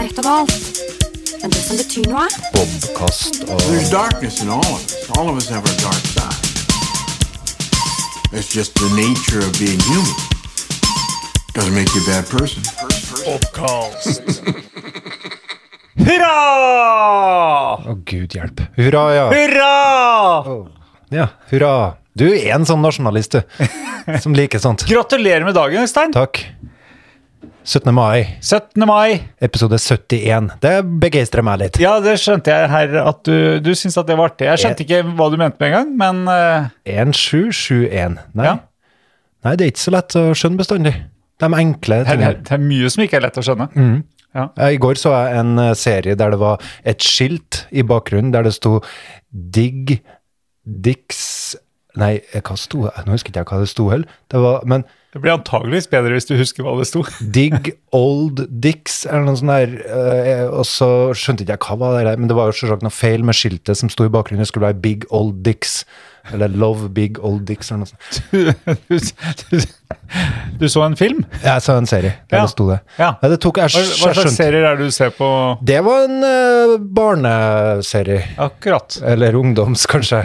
alt av alt. Men det som betyr noe, Bobkast og There's darkness in all of us. All of us have our dark side. It's just the nature of being human. Doesn't make you a bad person. Hurra! Å, gud hjelp. Hurra, ja. Hurra! ja. Hurra. Du er en sånn nasjonalist, du. Som liker sånt. Gratulerer med dagen, Øystein. Takk. 17. mai, 17. mai. episode 71. Det begeistrer meg litt. Ja, det skjønte jeg her at du, du syntes at det var artig. Jeg skjønte ikke hva du mente med en gang, men eh, 1771. Nei. Ja. Nei, det er ikke så lett å skjønne bestandig. De enkle det, tingene. er, det er mye som ikke er lett å skjønne. Mm. Ja, I går så jeg en eh, serie der det var et skilt i bakgrunnen der det sto Digg Dix Nei, eh, hva sto det? Nå husker ikke jeg hva det sto heller. Det var, men Det blir antageligvis bedre hvis du husker hva det sto. Digg Old Dix eller noe sånt der. eh, Og så skjønte ikke jeg hva var det der, men det var jo selvsagt noe feil med skiltet som sto i bakgrunnen. Det skulle være Big Old Dix. Eller Love Big Old Dix eller noe sånt. Du, du, du, du så en film? Jeg så en serie der Ja. det sto det. Ja. Nei, det tok, jeg, Hva, jeg hva slags skjønte- serier er det du ser på Det var en eh, barneserie. akkurat? Eller ungdoms, kanskje.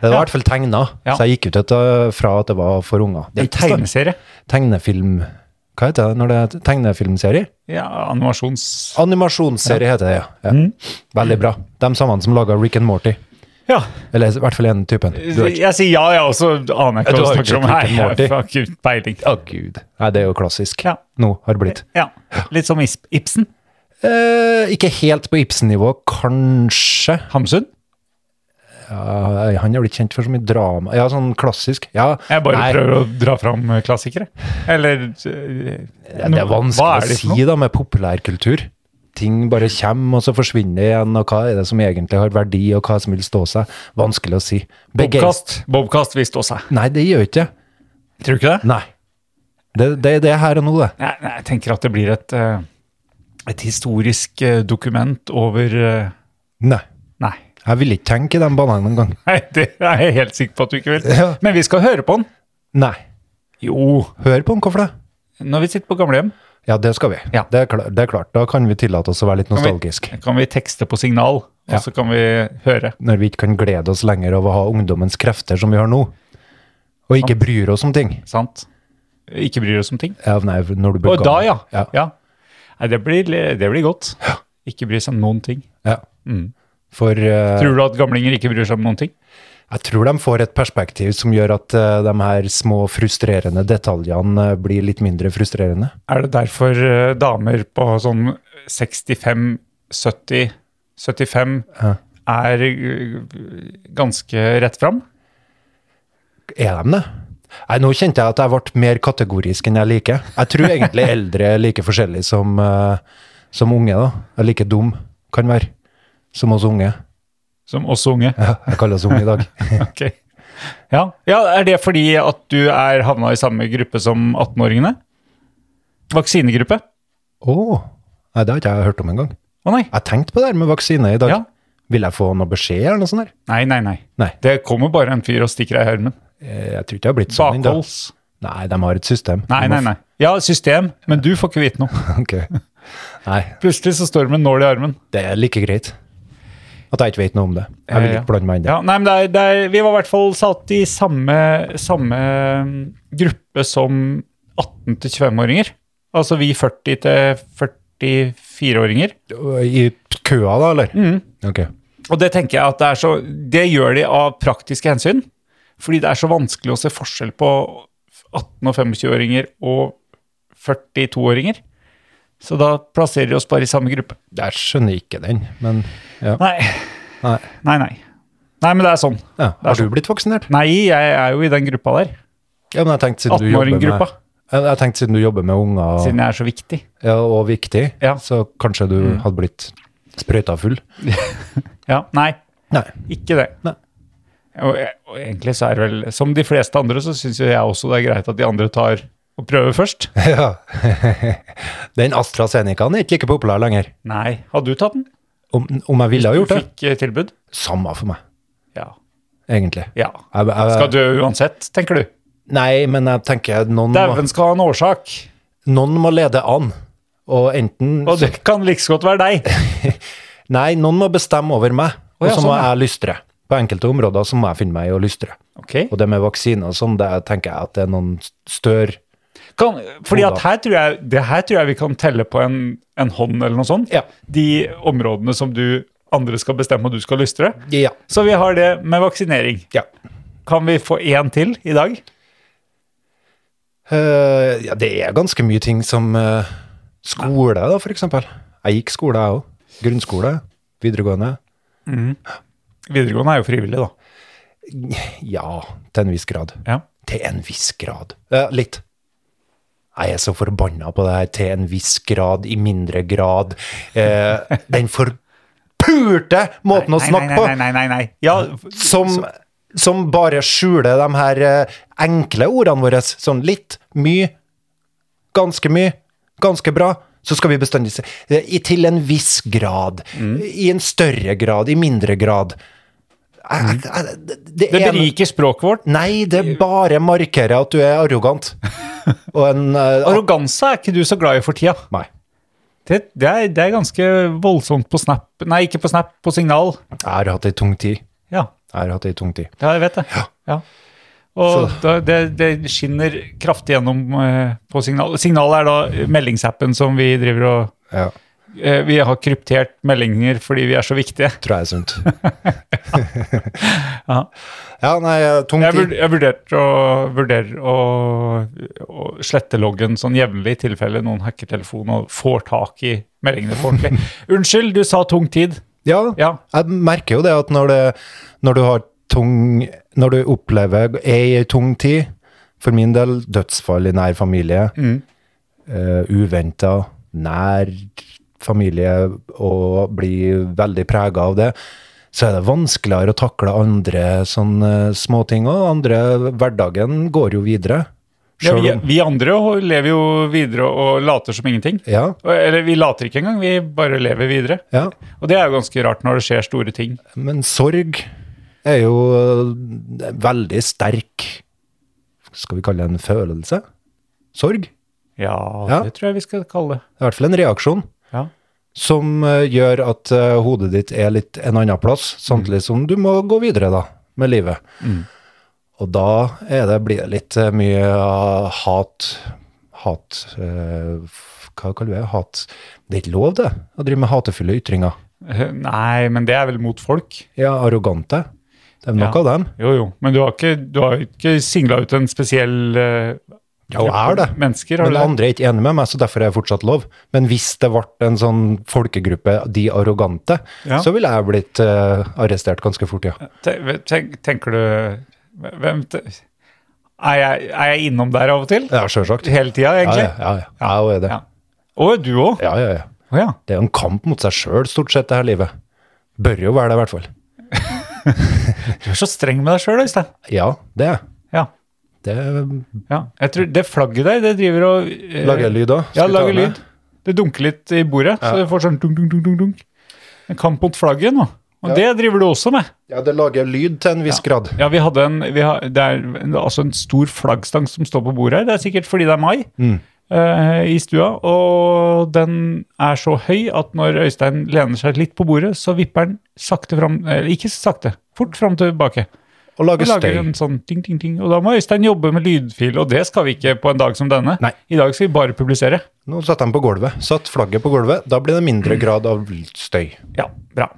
Det var i hvert fall tegna, Ja. så jeg gikk ut etter, fra at det var for unger. Det er ikke så- Tegneserie? Tegnefilm Hva heter det når det er tegnefilmserie? Ja, animasjons... Animasjonsserie heter det, ja. ja. Mm. Veldig bra. De samme som laga Rick and Morty. Ja. Eller i hvert fall den typen. Du vet- Jeg sier ja, jeg også aner Du ikke hva har du jo snakker om. ikke Nei, Rick and jeg har ikke peiling. Å, gud. Nei, det er jo klassisk. Ja. Nå har det blitt. Ja, litt som Is- Ibsen. Eh, ikke helt på Ibsen-nivå, kanskje. Hamsun. Ja, han er blitt kjent for så mye drama. Ja, sånn klassisk. Ja, Jeg bare nei. prøver å dra fram eh, klassikere. Eller eh, Ja, det er no- vanskelig hva er det for å noe? si da med populærkultur. Ting bare kommer, og så forsvinner igjen, og hva er det som egentlig har verdi, og hva som vil stå seg? Vanskelig å si. Bobkast. Begeist- Bobkast vil stå seg. Nei, det gjør ikke det. Tror du ikke det? Nei. Det, det, det er her og nå, det. Nei, nei, jeg tenker at det blir et, eh, et historisk eh, dokument over eh, Nei. Nei. Jeg ville ikke tenke i den bananen engang. Nei, det er jeg helt sikker på at du ikke vil. Ja. Men vi skal høre på den. Nei. Jo. Hør på den, hvorfor det? Når vi sitter på gamlehjem, Ja, det skal vi. Ja. Det, er klar, det er klart. Da kan vi tillate oss å være litt vi- nostalgisk. kan vi tekste på signal, og Ja. så kan vi høre. Når vi ikke kan glede oss lenger av å ha ungdommens krefter som vi har nå. Og ikke bryr oss om ting. Sant? Ikke bryr oss om ting. Ja, nei, når du blir Og da, gammel. ja. ja. Nei, det blir, det blir godt. Ikke bry seg om noen ting. ja. For eh, Mm. Tror du at gamlinger ikke bryr seg om noen ting? Jeg tror de får et perspektiv som gjør at eh, de her små frustrerende detaljene eh, blir litt mindre frustrerende. Er det derfor eh, damer på sånn 65, 70, 75 Ja. er eh, ganske rett fram? Er de det? Nei, nå kjente jeg at jeg ble mer kategorisk enn jeg liker. Jeg tror egentlig eldre er like forskjellig som, eh, som unge, da. Er like dum, kan være, som oss unge. Som oss unge? Ja, jeg kaller oss unge i dag. Ok. Ja. ja, er det fordi at du er havna i samme gruppe som 18-åringene? Vaksinegruppe? Å! Nei, det har ikke jeg hørt om engang. Å nei. Jeg tenkte på det her med vaksine i dag. Ja. Vil jeg få noe beskjed eller noe sånt? der? Nei, nei, nei. Nei. Det kommer bare en fyr og stikker deg i armen. Eh, Jeg tror ikke det har blitt sånn ennå. Bakholds. Nei, de har et system. Nei, nei, nei. Ja, system, men du får ikke vite noe. Ok. Nei, Plutselig så står du med en nål i armen. Det er like greit. At jeg ikke vet noe om det. Jeg vil Eh, ja. ikke blande meg inn i det. Ja, nei, men det er, det er, vi var i hvert fall satt i samme, samme mm, gruppe som 18- til 25-åringer. Altså vi 40- til 44-åringer. I køa, da, eller? Mm. Ok. Og det tenker jeg at det er så Det gjør de av praktiske hensyn. Fordi det er så vanskelig å se forskjell på 18- og 25-åringer og 42-åringer. Så da plasserer de oss bare i samme gruppe. Jeg skjønner ikke den, men ja. Nei. Nei. Nei, nei. Nei, men det er sånn. ja. Har sånn. du blitt vaksinert? Nei, jeg er jo i den gruppa der. Ja, men jeg tenkte siden du jobber med Attenåringgruppa. Ja, Jeg tenkte siden du jobber med unger og, Siden jeg er så viktig. ja, og viktig, Ja. Mm. så kanskje du hadde blitt sprøyta full? Ja, nei, Nei. ikke det. Nei. Og, jeg- og egentlig så er det vel, som de fleste andre, så syns jo jeg også det er greit at de andre tar og prøver først. Ja. Den AstraZenecaen er ikke like populær lenger. Nei. Har du tatt den? Om, om jeg ville ha Du gjort det? fikk eh, tilbud? Samme for meg, Ja. egentlig. ja. Jeg, jeg, Skal dø uansett, tenker du. Nei, men jeg tenker noen må- Dæven skal ha en årsak. noen må lede an. Og enten Og det kan like så godt være deg. Nei, noen må bestemme over meg, Å, ja, og så må sånn, ja. jeg lystre. På enkelte områder så må jeg finne meg i å lystre. Ok. Og det med vaksiner og sånn, det tenker jeg at det er noen stør Kan, fordi at Oda. her tror jeg, det her tror jeg vi kan telle på en, en hånd eller noe sånt. Ja. De områdene som du andre skal bestemme og du skal lystre. Ja. Så vi har det med vaksinering. ja. Kan vi få én til i dag? Eh, ja, det er ganske mye ting som eh, skole, da, for eksempel. Jeg gikk skole, jeg òg. Grunnskole, videregående. Videregående er jo frivillig, da. Ja, til en viss grad. Ja. Til en viss grad. Eh, litt. Jeg er så forbanna på det her. Til en viss grad, i mindre grad. Eh, den forpurte måten å snakke på! Nei, nei, nei. nei, nei. Ja, f- som, som bare skjuler de her eh, enkle ordene våre. Sånn litt, mye, ganske mye, ganske bra. Så skal vi bestandig si eh, i- til en viss grad. Mm. I en større grad, i mindre grad. Eh, eh, Det, det Mm. det er en- beriker språket vårt. Nei, det bare markerer at du er arrogant. Og en eh, Arroganse er ikke du så glad i for tida. Nei. Det, det, er, det er ganske voldsomt på Snap. Nei, ikke på Snap, på signal. Jeg har hatt ei tung tid. Ja, Jeg har hatt ei tung tid. ja jeg vet det. Ja. Og da, det, det skinner kraftig gjennom eh, på signal. Signal er da meldingsappen som vi driver og Ja, eh, Vi har kryptert meldinger fordi vi er så viktige. tror jeg er sunt. Ja. Ja, nei, eh, tung Jeg, vur, tid. jeg vurderte å, vurderer å, å slette loggen sånn jevnlig i tilfelle noen hacker telefonen og får tak i meldingene på ordentlig. Unnskyld, du sa tung tid. Ja, Ja, Jeg merker jo det at når, det, når du har tung Når du opplever er i ei tung tid, for min del dødsfall i nær familie, mm. uventa, nær familie, og blir veldig prega av det, så er det vanskeligere å takle andre sånne småting òg. Andre hverdagen går jo videre. ja Selv vi, om vi andre lever jo videre og later som ingenting. Ja. Eller vi later ikke engang, vi bare lever videre. ja. Og det er jo ganske rart når det skjer store ting. Men sorg er jo eh, veldig sterk Skal vi kalle det en følelse? Sorg? Ja, Ja. det tror jeg vi skal kalle det. Det er i hvert fall en reaksjon Ja. som eh, gjør at eh, hodet ditt er litt en annen plass, samtidig som du må gå videre da, med livet. Mm. Og da er det, blir det litt eh, mye eh, hat Hat eh, f- Hva kaller vi det? Hat Det er ikke lov, det, å drive med hatefulle ytringer. Eh, Nei, men det er vel mot folk. Ja, arrogante. Det er nok Ja. av dem. Jo, jo. Men du har ikke, du har jo ikke singla ut en spesiell eh, Jo, jeg har det. Mennesker, har Men du det? andre er ikke enige med meg, så derfor er det fortsatt lov. Men hvis det ble en sånn folkegruppe, de arrogante, Ja. så ville jeg blitt eh, arrestert ganske fort, ja. Te- Tenk, tenker du hvem, te- er, jeg, er jeg innom der av og til? Ja, sjølsagt. Ja, Hele tida, ja, egentlig? ja. ja. Jeg er det. Ja. Å, du òg? Ja, ja, ja. Å ja. Det er jo en kamp mot seg sjøl, stort sett, det her livet. Bør jo være det, i hvert fall. Du er så streng med deg sjøl, Øystein. Ja, det er jeg. Ja. Det eh, ja. Jeg tror det flagget der, det driver og eh, lager jeg lyd òg. Ja, lager lyd. Det dunker litt i bordet, så det får sånn dunk, dunk, dunk, dunk, dunk. En kamp mot flagget nå. Og det driver du også med. Ja, det lager lyd til en viss grad. Ja, vi hadde en vi har, Det er en- altså en stor flaggstang som står på bordet her. Det er sikkert fordi det er mai Mm. eh, i stua. Og den er så høy at når Øystein lener seg litt på bordet, så vipper den sakte fram Eller ikke sakte, fort fram og tilbake. Og Og lager lager støy. en sånn ting, ting, ting. Og da må Øystein jobbe med lydfil, og det skal vi ikke på en dag som denne. Nei. I dag skal vi bare publisere. Nå satte de på gulvet. Satt flagget på gulvet. Da blir det mindre grad av støy. Ja, bra.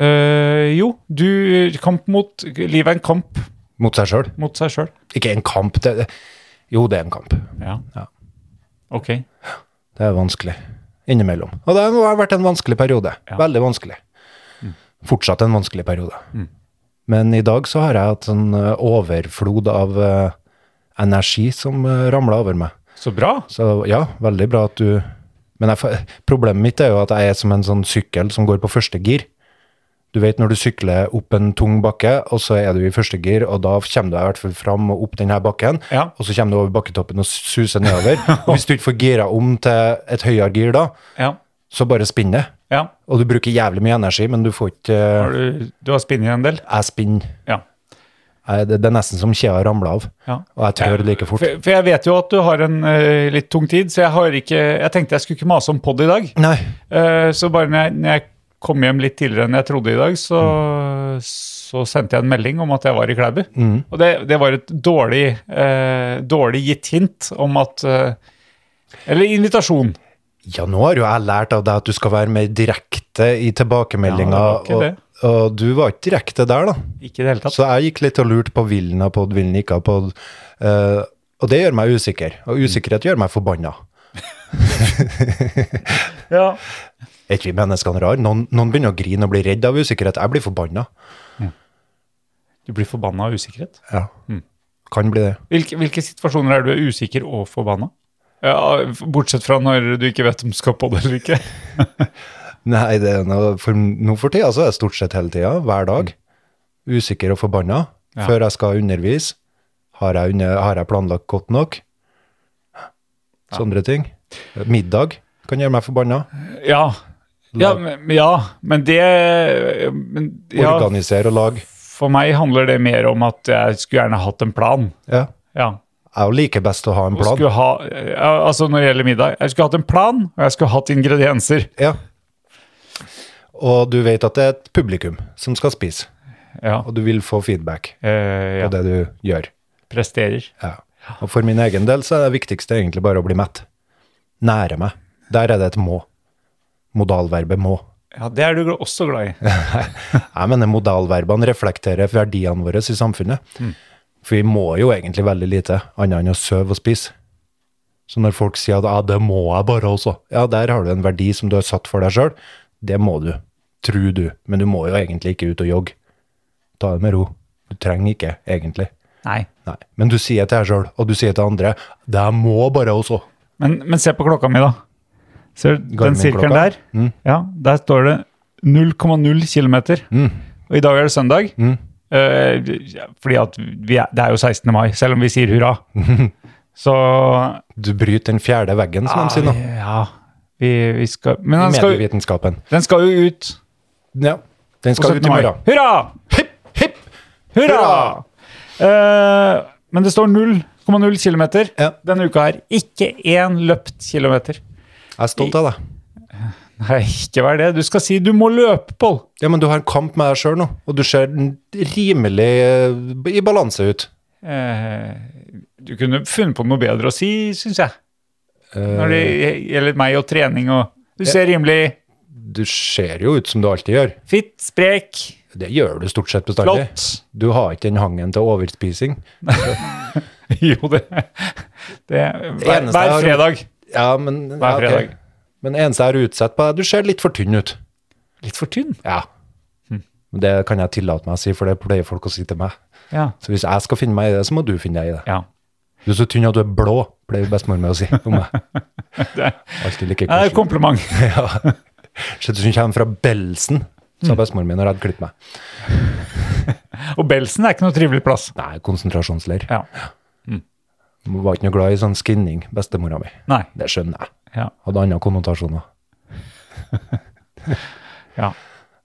Eh, jo, du Kamp mot Livet er en kamp Mot seg sjøl. mot seg sjøl. Ikke en kamp. Det, det- jo, det er en kamp. Ja. Ok. Det er vanskelig. Innimellom. Og det har vært en vanskelig periode. Veldig vanskelig. Fortsatt en vanskelig periode. Men i dag så har jeg hatt en eh, overflod av eh, energi som ramla over meg. Så bra. Så ja, veldig bra at du Men jeg, fa- problemet mitt er jo at jeg er som en sånn sykkel som går på første gir. Du vet når du sykler opp en tung bakke, og så er du i første gir, og da kommer du deg i hvert fall fram og opp denne bakken, Ja. og så kommer du over bakketoppen og suser nedover. og hvis du ikke får gira om til et høyere gir da, Ja. så bare spinner det. ja. Og du bruker jævlig mye energi, men du får ikke Har du, du har spinnet en del? Jeg spinner. Ja. Nei, Det, det er nesten som kjea ramler av. Ja. Og jeg trør like fort. For, for jeg vet jo at du har en eh, litt tung tid, så jeg, har ikke, jeg tenkte jeg skulle ikke mase om pod i dag. Nei. Eh, så bare når jeg, når jeg kom hjem litt tidligere enn jeg trodde i dag, så, så sendte jeg en melding om at jeg var i Klæbu. Mm. Og det, det var et dårlig, eh, dårlig gitt hint om at eh, Eller invitasjon. Ja, nå har jo jeg lært av deg at du skal være mer direkte i tilbakemeldinga. Ja, det var ikke og, og du var ikke direkte der, da. Ikke i det hele tatt. Så jeg gikk litt og lurte på vil den ha pod, vil den ikke ha pod. Eh, og det gjør meg usikker. Og usikkerhet gjør meg forbanna. Ja. Er ikke vi menneskene rare? Noen, noen begynner å grine og bli redd av usikkerhet. Jeg blir forbanna. Du blir forbanna av usikkerhet. Ja. Kan bli det. Hvilke, hvilke situasjoner er du er usikker og forbanna? Ja, bortsett fra når du ikke vet om du skal på det eller ikke. Nei, det er noe, for nå for tida så er det stort sett hele tida, hver dag. Usikker og forbanna. Ja. Før jeg skal undervise. Har jeg, under, har jeg planlagt godt nok? Sånne ting. Middag kan gjøre meg forbanna. Ja, ja, Lag- men, ja, men det men, ja, Organisere og lage. For meg handler det mer om at jeg skulle gjerne hatt en plan. Ja. Ja. Jeg liker best å ha en Og plan. skulle ha, ja, altså når det gjelder middag, jeg skulle hatt en plan, og jeg skulle hatt ingredienser. Ja. Og du vet at det er et publikum som skal spise, Ja, og du vil få feedback eh, ja. på det du gjør. presterer. Ja. Og for min egen del så er det viktigste egentlig bare å bli mett. Nære meg. Der er det et må. Modalverbet må. Ja, det er du gl- også glad i. Jeg mener modalverbene reflekterer verdiene våre i samfunnet. For vi må jo egentlig veldig lite annet enn å søve og spise. Så når folk sier at ja, det må jeg bare også, ja, der har du en verdi som du har satt for deg sjøl. Det må du. Tror du. Men du må jo egentlig ikke ut og jogge. Ta det med ro. Du trenger ikke, egentlig. Nei. Nei. Men du sier til deg sjøl, og du sier til andre, det må bare også. Men, men se på klokka mi, da. Ser du den sirkelen Garmin-klokka? Mm. der? Ja, der står det 0,0 km. Mm. Og i dag er det søndag. Eh, fordi at vi er, det er jo 16. mai, selv om vi sier hurra. Så eh, Du bryter den fjerde veggen, som de sier nå. Ja, vi, vi skal Men I den skal, medievitenskapen. den skal jo ut Ja. Den på skal ut 17. i mai. morgen. Hurra! Hipp, hipp! Hurra! Eh, men det står 0,0 km Ja. denne uka her. Ikke én løpt kilometer. Jeg er stolt av deg. Nei, ikke vær det. Du skal si 'du må løpe', Pål. Ja, men du har en kamp med deg sjøl nå, og du ser n- rimelig eh, i balanse ut. Eh, du kunne funnet på noe bedre å si, syns jeg. Når det Eh. gjelder meg og trening og Du ser rimelig Du ser jo ut som du alltid gjør. fitt, sprek, Det gjør du stort sett bestandig. flott. Du har ikke den hangen til overspising. Jo, det, det hver, eneste hver jeg har- fredag. Ja, men ja, Hver ok. fredag. Men det eneste jeg har utsatt på, er at du ser litt for tynn ut. Litt for tynn. Hm. Ja. Men Det kan jeg tillate meg å si, for det pleier folk å si til meg. Ja. Så hvis jeg skal finne meg i det, så må du finne deg i det. ja. Du er så tynn at du er blå, pleier bestemor mi å si om meg. Alltid like Det er et koselig. kompliment. Ja. Ser ut som hun kommer fra Belsen, Mm. sa bestemor mi når jeg hadde klippet meg. Og Belsen er ikke noe trivelig plass. Nei, konsentrasjonsleir. Ja. Hun Var ikke noe glad i sånn skinning, bestemora mi. Nei. Det skjønner jeg. Ja. Hadde andre konnotasjoner. Ja.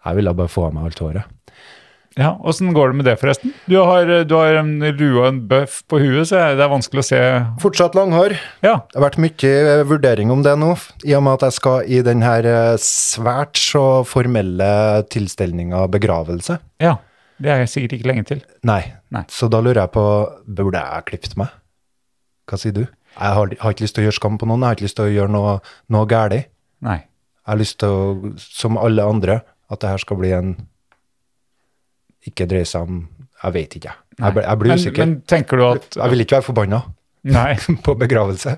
Jeg ville bare få av meg alt håret. Ja, Åssen går det med det, forresten? Du har, du har en lue og en bøff på huet, så det er vanskelig å se Fortsatt langhår. Ja. Det har vært mye eh, vurdering om det nå, i og med at jeg skal i den her eh, svært så formelle tilstelninga begravelse. ja. Det er sikkert ikke lenge til. Nei. Nei. Så da lurer jeg på, burde jeg klippet meg? Hva sier du? Jeg har, har ikke lyst til å gjøre skam på noen, jeg har ikke lyst til å gjøre noe, noe galt. Nei. Jeg har lyst til å, som alle andre, at det her skal bli en Ikke dreie seg om Jeg vet ikke, jeg. Jeg, ble- jeg blir Men, usikker. men tenker du at jeg vil ikke være forbanna Nei. på begravelse.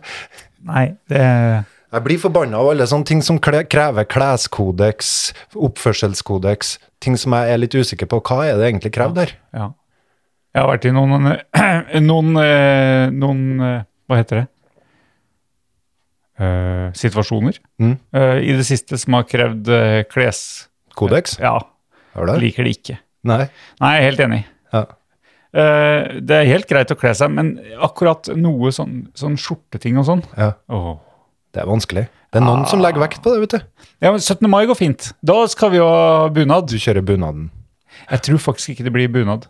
Nei, det Jeg blir forbanna av alle sånne ting som kle, krever kleskodeks, oppførselskodeks, ting som jeg er litt usikker på. Hva er det egentlig krevd der? Ja. Jeg har vært i noen Noen, eh, noen eh, Hva heter det? Eh, situasjoner Mm. eh, i det siste som har krevd eh, kles... Kodeks? Ja, Har du det? liker det ikke. Nei? Nei, jeg er helt enig. Ja. Eh, det er helt greit å kle seg, men akkurat noe sånn, sånn skjorteting og sånn ja. Åh. Det er vanskelig. Det er noen som Ah. legger vekt på det, vet du. Ja, men 17. mai går fint. Da skal vi jo ha bunad. Du kjører bunaden. Jeg tror faktisk ikke det blir bunad.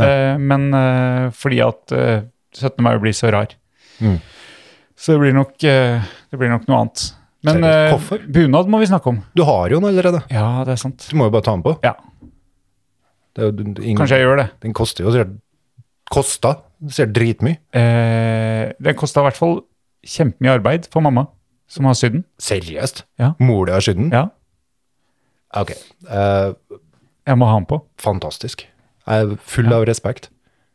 Eh, men eh, fordi at eh, 17. mai blir så rar. Mm. Så det blir nok, eh, det blir nok noe annet. Men Seriøst, eh, hvorfor? bunad må vi snakke om. Du har jo den allerede. Ja, det er sant. Du må jo bare ta den på. Ja, Det er jo, den- ingen, Kanskje jeg gjør det. Den koster jo sikkert Kosta sikkert dritmye. Eh, den kosta i hvert fall kjempemye arbeid for mamma, som har sydd den. Seriøst? Ja. Mor di har sydd den? Ja, Ok. Eh, jeg må ha den på. fantastisk. Jeg er full av respekt.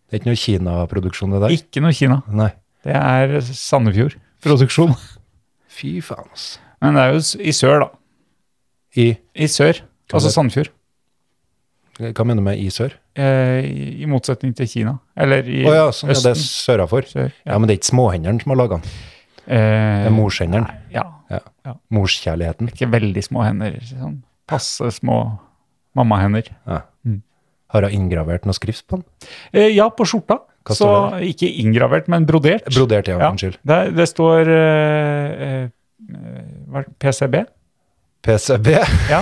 Det er ikke noe Kina-produksjon, det der. Ikke noe Kina. Nei. Det er Sandefjord produksjon. Fy faen, ass. Men det er jo s- i sør, da. I, I sør. Altså Sandefjord. hva mener du med i sør? Eh, I i motsetning til Kina. Eller i Å ja, sånn, ja, det Østen. er sørafor. Sør, ja. ja. men det er ikke småhendene som har laga den. Eh, Det er morshendene. Ja. Ja. Ja. Morskjærligheten. Ikke veldig små hender. Sånn passe små mammahender. Ja. Har hun inngravert noe skrift på den? Eh, ja, på skjorta. Hva Så står ikke inngravert, men brodert. Brodert, ja. Ja, Unnskyld. Det, det står eh, eh, hva er det? PCB. PCB. Ja.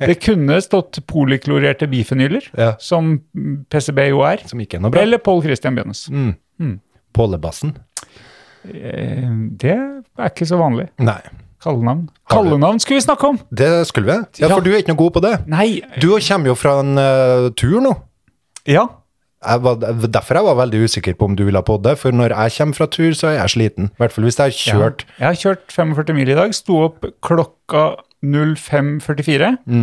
Det kunne stått poliklorerte bifenyler, Ja. som mm, PCB jo er. Som ikke er noe bra. Eller Pål Christian Bjønnes. Mm. Mm. Pålebassen? Eh, det er ikke så vanlig. Nei. Kallenavn. Har du- Kallenavn skulle vi snakke om! Det skulle vi. Ja, Ja. for du er ikke noe god på det. Nei, Du kommer jo fra en eh, tur nå. ja. Jeg var, derfor jeg var veldig usikker på om du ville ha podde, for når jeg kommer fra tur, så er jeg sliten. I hvert fall hvis jeg har kjørt. Ja. Jeg har kjørt 45 mil i dag. Sto opp klokka 05.44. Mm.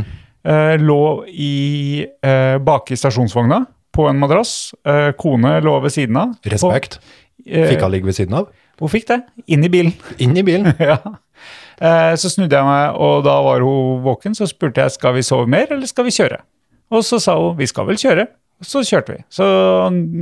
Eh, lå i, eh, bak i stasjonsvogna på en madrass. Eh, kone lå ved siden av. Respekt. Og, eh, Fikk jeg ligge ved siden av? Hun fikk det. Inn i bilen. Inn i bilen. ja. Eh, så snudde jeg meg, og da var hun våken. Så spurte jeg skal vi sove mer, eller skal vi kjøre. Og så sa hun vi skal vel kjøre. Så kjørte vi. Så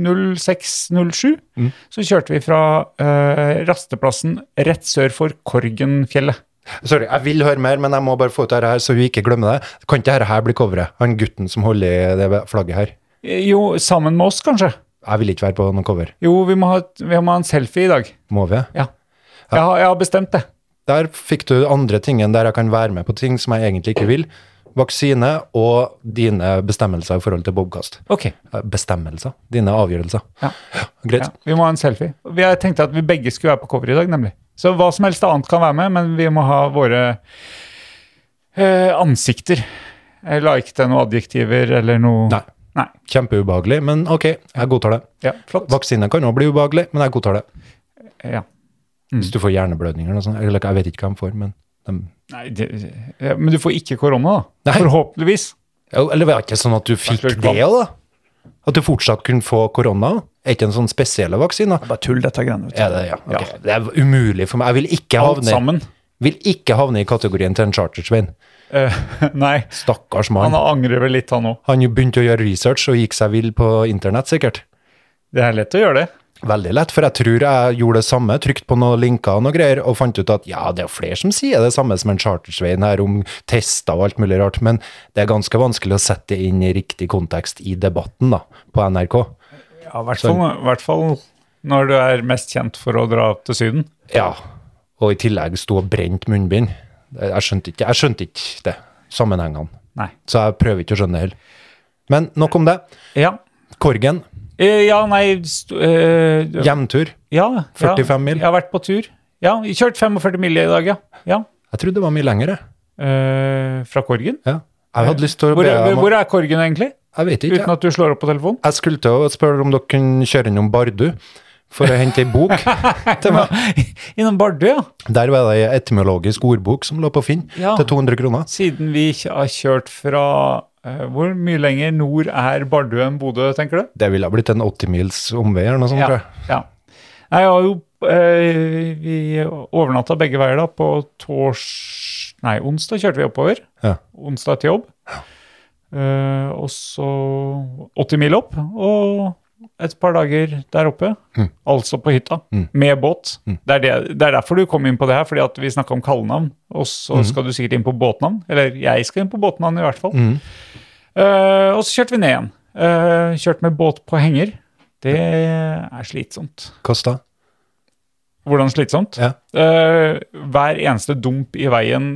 06.07 Mm. så kjørte vi fra eh, rasteplassen rett sør for Korgenfjellet. Sorry, jeg vil høre mer, men jeg må bare få ut dette her, så vi ikke glemmer det. Kan ikke dette her bli coveret? Han gutten som holder i det flagget her. Eh, Jo, sammen med oss, kanskje. Jeg vil ikke være på noe cover. Jo, vi må ha, et- vi må ha en selfie i dag. Må vi? Ja. Jeg har, jeg har bestemt det. Der fikk du andre ting enn der jeg kan være med på ting som jeg egentlig ikke vil. Vaksine og dine bestemmelser i forhold til bobkast. Ok. Eh, Bestemmelser? Dine avgjørelser. Ja. Greit. Ja, vi må ha en selfie. Vi- Jeg tenkte at vi begge skulle være på cover i dag, nemlig. Så hva som helst annet kan være med, men vi må ha våre eh, ansikter. Jeg la ikke til noen adjektiver eller noe Nei. Nei. Kjempeubehagelig, men ok, jeg godtar det. Ja, flott. Vaksine kan òg bli ubehagelig, men jeg godtar det. Ja. Mm. Hvis du får hjerneblødninger eller noe sånt, eller jeg vet ikke hva de får, men de Nei, det, ja, men du får ikke korona, da. Nei. Forhåpentligvis. Jo, Eller var det ikke sånn at du fikk klart det, da? At du fortsatt kunne få korona? Er ikke en sånn spesielle vaksine? Bare tull, dette greiene. Er det, ja. ok. det er umulig for meg. Jeg vil ikke Alt havne, sammen. vil ikke havne i kategorien til en charter-Svein. Eh, nei, Stakkars han mann. angrer vel litt, han òg. Han jo begynte å gjøre research og gikk seg vill på internett, sikkert. Det er lett å gjøre det. Veldig lett, for jeg tror jeg gjorde det samme, trykt på noen linker og noe greier, og fant ut at ja, det er jo flere som sier det samme som en chartersveien her om tester og alt mulig rart, men det er ganske vanskelig å sette det inn i riktig kontekst i debatten da, på NRK. Ja, I hvert fall, i hvert fall når du er mest kjent for å dra opp til Syden. Ja, og i tillegg sto og brent munnbind. Jeg skjønte ikke, jeg skjønte ikke det, sammenhengene. Nei. Så jeg prøver ikke å skjønne det heller. Men nok om det. Ja. Korgen, Eh, ja, nei st eh, du- hjemtur. Ja, 45 ja. mil. Jeg har vært på tur. Ja, jeg kjørt 45 mil i dag, ja. ja. Jeg trodde det var mye lengre. Eh, fra Korgen. Ja. Jeg hadde lyst til å Hvor, be er- om... hvor er Korgen egentlig? Jeg vet ikke. jeg. Uten at du slår opp på telefonen? Jeg skulle til å spørre om dere kunne kjøre innom Bardu for å hente ei bok til meg. Innom Bardu, ja. Der var det ei etymologisk ordbok som lå på Finn Ja. til 200 kroner. Siden vi ikke har kjørt fra eh, Hvor mye lenger nord er Bardu enn Bodø, tenker du? Det ville ha blitt en 80-mils omvei eller noe sånt, sånn, tror Ja. jeg. ja. Nei, jeg har jo eh, Vi overnatta begge veier, da. På tors... Nei, onsdag kjørte vi oppover. Ja. Onsdag til jobb. Eh, og så 80 mil opp, og et par dager der oppe. Mm. Altså på hytta, med båt. Det, er det, det er derfor du kom inn på det her, fordi at vi snakka om kallenavn. Og så Mm. skal du sikkert inn på båtnavn. Eller jeg skal inn på båtnavn, i hvert fall. Eh, og så kjørte vi ned igjen. Eh, kjørte med båt på henger. Det er slitsomt. Kosta. Hvordan slitsomt? Ja. Eh, hver eneste dump i veien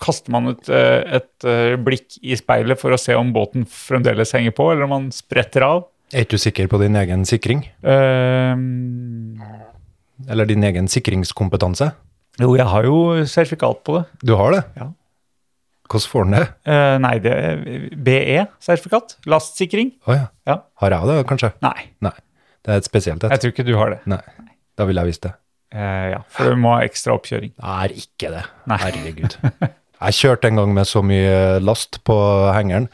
kaster man et, eh, et eh, blikk i speilet for å se om båten fremdeles henger på, eller om man spretter av. Er ikke du sikker på din egen sikring? Eh, Eller din egen sikringskompetanse? jo, jeg har jo sertifikat på det. Du har det? Ja. Hvordan får han det? Eh, nei, det er BE-sertifikat. Lastsikring. Å ja. Ja. Har jeg det, kanskje? Nei, Nei. Det er et spesielt jeg et. tror ikke du har det. Nei. Da ville jeg visst det. Eh, ja, For du må ha ekstra oppkjøring. Jeg er ikke det. Nei. Herregud. Jeg kjørte en gang med så mye last på hengeren,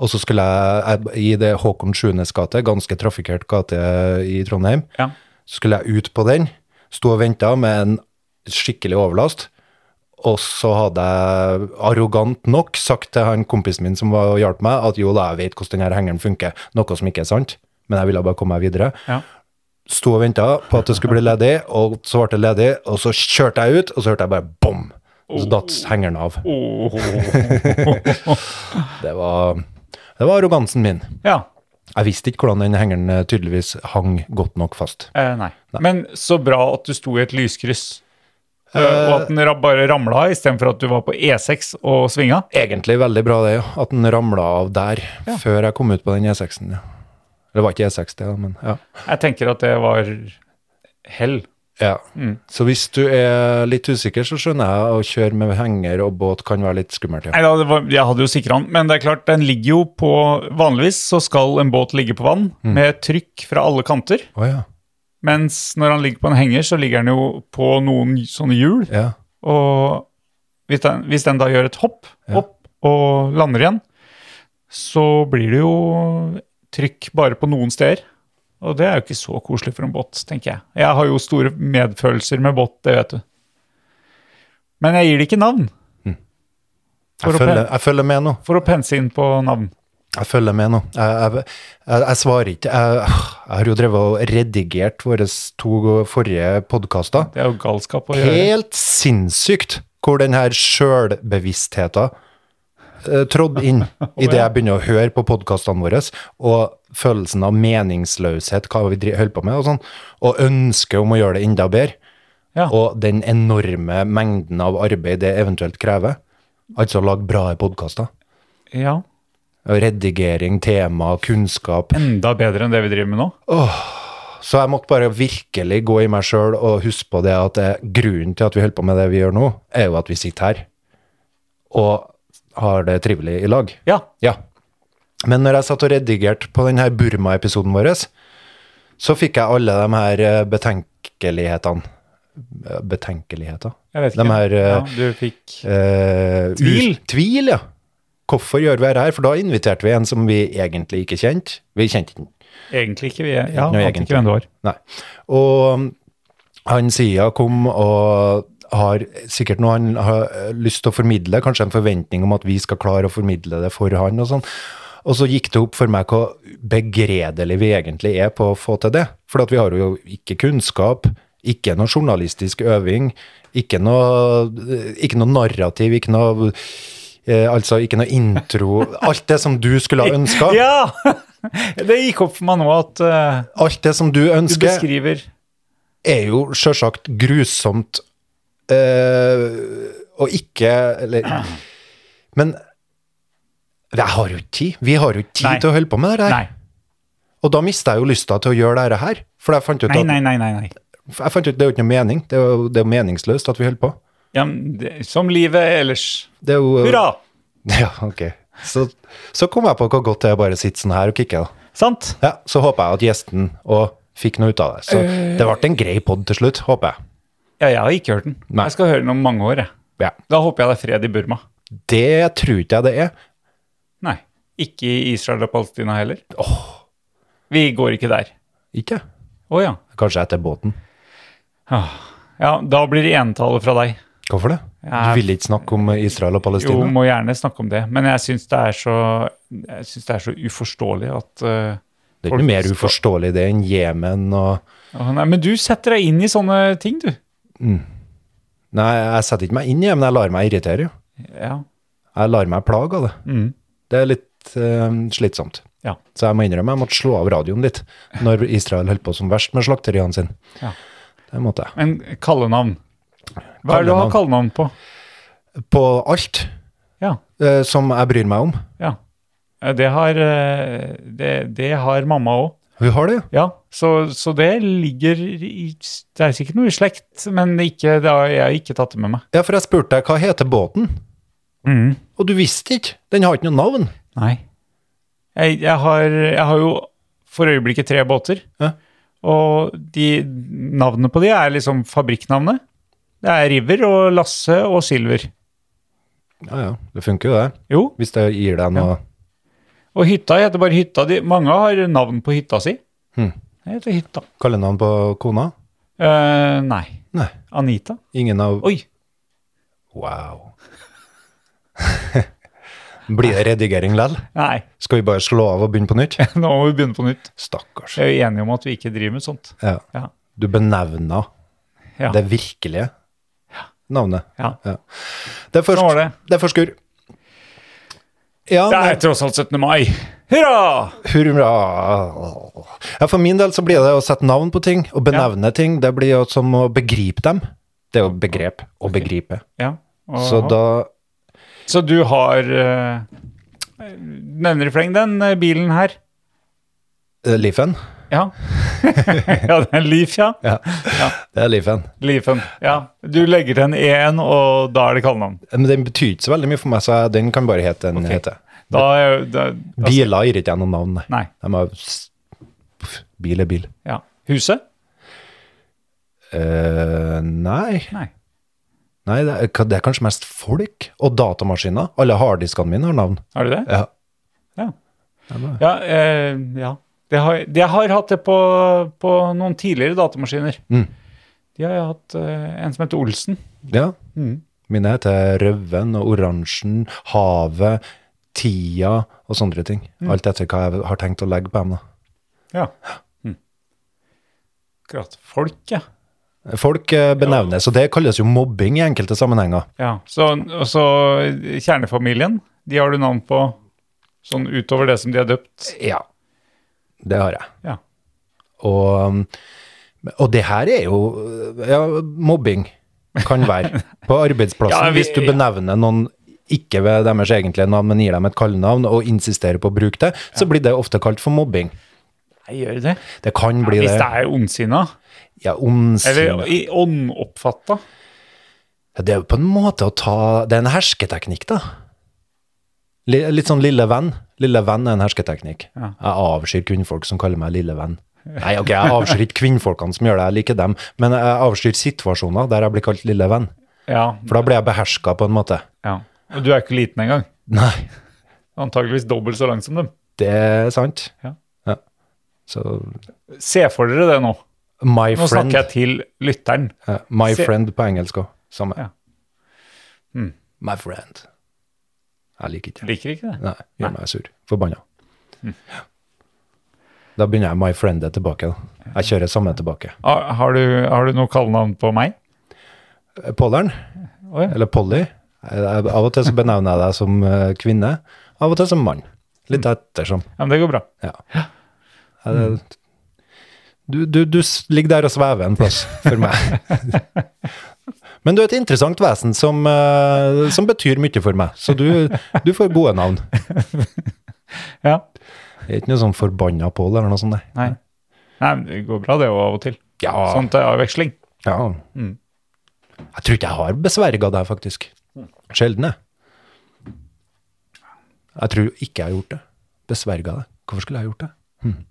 og så skulle jeg, jeg i det Håkon Sjuenes gate, ganske trafikkert gate i Trondheim, Ja. så skulle jeg ut på den, stå og vente med en skikkelig overlast, og så hadde jeg arrogant nok sagt til han kompisen min som var og hjalp meg, at jo da, jeg vet hvordan denne hengeren funker, noe som ikke er sant, men jeg ville bare komme meg videre Ja. sto og venta på at det skulle bli ledig, og så ble det ledig, og så kjørte jeg ut, og så hørte jeg bare bom! Så datt hengeren av. Oh. Det var, det var arrogansen min. ja. Jeg visste ikke hvordan den hengeren eh, tydeligvis hang godt nok fast. Eh, nei. Men så bra at du sto i et lyskryss. Eh, og at den ra- bare ramla istedenfor at du var på E6 og svinga. Egentlig veldig bra det, ja, at den ramla av der, før jeg kom ut på den E6-en. Ja. Det var ikke E6, det, da, men ja. Jeg tenker at det var hell. ja. Så hvis du er litt usikker, så skjønner jeg å kjøre med henger og båt kan være litt skummelt, ja. Nei, da, det var, jeg hadde jo sikra den, men det er klart, den ligger jo på Vanligvis så skal en båt ligge på vann med trykk fra alle kanter. Å ja. Mens når han ligger på en henger, så ligger han jo på noen sånne hjul. ja. Og hvis den, hvis den da gjør et hopp opp og lander igjen, så blir det jo trykk bare på noen steder. Og det er jo ikke så koselig for en båt, tenker jeg. Jeg har jo store medfølelser med båt, det vet du. Men jeg gir det ikke navn, Hm. For å Jeg følger, jeg følger med nå. for å pense inn på navn. Jeg følger med nå. Jeg, jeg, jeg, jeg svarer ikke. Jeg, jeg har jo drevet og redigert våre to forrige podkaster. Det er jo galskap å gjøre. Helt sinnssykt hvor den her sjølbevisstheten eh, trådde inn idet jeg begynner å høre på podkastene våre, og følelsen av meningsløshet, hva vi dri- holder på med, og sånn, og ønsket om å gjøre det enda bedre, Ja. og den enorme mengden av arbeid det eventuelt krever. Altså lage bra podkaster. Ja, Redigering, tema, kunnskap. enda bedre enn det vi driver med nå. Så jeg måtte bare virkelig gå i meg sjøl og huske på det at eh, grunnen til at vi holder på med det vi gjør nå, er jo at vi sitter her og har det trivelig i lag. Ja, Ja. Men når jeg satt og redigerte på denne Burma-episoden vår, så fikk jeg alle de her eh, betenkelighetene Eh, Betenkeligheter? jeg vet De ikke. her eh, ja, du fikk Eh, Tvil. ut- Tvil, ja. Hvorfor gjør vi dette her? For da inviterte vi en som vi egentlig ikke kjente. Vi kjente ikke den. egentlig ikke vi Ja, jeg noe vet egentlig. ikke hvem det var. Nei. Og um, han Sia kom og har sikkert noe han har eh, lyst til å formidle, kanskje en forventning om at vi skal klare å formidle det for han og sånn. Og så gikk det opp for meg hvor begredelig vi egentlig er på å få til det. For at vi har jo ikke kunnskap, ikke noe journalistisk øving, ikke noe, eh, ikke noe narrativ, ikke noe eh, Altså ikke noe intro. Alt det som du skulle ha ønska. Ja! Det gikk opp for meg nå at eh, Alt det som du du ønsker. beskriver er jo sjølsagt grusomt eh, og ikke Eller Men jeg har jo ikke tid. Vi har jo ikke tid Nei. til å holde på med det der. Nei. Og da mista jeg jo lysta til å gjøre det her. For jeg fant ut Nei, at nei, nei, nei. nei. jeg fant ut, det er jo ikke noe mening. Det er jo, det er jo meningsløst at vi holder på. Ja, men det, som livet ellers. Det er jo, Hurra! Ja, ok. Så, så kom jeg på hvor godt det er å bare sitte sånn her og kikke. da. Sant? Ja, så håper jeg at gjesten òg fikk noe ut av det. Så Eh. det ble en grei pod til slutt, håper jeg. Ja, jeg har ikke hørt den. Nei. Jeg skal høre den om mange år. Jeg. Ja. Da håper jeg det er fred i Burma. Det tror ikke jeg det er. Nei, ikke i Israel og Palestina heller. Vi går ikke der. Ikke? Å ja. Kanskje etter båten. ja. Da blir det enetallet fra deg. Hvorfor det? Ja. Du ville ikke snakke om Israel og Jo, Palestina? må gjerne snakke om det. Men jeg syns det, er så- jeg synes det er så uforståelig at eh, det er ikke noe mer uforståelig det enn Jemen og å, Nei, men du setter deg inn i sånne ting, du. Nei, jeg setter ikke meg inn i det, men jeg lar meg irritere. jo. Ja. Jeg lar meg plage av det. Det er litt eh, slitsomt. Ja. Så jeg må innrømme jeg måtte slå av radioen litt når Israel holdt på som verst med slakteriene sine. Ja. Det måtte jeg. Men kallenavn. Hva er det du har kallenavn på? På alt Ja. eh, som jeg bryr meg om. Ja. Eh, Det har, eh, det, det har mamma òg. Hun har det, ja. Ja, så, så det ligger i Det er sikkert noe i slekt, men ikke, det har jeg ikke tatt det med meg. Ja, for jeg spurte deg hva heter båten, og du visste ikke. Den har ikke noe navn. Nei. Jeg, jeg, har, jeg har jo for øyeblikket tre båter, Ja. og de, navnene på de er liksom fabrikknavnet. Det er River og Lasse og Silver. Ja, ja, det funker jo det. Jo, Hvis det gir deg noe og hytta heter bare hytta. De, mange har navn på hytta si. Mhm. Det heter hytta. kallenavn på kona? Eh, nei. Nei. Anita? Ingen av Oi, Wow. Blir det redigering lell? nei. Skal vi bare slå av og begynne på nytt? Nå må vi begynne på nytt. Stakkars. Jeg er jo enige om at vi ikke driver med sånt. Ja. Ja. Du benevna Ja. det virkelige navnet. Ja. Det er først, Sånn var det. Det er først skur. Ja, Det nei, er tross alt 17. mai. Hurra! hurra. Ja, for min del så blir det å sette navn på ting og benevne ting. Det blir jo som å begripe dem. Det er jo begrep å begripe. Ja. og- Så da så du har eh, Nevner i fleng den eh, bilen her. eh, Leafen. Ja. ja, det er Leaf, ja. Ja. Det er Leafen. Leafen. Ja. Du legger til en E-en, og da er det kallenavn. Men den betyr ikke så veldig mye for meg, så jeg- den kan bare hete den Ok. heter. Da er da, altså, Biler gir ikke jeg noe navn, nei. Nei. De har s- pff, Bil er bil. Ja. Huset? Eh, nei. Nei. Nei, det er, ka- det er kanskje mest folk og datamaskiner. Alle harddiskene mine har navn. Har du det? Ja. Ja. Ja. eh, ja. Det har, jeg har hatt det på, på noen tidligere datamaskiner. Mm. De har jeg hatt eh, en som heter Olsen. ja. Mine heter Røven og Oransjen, Havet, Tida og sånne ting. Alt etter hva jeg har tenkt å legge på dem. da. Ja. Mm. Akkurat. Folk, ja. Folk eh, benevnes, og det kalles jo mobbing i enkelte sammenhenger. ja. Så, og så kjernefamilien. De har du navn på sånn utover det som de er døpt. Ja. Det har jeg. Ja. Og, og det her er jo ja, mobbing kan være på arbeidsplassen. Ja, vi- hvis du benevner noen ikke ved deres egentlige navn, men gir dem et kallenavn og insisterer på å bruke det, så blir det ofte kalt for mobbing. Jeg gjør det. Det kan bli Hvis det det. er ondsinna, Ja, ondsinne. eller i åndoppfatta. Ja, Det er jo på en måte å ta Det er en hersketeknikk, da. Li- Litt sånn lille venn. Lille venn er en hersketeknikk. Jeg avskyr kvinnfolk som kaller meg lille venn. Nei, ok, jeg avskyr ikke kvinnfolkene som gjør det, jeg liker dem, men jeg avskyr situasjoner der jeg blir kalt lille venn. Ja, For da blir jeg beherska på en måte. ja. Og du er ikke liten engang. Nei, Antakeligvis dobbelt så lang som dem. det er sant. Ja. Så Se for dere det nå. my Nå friend. snakker jeg til lytteren. Ja, my Se- friend på engelsk òg. Samme. Ja. Hmm. My friend. Jeg liker ikke det. Liker ikke det? Nei, gjør meg sur. Forbanna. Da begynner jeg My Friend er tilbake. da. Jeg kjører samme tilbake. Har Ah, har du, har du noe kallenavn på meg? Eh, Pollern, Å ja. eller Polly. Jeg- Av og til så benevner jeg deg som eh, kvinne, av og til som mann. Litt ettersom. ja, men det går bra. Ja. Jeg- Du, du, du s- ligger der og svever en plass for meg. Men du er et interessant vesen som, eh, som betyr mye for meg, så du, du får gode navn. Ja. Det er ikke noe sånn forbanna Pål eller noe sånt. nei. Nei. Nei, men det går bra det jo av og til. Ja. Sånn til avveksling. Ja. Jeg tror ikke jeg har besverga deg, faktisk. Sjelden, jeg. Jeg tror ikke jeg har gjort det. Besverga deg. Hvorfor skulle jeg ha gjort det? Hm.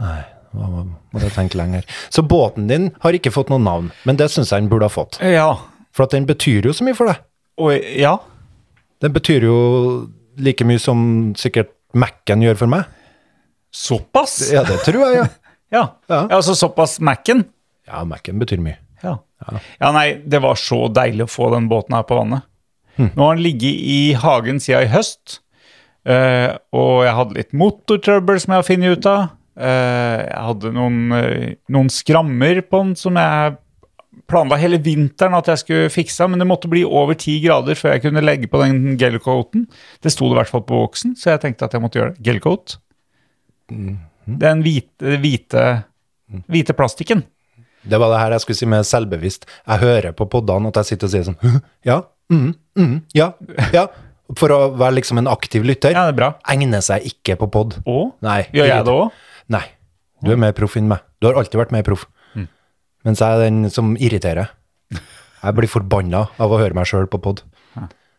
Nei, nå måtte jeg tenke lenger. Så båten din har ikke fått noe navn, men det syns jeg den burde ha fått. Ja. For at den betyr jo så mye for deg. Og ja. Den betyr jo like mye som sikkert Mac-en gjør for meg. Såpass? Ja. Ja, det tror jeg, ja. ja. Ja. Altså såpass Mac-en? Ja, Mac-en betyr mye. Ja. ja. nei, det var så deilig å få den båten her på vannet. Nå har den ligget i hagen siden i høst, eh, og jeg hadde litt motortrøbbel som jeg har funnet ut av. Eh, jeg hadde noen, eh, noen skrammer på den som jeg planla hele vinteren at jeg skulle fikse, men det måtte bli over ti grader før jeg kunne legge på den gelcoaten. Det sto det i hvert fall på boksen, så jeg tenkte at jeg måtte gjøre det. Gelcoat. Den hvite, hvite, hvite plastikken. Det var det her jeg skulle si med selvbevisst. Jeg hører på poddene at jeg sitter og sier sånn «Hm, Ja, mm, mm, ja, ja. For å være liksom en aktiv lytter. Ja, det er bra. Egner seg ikke på podd. Og Nei. Gjør jeg det òg? Nei. Du er mer proff enn meg. Du har alltid vært mer proff. Mm. Mens jeg er den som irriterer. Jeg blir forbanna av å høre meg sjøl på pod.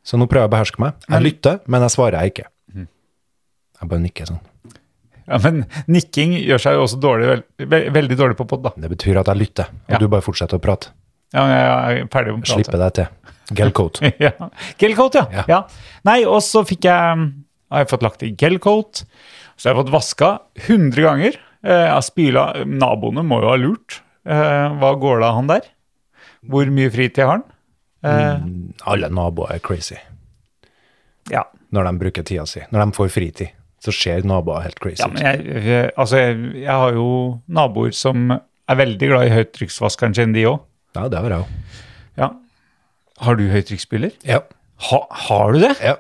Så nå prøver jeg å beherske meg. Jeg lytter, men jeg svarer jeg ikke. Mm. Jeg bare nikker sånn. Ja, men nikking gjør seg jo også dårlig, vel- ve- veldig dårlig på pod, da. Det betyr at jeg lytter, og Ja. du bare fortsetter å prate. Ja, jeg er ferdig med å prate. Slipper deg til. Gelcoat. ja. Gelcoat, ja. Ja. ja. Nei, og så fikk jeg mm, har jeg fått lagt i gelcoat. Så har jeg fått vaska 100 ganger. Eh, Jeg har spyla Naboene må jo ha lurt. Eh, Hva går det av han der? Hvor mye fritid har han? Eh, Alle naboer er crazy ja. når de bruker tida si. Når de får fritid, så ser naboer helt crazy ja, ut. men jeg, jeg, altså jeg, jeg har jo naboer som er veldig glad i høytrykksvaskeren sin, de òg. Ja, det har jeg òg. Ja. Har du høytrykksspyler? Ja. Ha, har du det? ja.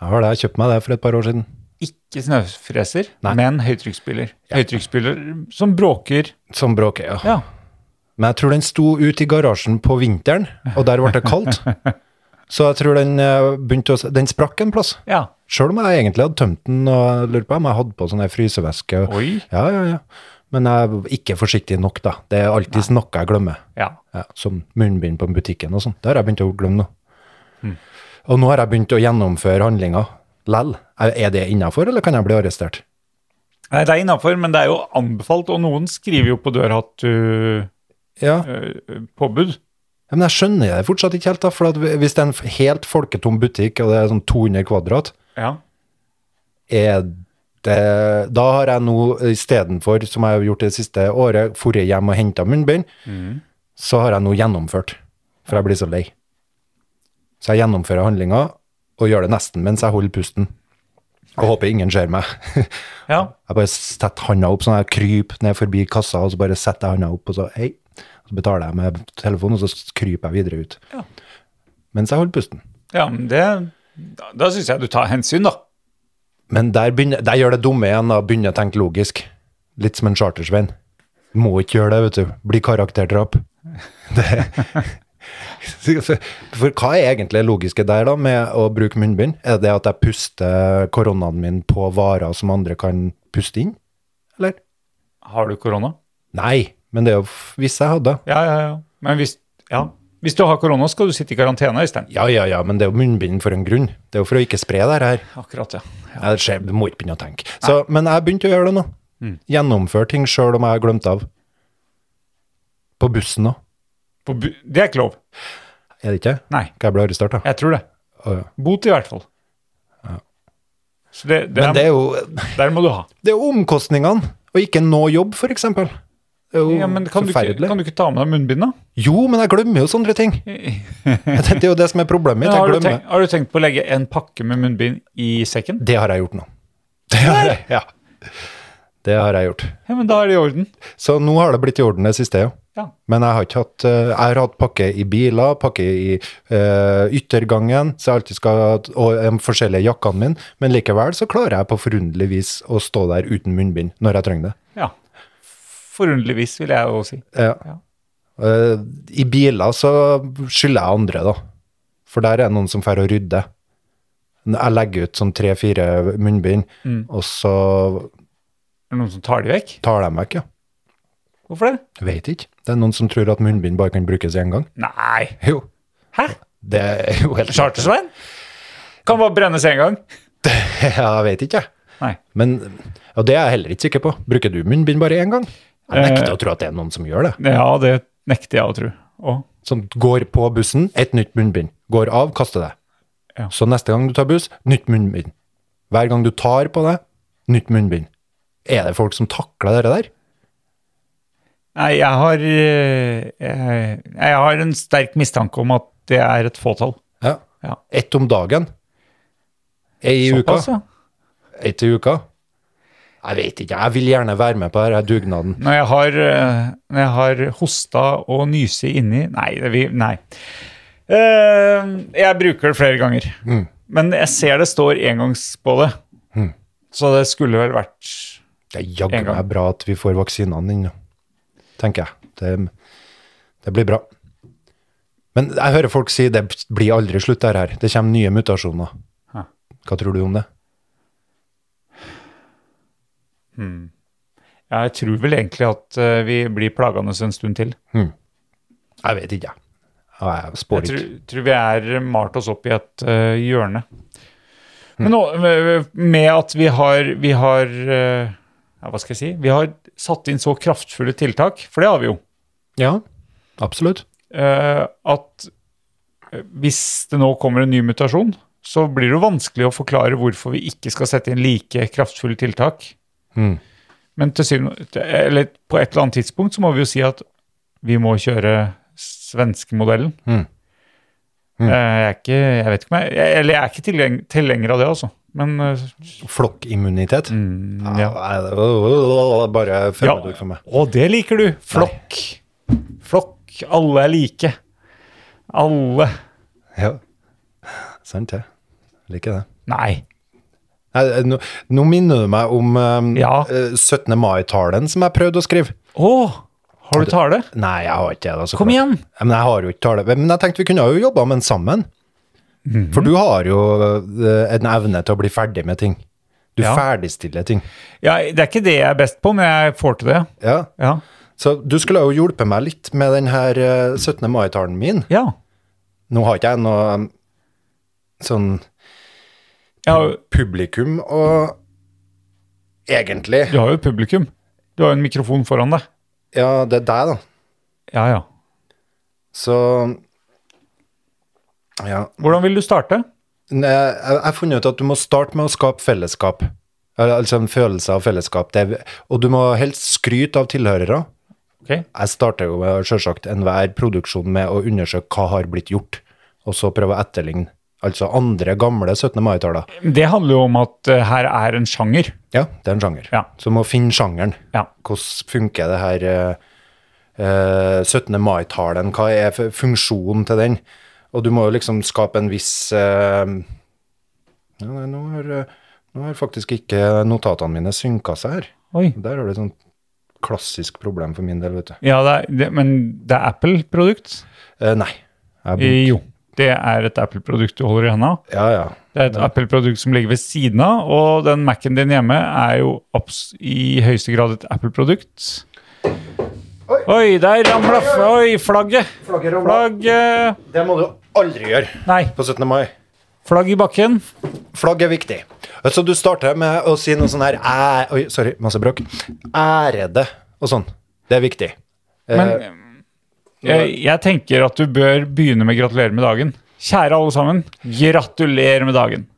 Jeg har det. Jeg kjøpte meg det for et par år siden. Ikke snøfreser, Nei. men høytrykksspyler. Høytrykksspyler som bråker. Som bråker, ja. Ja. Men jeg tror den sto ute i garasjen på vinteren, og der ble det kaldt. Så jeg tror den eh, begynte å s- Den sprakk en plass. Ja. Sjøl om jeg egentlig hadde tømt den, og jeg lurer på om jeg hadde på sånn her frysevæske. og- Oi. Ja, ja, ja. Men jeg var ikke forsiktig nok, da. Det er alltid noe jeg glemmer. Ja. Ja, som munnbind på butikken og sånn. Det har jeg begynt å glemme nå. Og nå har jeg begynt å gjennomføre handlinga lell. Er er det innafor, eller kan jeg bli arrestert? Nei, det er innafor, men det er jo anbefalt, og noen skriver jo på døra at du Ja. øh, Påbud. Ja, men jeg skjønner det fortsatt ikke helt, da, for at hvis det er en f- helt folketom butikk, og det er sånn 200 kvadrat, Ja. er det, da har jeg nå istedenfor, som jeg har gjort det siste året, forrige hjem og henta munnbind, så har jeg nå gjennomført, for jeg blir så lei. Så jeg gjennomfører handlinga, og gjør det nesten mens jeg holder pusten. Og håper ingen ser meg. jeg ja. bare setter handa opp, sånn jeg kryper ned forbi kassa, og så bare setter jeg handa opp, og så hei. Så betaler jeg med telefonen, og så kryper jeg videre ut. Ja. Mens jeg holder pusten. Ja, men det Da, da syns jeg du tar hensyn, da. Men der, begynner, der gjør det dumme igjen, da. Begynner å tenke logisk. Litt som en chartersvein. Må ikke gjøre det, vet du. Bli karakterdrap. Det. For, for hva er egentlig det logiske der, da, med å bruke munnbind? Er det at jeg puster koronaen min på varer som andre kan puste inn? Eller? Har du korona? Nei, men det er jo f- hvis jeg hadde. Ja, ja, ja. Men hvis Ja. Hvis du har korona, skal du sitte i karantene, Øystein. Ja, ja, ja, men det er jo munnbind for en grunn. Det er jo for å ikke spre det her. Akkurat, ja. Ja, det skjer, du må ikke begynne å tenke. Så, men jeg begynte å gjøre det nå. Mm. Gjennomføre ting sjøl om jeg har glemt av. På bussen òg, På bu det er ikke lov. er det ikke? Nei. Kan jeg bli arrestert, da? Jeg tror det. Å, ja. Bot, i hvert fall. Så det, det, Men det er jo der må du ha. det er jo omkostningene, og ikke nå jobb, f.eks. Det er jo Ja, men kan du, ikke, forferdelig. kan du ikke ta med deg munnbind, da? Jo, men jeg glemmer jo sånne ting. Det er jo det som er problemet mitt. har, Jeg du glemmer. tenkt, har du tenkt på å legge en pakke med munnbind i sekken? Det har jeg gjort nå. Det har jeg, ja. Det har jeg gjort. Ja, men da er det i orden. Så nå har det blitt i orden det siste, ja. Ja. Men jeg har ikke hatt eh, Jeg har hatt pakke i biler, pakke i eh, yttergangen, så jeg alltid skal ha hatt- og de forskjellige jakkene mine, men likevel så klarer jeg på forunderlig vis å stå der uten munnbind når jeg trenger det. Ja. Forunderligvis, vil jeg jo si. Ja. Ja. Eh, I biler så skylder jeg andre, da. For der er det noen som drar og rydder. Jeg legger ut sånn tre-fire munnbind, og så Er det noen som tar de vekk? tar de vekk, ja. Hvorfor det? Jeg Vet ikke. Det er noen som tror at munnbind bare kan brukes én gang. Nei. Jo, Hæ? det er jo helt Chartersveien? Kan bare brennes én gang. Jeg vet ikke, jeg. Nei. Men, og det er jeg heller ikke sikker på. Bruker du munnbind bare én gang? Jeg nekter Eh. å tro at det er noen som gjør det. Ja, det nekter jeg å tro. Å. Som går på bussen, et nytt munnbind. Går av, kaster det. Ja. Så neste gang du tar buss, nytt munnbind. Hver gang du tar på det, nytt munnbind. Er det folk som takler det der? Nei, jeg har eh, jeg, jeg har en sterk mistanke om at det er et fåtall. Ja. Ja. Ett om dagen? Ei i Såpass, uka? ja. Ett i uka? Jeg vet ikke, jeg vil gjerne være med på denne dugnaden. Når jeg har, eh, når jeg har hosta og nyse inni Nei. Det, vi, nei. Eh, jeg bruker det flere ganger. Men jeg ser det står engangs på det. Så det skulle vel vært Det er En jaggu gang. meg bra at vi får vaksinene inn, tenker jeg. Det, det blir bra. Men jeg hører folk si det blir aldri slutt der her. Det kommer nye mutasjoner. Hæ. Hva tror du om det? Jeg tror vel egentlig at eh, vi blir plagende en stund til. Jeg vet ikke, jeg. Ja, Jeg spår Jeg tror, ikke. tror vi er malt oss opp i et eh, hjørne. Men nå, eh, med at vi har, vi har eh, ja, Hva skal jeg si? Vi har satt inn så kraftfulle tiltak, for det har vi jo, Ja, absolutt. eh, at eh, hvis det nå kommer en ny mutasjon, så blir det jo vanskelig å forklare hvorfor vi ikke skal sette inn like kraftfulle tiltak. Mm. Men til syvende, eller på et eller annet tidspunkt så må vi jo si at vi må kjøre svenskemodellen. Mm. Eh, Jeg er ikke, jeg vet ikke om jeg, jeg- eller jeg er ikke tilheng- tilhenger av det, altså. Men eh, mm, Flokkimmunitet. ja. Nei, Ah, det var bare fremmedord for meg. Og det liker du. Flokk. Flokk. Alle er like. Alle. Ja. Sant det. Liker det. Nei. Nei, eh, Nå, nå minner du meg om eh, Ja. eh, 17. mai-talen som jeg prøvde å skrive. Å, har du tale? Nei, jeg har ikke det. altså. da, så Kom klart. igjen. Ja, Men jeg har jo ikke tale. Men jeg tenkte vi kunne jo jobba med den sammen. For du har jo eh, en evne til å bli ferdig med ting. Du Ja. ferdigstiller ting. Ja, det er ikke det jeg er best på, men jeg får til det. Ja. Ja. Så du skulle jo hjulpet meg litt med den her eh, 17. mai-talen min. ja. Nå har ikke jeg noe eh, sånn Jeg har, publikum og egentlig du har jo publikum. Du har jo en mikrofon foran deg. Ja, det er deg, da. Ja, ja. Så Ja. Hvordan vil du starte? Nei, Jeg jeg har funnet ut at du må starte med å skape fellesskap. Eller, Altså en følelse av fellesskap. Det er, og du må helst skryte av tilhørere. Ok. Jeg starter jo med, selvsagt enhver produksjon med å undersøke hva har blitt gjort, og så prøve å etterligne. Altså andre gamle 17. mai-taler. Det handler jo om at eh, her er en sjanger. Ja, det er en sjanger. Ja. Så må finne sjangeren. Ja. Hvordan funker det her eh, eh, 17. mai-talen? Hva er f- funksjonen til den? Og du må jo liksom skape en viss eh, ja, nei, nå, har, eh, nå har faktisk ikke notatene mine synka seg her. Oi. Der har du et sånt klassisk problem for min del, vet du. Ja, det er, det, men det er Apple-produkt? Eh, nei. Jeg, Eh, Jo. Det er et Apple-produkt du holder i henda. ja, ja. Det er et Apple-produkt som ligger ved siden av, og den Mac-en din hjemme er jo abs i høyeste grad et Apple-produkt. Oi. der ramla f- Oi, flagget! Flagget ramla. Flagget Det må du aldri gjøre Nei, på 17. mai. flagg i bakken. Flagg er viktig. Altså, du starter med å si noe sånn her æ- Oi, sorry, masse bråk. Ærede og sånn. Det er viktig. Eh, Men jeg, Eh, jeg tenker at du bør begynne med gratulerer med dagen. Kjære alle sammen, gratulerer med dagen.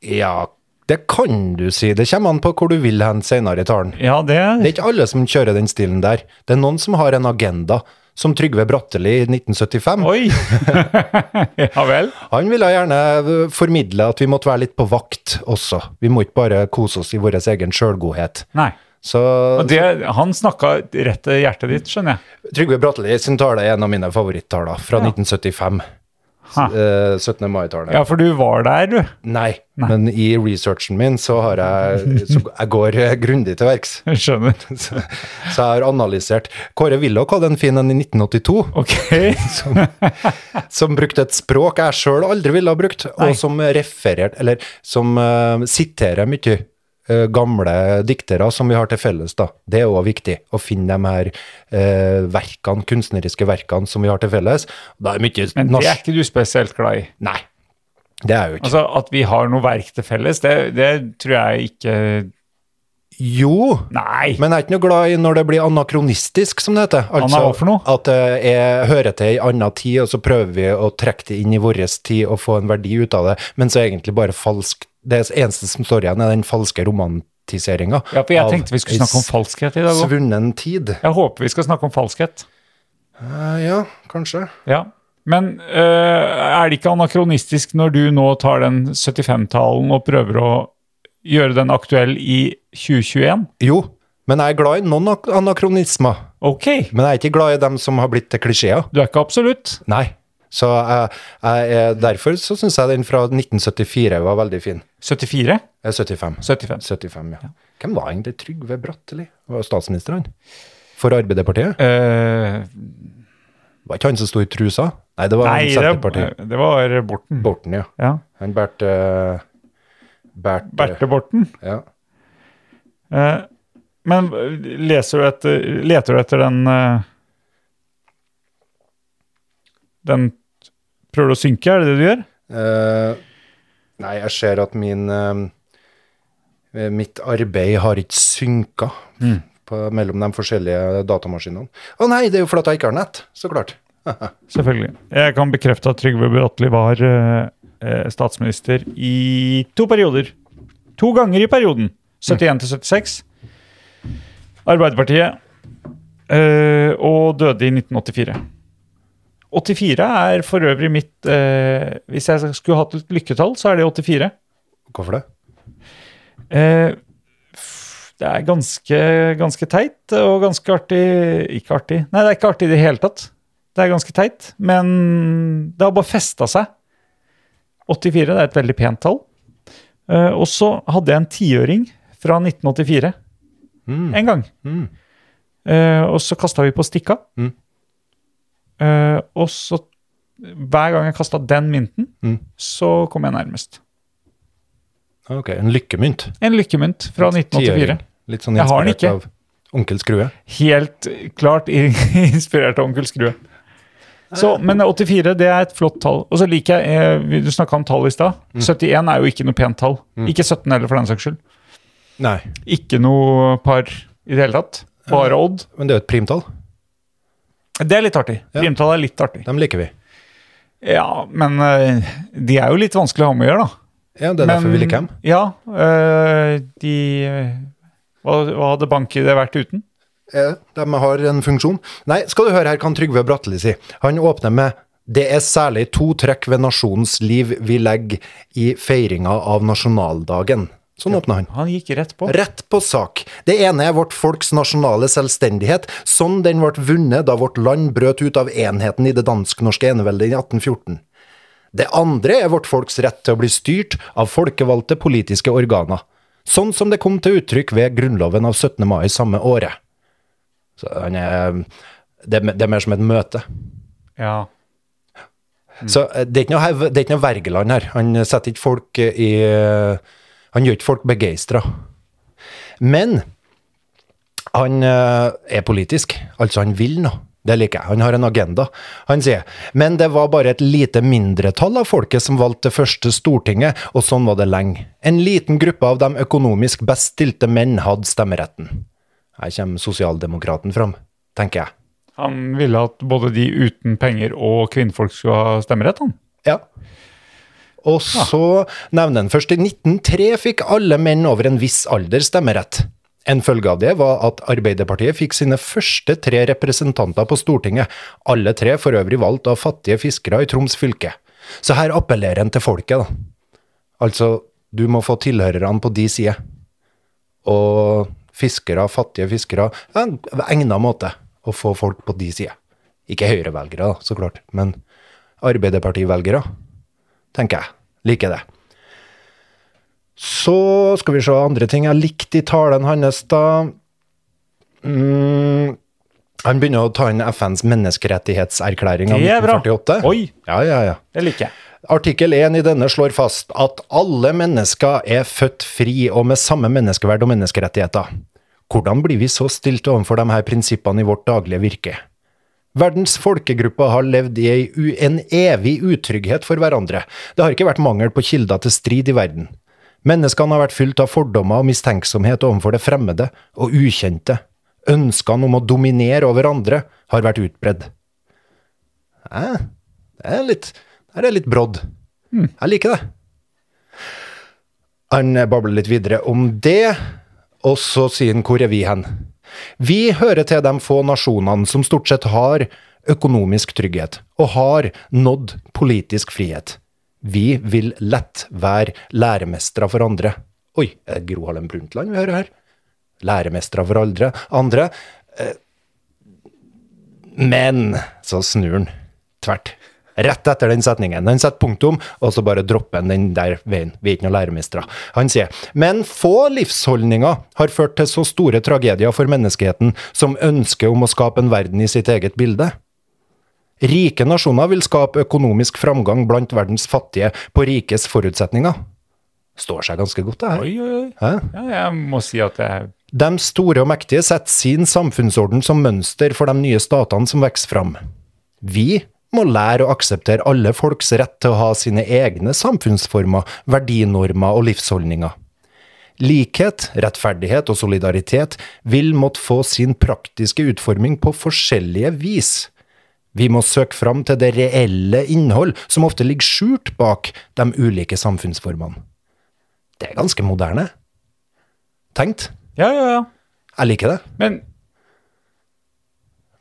Ja, det kan du si. Det kommer an på hvor du vil hen senere i talen. Ja, Det er ikke alle som kjører den stilen der. Det er noen som har en agenda. Som Trygve Bratteli i 1975. Oi! ja vel. Han ville gjerne eh, formidle at vi måtte være litt på vakt også. Vi må ikke bare kose oss i vår egen sjølgodhet. Nei. Så Og det, han snakka rett til hjertet ditt, skjønner jeg. Trygve Bratteli sin tale er en av mine favorittaler fra 1975. Ha. Eh, 17. mai-talen. Ja, for du var der, du. Nei, men i researchen min så har jeg så Jeg går eh, grundig til verks. Skjønner. Så, så jeg har analysert. Kåre Willoch hadde en fin en i 1982, Ok. som brukte et språk jeg sjøl aldri ville ha brukt, og som refererte, eller som eh, siterer mye eh, gamle diktere som vi har til felles. da. Det er òg viktig, å finne de her eh, verkene, kunstneriske verkene som vi har til felles. Da er mye Men det er norsk ikke du spesielt glad i. Nei, det er jeg jo ikke. Altså, At vi har noe verk til felles, det, det tror jeg ikke Jo, Nei! Men jeg er ikke noe glad i når det blir anakronistisk, som det heter. Altså, Anna, hva for noe? At det er, hører til ei anna tid, og så prøver vi å trekke det inn i vår tid og få en verdi ut av det, men så er det egentlig bare falsk Det eneste som står igjen, er den falske romantiseringa. ja, for Jeg tenkte vi skulle snakke om falskhet i dag òg. Svunnen tid. Jeg håper vi skal snakke om falskhet. Eh, ja, kanskje. Ja. Men øh, er det ikke anakronistisk når du nå tar den 75-talen og prøver å gjøre den aktuell i 2021? Jo, men jeg er glad i noen ak- anakronismer. Ok, Men jeg er ikke glad i dem som har blitt til klisjeer. du er ikke absolutt. Nei. Så jeg, jeg, er- derfor så syns jeg den fra 1974 var veldig fin. 74? Eh, 75. 75. 75, ja. Hvem var egentlig Trygve Bratteli? Var statsminister han? For Arbeiderpartiet? Eh, Var ikke han som sto i trusa? Nei, det Mm. var nei, det, Senterpartiet. det var Borten. Borten, ja. Ja. Han Bert, eh, Bert, eh, Berte Borten. Ja. Eh, Men leser du etter, leter du etter den eh, Den prøver du å synke, er det det du gjør? Eh, nei, jeg ser at min eh, Mitt arbeid har ikke synka på, mellom de forskjellige datamaskinene. Å nei, det er jo fordi jeg ikke har nett, så klart. Selvfølgelig. Jeg kan bekrefte at Trygve Bratteli var eh, eh, statsminister i to perioder. To ganger i perioden. 71 til 76. Arbeiderpartiet. eh, og døde i 1984. 84 er for øvrig mitt eh, Hvis jeg skulle hatt et lykketall, så er det 84. Hvorfor det? Eh, f- det er ganske, ganske teit og ganske artig Ikke artig. Nei, det er ikke artig i det hele tatt. Det er ganske teit, men det har bare festa seg. 84 det er et veldig pent tall. Eh, og så hadde jeg en tiøring fra 1984 Mm. en gang. Mm. Eh, og så kasta vi på stikka. Mm. Eh, og så Hver gang jeg kasta den mynten, Mm. så kom jeg nærmest. Ok, en lykkemynt. En lykkemynt fra 1984. Tiøring. Litt sånn Jeg har den inspirert av onkel Skrue. Helt klart i- inspirert av onkel Skrue. Så, men 84 det er et flott tall. Og så liker jeg, eh, Du snakka om tall i stad. Mm. 71 er jo ikke noe pent tall. Ikke 17 heller, for den saks skyld. Nei, Ikke noe par i det hele tatt. Bare Odd. men det er jo et primtall. Det er litt artig. Ja. Primtall er litt artig. Dem liker vi. Ja, men eh, de er jo litt vanskelig å ha med å gjøre, da. Ja, Det er derfor Men- vi liker dem. Ja. eh, de eh, hva, hva hadde bank-ID vært uten? Eh, De har en funksjon. Nei, skal du høre her kan Trygve Bratteli si. Han åpner med det er særlig to trekk ved nasjonens liv vi legger i feiringa av nasjonaldagen. Sånn åpner han. Han gikk rett på. Rett på sak. Det ene er vårt folks nasjonale selvstendighet, sånn den ble vunnet da vårt land brøt ut av enheten i det dansk-norske eneveldet i 1814. Det andre er vårt folks rett til å bli styrt av folkevalgte politiske organer, sånn som det kom til uttrykk ved Grunnloven av 17. mai samme året. Så han er, det, er- det er mer som et møte. Ja. Så eh, det er ikke noe, hev- det er ikke noe vergeland her. Han setter ikke folk eh, i Han gjør ikke folk begeistra. Men han eh, er politisk. Altså, han vil noe. Det liker jeg. Han har en agenda. Han sier men det var bare et lite mindretall av folket som valgte det første Stortinget, og sånn var det lenge. En liten gruppe av de økonomisk best stilte menn hadde stemmeretten. Her kommer sosialdemokraten fram, tenker jeg. Han ville at både de uten penger og kvinnfolk skulle ha stemmerett, han. Ja. Og så nevner han først i 1903 fikk alle menn over en viss alder stemmerett. En følge av det var at Arbeiderpartiet fikk sine første tre representanter på Stortinget, alle tre for øvrig valgt av fattige fiskere i Troms fylke. Så her appellerer han til folket, da. Altså, du må få tilhørerne på de side. Og fiskere, fattige fiskere, ja, en egnet måte å få folk på de side. Ikke høyrevelgere, da, så klart, men Arbeiderpartivelgere, tenker jeg. Liker det. Så skal vi se andre ting jeg likte i talen hans, da. Mm, han begynner å ta inn FNs menneskerettighetserklæring av Det er bra. 1948. Oi. Ja, ja, ja. Det liker jeg. Artikkel 1 i denne slår fast at alle mennesker er født fri og med samme menneskeverd og menneskerettigheter. Hvordan blir vi så stilt overfor de her prinsippene i vårt daglige virke? Verdens folkegrupper har levd i ei u- en evig utrygghet for hverandre. Det har ikke vært mangel på kilder til strid i verden. Menneskene har vært fylt av fordommer og mistenksomhet overfor det fremmede og ukjente. Ønskene om å dominere over andre har vært utbredd. Hæ? Det er litt, det er litt brodd. Jeg liker det. Han babler litt videre om det, og så sier han hvor er vi hen? Vi hører til de få nasjonene som stort sett har økonomisk trygghet, og har nådd politisk frihet. Vi vil lett være læremestere for andre. Oi, er det Gro Harlem Brundtland vi hører her? Læremestere for andre. andre. eh, Men så snur han tvert. Rett etter den setningen. Han setter punktum, og så bare dropper han den der veien. Vi er ikke noen læremestere. Han sier men få livsholdninger har ført til så store tragedier for menneskeheten som ønsket om å skape en verden i sitt eget bilde. Rike nasjoner vil skape økonomisk framgang blant verdens fattige på rikes forutsetninger. Står seg ganske godt, det her. Oi, oi, oi. Hæ? Ja, jeg må si at jeg De store og mektige setter sin samfunnsorden som mønster for de nye statene som vokser fram. Vi må lære å akseptere alle folks rett til å ha sine egne samfunnsformer, verdinormer og livsholdninger. Likhet, rettferdighet og solidaritet vil måtte få sin praktiske utforming på forskjellige vis. Vi må søke fram til det reelle innhold som ofte ligger skjult bak de ulike samfunnsformene. Det er ganske moderne. Tenkt. Ja, ja, ja. Jeg liker det. Men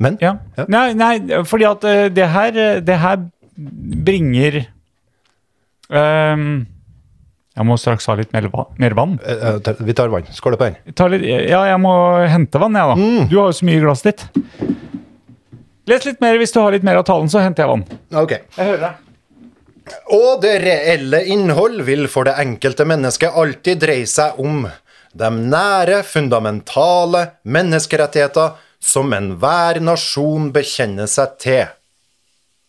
Men Ja. Ja. Nei, nei, fordi at eh, det her, eh, det her bringer ehm, Jeg må straks ha litt mer, va mer vann. Eh, eh, vi tar vann. Skål på den. Ta litt, ja, jeg må hente vann, jeg, da. Mm. Du har jo så mye i glasset ditt. Les litt mer hvis du har litt mer av talen, så henter jeg vann. Ok. Jeg hører deg. Og det reelle innhold vil for det enkelte mennesket alltid dreie seg om de nære, fundamentale menneskerettigheter som enhver nasjon bekjenner seg til.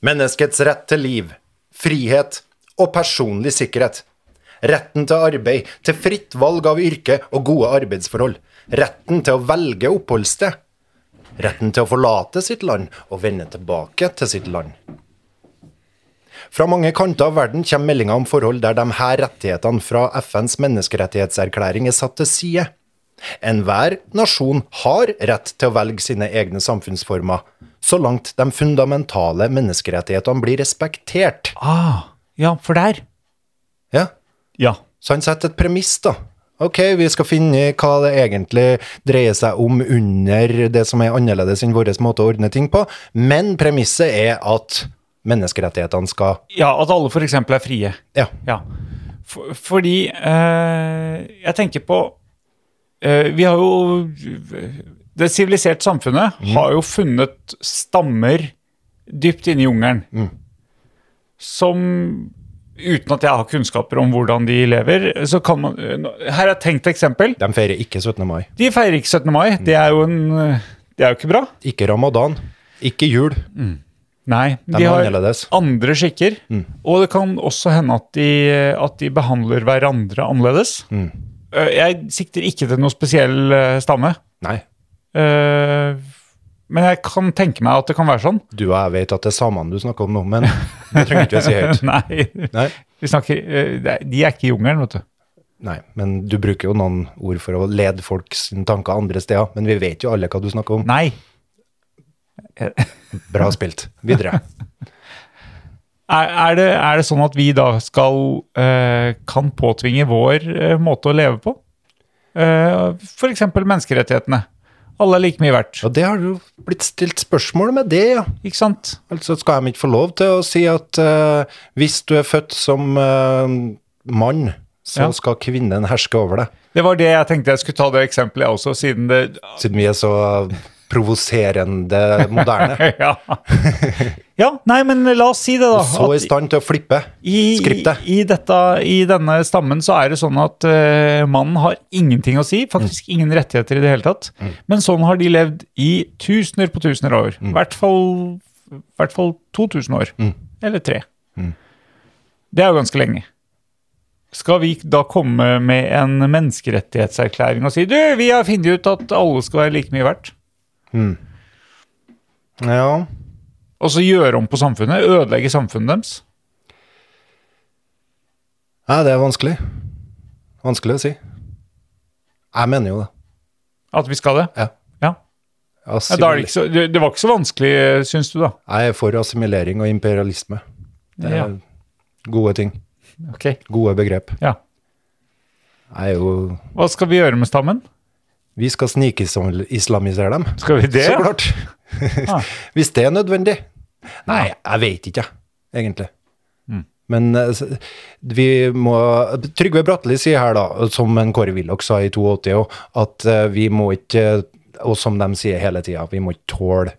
Menneskets rett til liv, frihet og personlig sikkerhet. Retten til arbeid, til fritt valg av yrke og gode arbeidsforhold. Retten til å velge oppholdssted. Retten til å forlate sitt land og vende tilbake til sitt land. Fra mange kanter av verden kommer meldinger om forhold der de her rettighetene fra FNs menneskerettighetserklæring er satt til side. Enhver nasjon har rett til å velge sine egne samfunnsformer, så langt de fundamentale menneskerettighetene blir respektert. Ah, ja, for der. Ja, Ja. så han setter et premiss, da. Ok, vi skal finne hva det egentlig dreier seg om under det som er annerledes enn vår måte å ordne ting på, men premisset er at menneskerettighetene skal ja at alle f.eks. er frie. Ja. Ja. For, fordi eh, Jeg tenker på eh, Vi har jo Det siviliserte samfunnet har jo funnet stammer dypt inne i jungelen som Uten at jeg har kunnskaper om hvordan de lever, så kan man eh, Her er et tenkt eksempel. De feirer ikke 17. mai. De feirer ikke 17. mai. Det er jo en eh, Det er jo ikke bra. Ikke ramadan, ikke jul. Nei, de, er har annerledes. Mm. andre skikker, og det kan også hende at de, at de behandler hverandre annerledes. Mm. Eh, Jeg sikter ikke til noe spesiell eh, stamme, Nei, eh, men jeg kan tenke meg at det kan være sånn. du og jeg vet at det er samene du snakker om nå, men det trenger ikke å si høyt. Nei, Nei. vi snakker, eh, det er- de er ikke i jungelen, vet du. Nei, men du bruker jo noen ord for å lede folks tanker andre steder, men vi vet jo alle hva du snakker om. Nei, Bra spilt. Videre. er, er, det, er det sånn at vi da skal, eh, kan påtvinge vår eh, måte å leve på? Eh, for eksempel menneskerettighetene. Alle er like mye verdt, Og det har jo blitt stilt spørsmål med det, ja. ikke sant? Altså skal de ikke få lov til å si at eh, hvis du er født som eh, mann, så Ja. skal kvinnen herske over deg. Det var det jeg tenkte jeg skulle ta det eksempelet jeg også, siden det Siden vi er så provoserende moderne. Ja. ja, nei, men la oss si det, da. Så i at stand til å flippe i, skriptet. i, dette, I denne stammen så er det sånn at eh, mannen har ingenting å si. Faktisk Mm. ingen rettigheter i det hele tatt. Men sånn har de levd i tusener på tusener av år. Mm. I hvert fall, hvert fall 2000 år. Eller tre. Mm. Det er jo ganske lenge. Skal vi da komme med en menneskerettighetserklæring og si du, vi har funnet ut at alle skal være like mye verdt? Ja. Og så gjøre om på samfunnet, ødelegge samfunnet deres. Nei, det er vanskelig. Vanskelig å si. Jeg mener jo det. At vi skal det. Ja. Ja. Ja, da er det, ikke så, det, det var ikke så vanskelig, syns du, da? Jeg er for assimilering og imperialisme. Det er Ja. gode ting. Ok. Gode begrep. Ja. Jeg er jo Hva skal vi gjøre med stammen? Vi skal snikislamisere dem. Skal vi det? Så klart. Ah. Hvis det er nødvendig. Nei, jeg vet ikke, jeg, egentlig. Men eh, s- vi må Trygve Bratteli sier her, da, som en Kåre Willoch sa i 82 òg, at eh, vi må ikke Og som de sier hele tida, vi må ikke tåle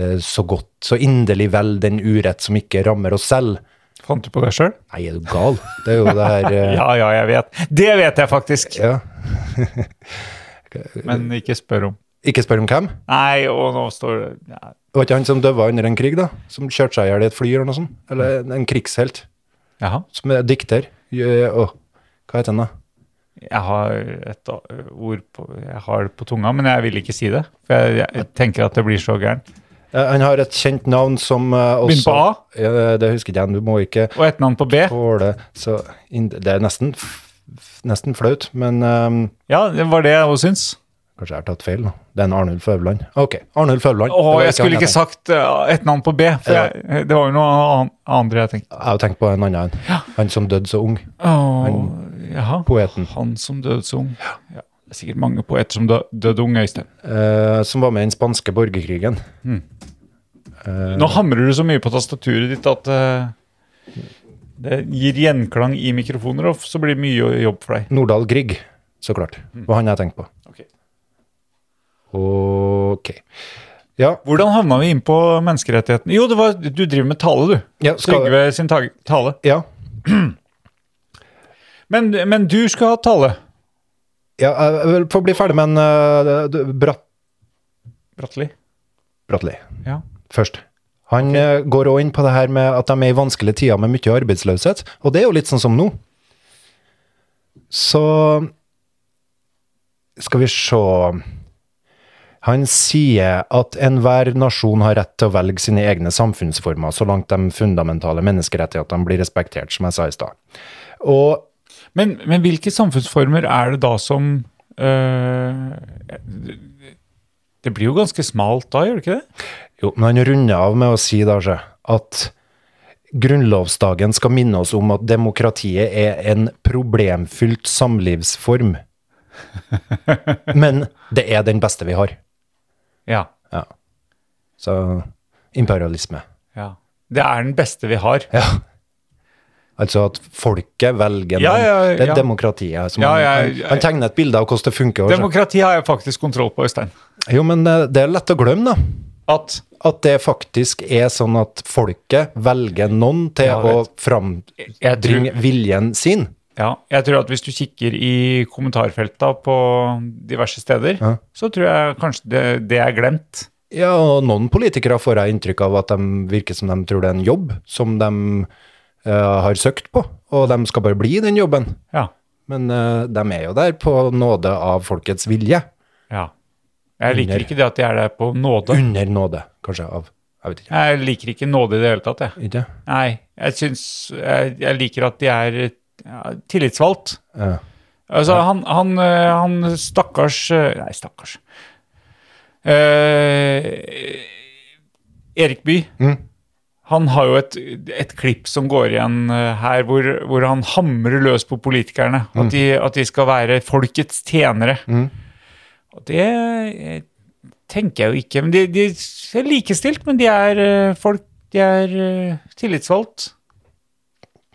eh, så godt, så inderlig vel den urett som ikke rammer oss selv. Fant du på det sjøl? Nei, er du gal? Det er jo det her eh, Ja, ja, jeg vet. Det vet jeg faktisk, ja. men ikke spør om. Ikke spør om hvem. Nei, og nå står det ja. Det var ikke han som døva under en krig, da? Som kjørte seg i hjel i et fly, eller noe sånt? Eller en- en krigshelt? Jaha. som er dikter. Jø- Å, hva heter han da? Jeg har et a- ord på, jeg har det på tunga, men jeg vil ikke si det. For jeg, jeg tenker at det blir så gærent. Eh, han har et kjent navn som eh, også Begynn på A, Ja, det- det husker ikke jeg, du må ikke og et navn på B. tåle så inn- Det er nesten, f- f- nesten flaut, men ehm, Ja, det var det jeg også syns. Kanskje jeg har tatt feil nå. Det er en Arnulf Øverland. Ok, Arnulf Øverland. Å, Det var jeg skulle han ikke tenkte. sagt eh, et navn på B, for Ja. jeg, det var jo noe an- andre jeg tenkte. Jeg har tenkt på en annen en. Han som døde så ung. Åh, jaha. Poeten. Han som døde så ung. Ja. Det er sikkert mange poeter som dø- døde unge, Øystein. eh, som var med i den spanske borgerkrigen. Eh. Nå hamrer du så mye på tastaturet ditt at eh, det gir gjenklang i mikrofoner, og f- så blir det mye jobb for deg. Nordahl Grieg, så klart. Var han jeg tenkte på. Ok. Ok. Ja, Hvordan havna vi inn på menneskerettighetene? Jo, det var, du driver med tale, du. Ja, skal- Trygve sin tag- tale. ja. Men, men du skal ha tale. ja jeg vil få bli ferdig med en eh, du- Brat Bratteli. Bratteli Ja. først. Han eh, går òg inn på det her med at de er i vanskelige tider med mye arbeidsløshet, og det er jo litt sånn som nå. Så skal vi se Han sier at enhver nasjon har rett til å velge sine egne samfunnsformer, så langt de fundamentale menneskerettighetene blir respektert, som jeg sa i stad. Og Men, men hvilke samfunnsformer er det da som eh, Det blir jo ganske smalt da, gjør det ikke det? Jo, men han runder av med å si da, se, at grunnlovsdagen skal minne oss om at demokratiet er en problemfylt samlivsform. Men det er den beste vi har. Ja. Ja. Så imperialisme. ja. Det er den beste vi har. Ja. Altså at folket velger Ja, ja, noen. Det ja. er demokratiet. Som Ja, han- ja, han, ja. han tegner et bilde av hvordan det funker. og så- Demokrati har jeg faktisk kontroll på, Øystein. Jo, men eh, det er lett å glemme, da. At At det faktisk er sånn at folket velger noen til Ja, å vet. fram... jeg tror, Bring viljen sin. ja, jeg tror at hvis du kikker i kommentarfelta på diverse steder, Ja. så tror jeg kanskje det, det er glemt. Ja, og noen politikere får jeg inntrykk av at de virker som de tror det er en jobb som de eh, har søkt på, og de skal bare bli i den jobben. Ja. Men eh, de er jo der på nåde av folkets vilje. ja. Jeg liker Under. ikke det at de er der på nåde. Under nåde, kanskje, av Jeg vet ikke. Jeg liker ikke nåde i det hele tatt, jeg. ikke? Nei, jeg syns jeg, jeg liker at de er ja, tillitsvalgt. Ja. Altså, han, han, øh, han stakkars øh, Nei, stakkars. Eh, Erik Bye. Mm. Han har jo et, et klipp som går igjen eh, her, hvor, hvor han hamrer løs på politikerne. Mm. At, de, at de skal være folkets tjenere. Og det eh, tenker jeg jo ikke. Men de, de er likestilt, men de er eh, folk De er eh, tillitsvalgt.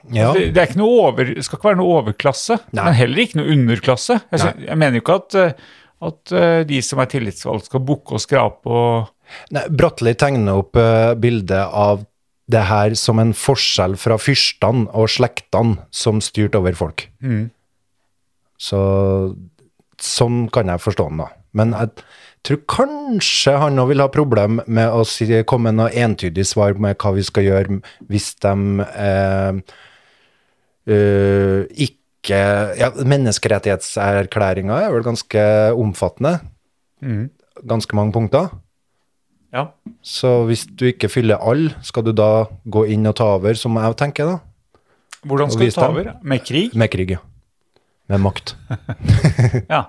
Altså, ja. Det, det er ikke noe over, det skal ikke være noe overklasse, Nei. men heller ikke noe underklasse. Jeg, sy- jeg mener jo ikke at, eh, at eh, de som er tillitsvalgt, skal bukke og skrape og Nei, Bratteli tegner opp eh, bildet av det her som en forskjell fra fyrstene og slektene som styrte over folk. Så sånn kan jeg forstå han da. Men jeg tror kanskje han nå vil ha problem med å si, komme med noe entydig svar med hva vi skal gjøre hvis de eh, eh, ikke ja, Menneskerettighetserklæringa er vel ganske omfattende. Ganske mange punkter. Ja. Så hvis du ikke fyller all, skal du da gå inn og ta over, som jeg tenker da? Hvordan Og skal vise du ta dem. over? Med krig? Med krig, ja. Med makt. Ja.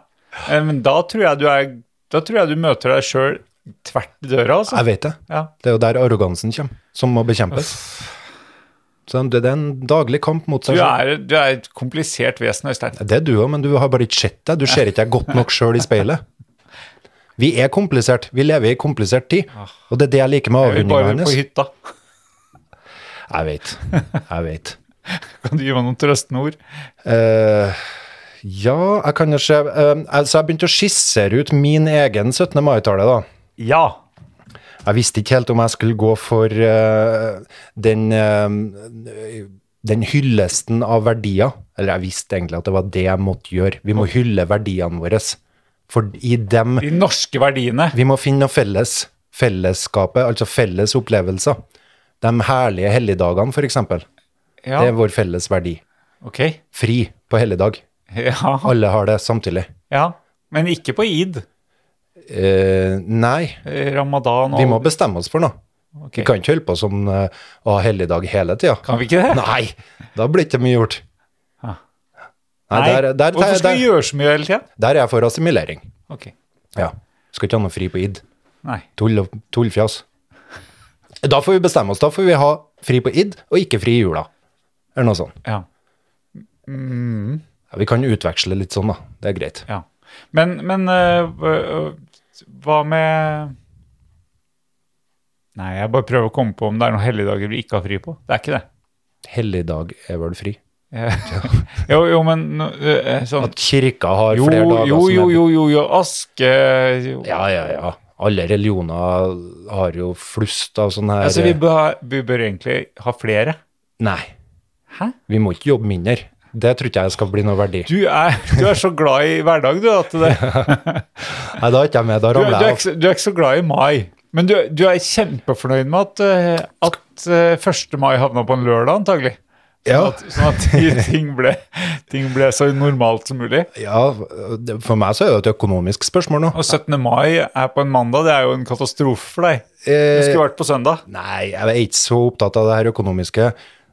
Eh, Men da tror jeg du, er, da tror jeg du møter deg sjøl tvert i døra, altså. Jeg vet det. Ja. Det er jo der arrogansen kommer, som må bekjempes. Så det er en daglig kamp mot Du, seg selv. er, du er et komplisert vesen, Øystein. Altså- Det er du òg, men du har bare ikke sett deg. Du ser ikke deg godt nok sjøl i speilet. Vi er komplisert. Vi lever i komplisert tid. Og det er det jeg liker med Jeg vil avrundinga bare på hennes. hytta. Jeg vet. Jeg vet. Kan du gi meg noen trøstende ord? Eh, ja, jeg kan jo se eh, Altså, jeg begynte å skissere ut min egen 17. mai-tale, da. Ja. Jeg visste ikke helt om jeg skulle gå for eh, den, eh, den hyllesten av verdier. Eller jeg visste egentlig at det var det jeg måtte gjøre. Vi må hylle verdiene våre. For i dem De norske verdiene. Vi må finne noe felles. Fellesskapet, altså felles opplevelser. De herlige helligdagene, f.eks. Ja, Det er vår felles verdi. ok. Fri på helligdag. Ja, Alle har det samtidig. ja. Men ikke på id. Eh, nei, Eh, Ramadan og vi må bestemme oss for noe. Ok. Vi kan ikke holde på som eh, å ha helligdag hele tida. Kan vi ikke det? Nei, da blir ikke mye gjort. Ah. Nei, der, der, der, Hvorfor der, skal vi gjøre så mye hele tida? der er jeg for assimilering. Ok. Ja. Skal ikke ha noe fri på id. Nei. Tull og tullfjas. Da får vi bestemme oss. Da får vi ha fri på id og ikke fri i jula. Eller noe sånt. Ja. Ja, vi kan utveksle litt sånn, da. Det er greit. ja. Men, men eh, hva- hva med Nei, jeg bare prøver å komme på om det er noen helligdager vi ikke har fri på. Det er ikke det. Helligdag er vel fri? Eh, jo, jo, men nå, eh, sånn At kirka har Jo, flere dager jo, som er- jo, jo, jo, jo. Aske jo. Ja, ja, ja. Alle religioner har jo flust av sånne her Altså, vi bør, vi bør egentlig ha flere. Nei, Hæ? vi må ikke jobbe mindre. Det tror ikke jeg skal bli noe verdi. Du er, du er så glad i hverdag, du, at det, Nei, da er ikke jeg med. du, Da er- du, ramler er jeg ikke, av. så- du er ikke så glad i mai. Men du, du er kjempefornøyd med at, eh, at eh, 1. mai havna på en lørdag, antagelig. Ja. At, sånn at ting ble, ting ble så normalt som mulig. ja, det- for meg så er det et økonomisk spørsmål nå. Og 17. mai er på en mandag, det er jo en katastrofe for deg. Du Eh, skulle vært på søndag. Nei, jeg er ikke så opptatt av det her økonomiske.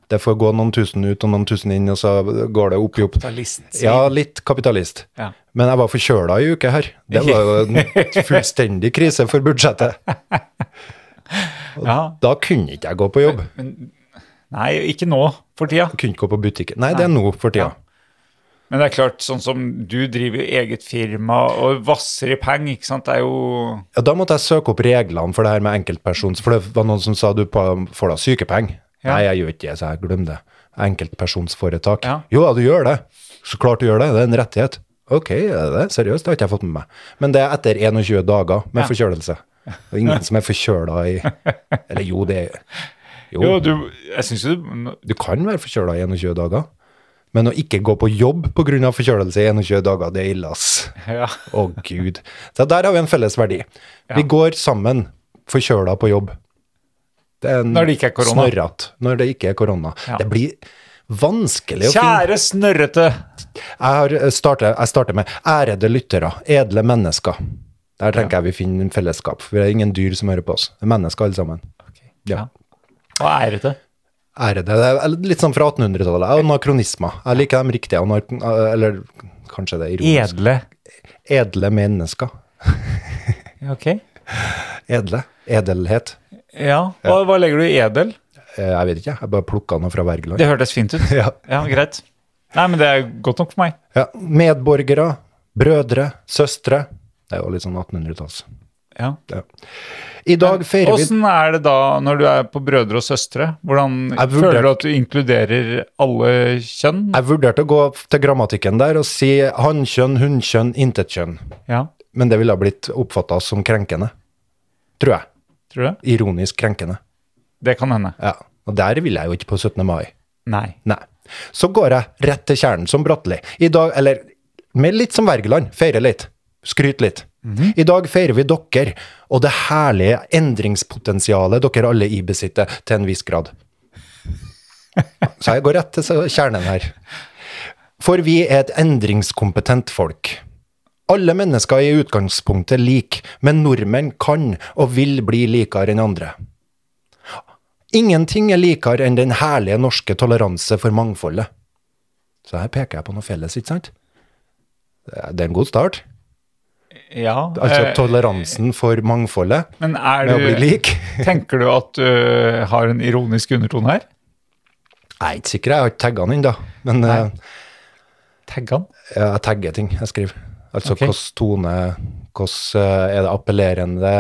Det får gå noen tusen ut og noen tusen inn, og så går det opp i opp. Kapitalist. Ja, litt kapitalist. Ja. Men jeg var forkjøla i uke her. Det var jo en fullstendig krise for budsjettet. Ja. Da kunne ikke jeg gå på jobb. Nei, ikke nå, for tida. Kunne ikke gå på butikken. Nei, det er nå for tida. Ja. Men det er klart, sånn som du driver jo eget firma og vasser i peng, ikke sant, det er jo Ja, da måtte jeg søke opp reglene for det her med enkeltpersons, for det var noen som sa du pa- får da sykepenger. Ja. Nei, jeg gjør ikke det, så jeg glemmer det. Enkeltpersonsforetak. Ja. Jo, ja, du gjør det. Så klart du gjør det, det er en rettighet. Ok, er det det? seriøst, det har ikke jeg fått med meg. Men det er etter 21 dager med forkjølelse. Det er ingen som er forkjøla i Eller jo, det er Jo, Jo, du, du, jeg syns jo du kan være forkjøla i 21 dager. Men å ikke gå på jobb pga. forkjølelse i 21 dager, det er ille, ass. Ja. Å, gud. Så der har vi en felles verdi. Vi går sammen forkjøla på jobb. Det er en Når det ikke er korona. Snorret, når det ikke er korona. Ja. Det blir vanskelig å finne Kjære snørrete! Jeg, har eh, startet, jeg starter med ærede lyttere, edle mennesker. Der tenker jeg vi finner en fellesskap. For det er ingen dyr som hører på oss. Det er mennesker alle sammen. Ja. Hva er dette? Ærede. Det er litt sånn fra 1800-tallet. Anakronismer. Jeg liker dem riktige. anar- Eller kanskje det er ironisk. Edle. Edle mennesker. Ok. Edle. Edelhet. Ja. Hva, hva legger du i edel? Eh, Jeg vet ikke, jeg bare plukka noe fra Wergeland. Det hørtes fint ut. Ja. Ja, greit. Nei, men det er godt nok for meg. Ja. Medborgere, brødre, søstre. Det er jo litt sånn 1800-talls. Ja. Ja. I dag feirer vi Åssen er det da når du er på brødre og søstre? Hvordan Jeg vurderte- Føler du at du inkluderer alle kjønn? Jeg vurderte å gå til grammatikken der og si hannkjønn, hunnkjønn, intetkjønn. Ja, Men det ville ha blitt oppfatta som krenkende. Tror jeg. tror du det? Ironisk krenkende. Det kan hende. Ja. Og der vil jeg jo ikke på 17. mai. Nei. Nei. Så går jeg rett til kjernen som Bratteli. I dag, eller med litt som Wergeland, feire litt. Skryt litt. I dag feirer vi dere og det herlige endringspotensialet dere alle ibesitter til en viss grad. Så jeg går rett til så- kjernen her. For vi er et endringskompetent folk. Alle mennesker er i utgangspunktet like, men nordmenn kan og vil bli likere enn andre. Ingenting er likere enn den herlige norske toleranse for mangfoldet. Så her peker jeg på noe felles, ikke sant? Det er- Det er en god start. Ja. Altså eh, toleransen for mangfoldet men er med å bli du lik. Tenker du at du har en ironisk undertone her? Jeg er ikke sikker, jeg har ikke tagget den ennå. Men eh, Tagg han. jeg tagger ting jeg skriver. Altså Ok. hvilken tone, hvordan eh, er det appellerende,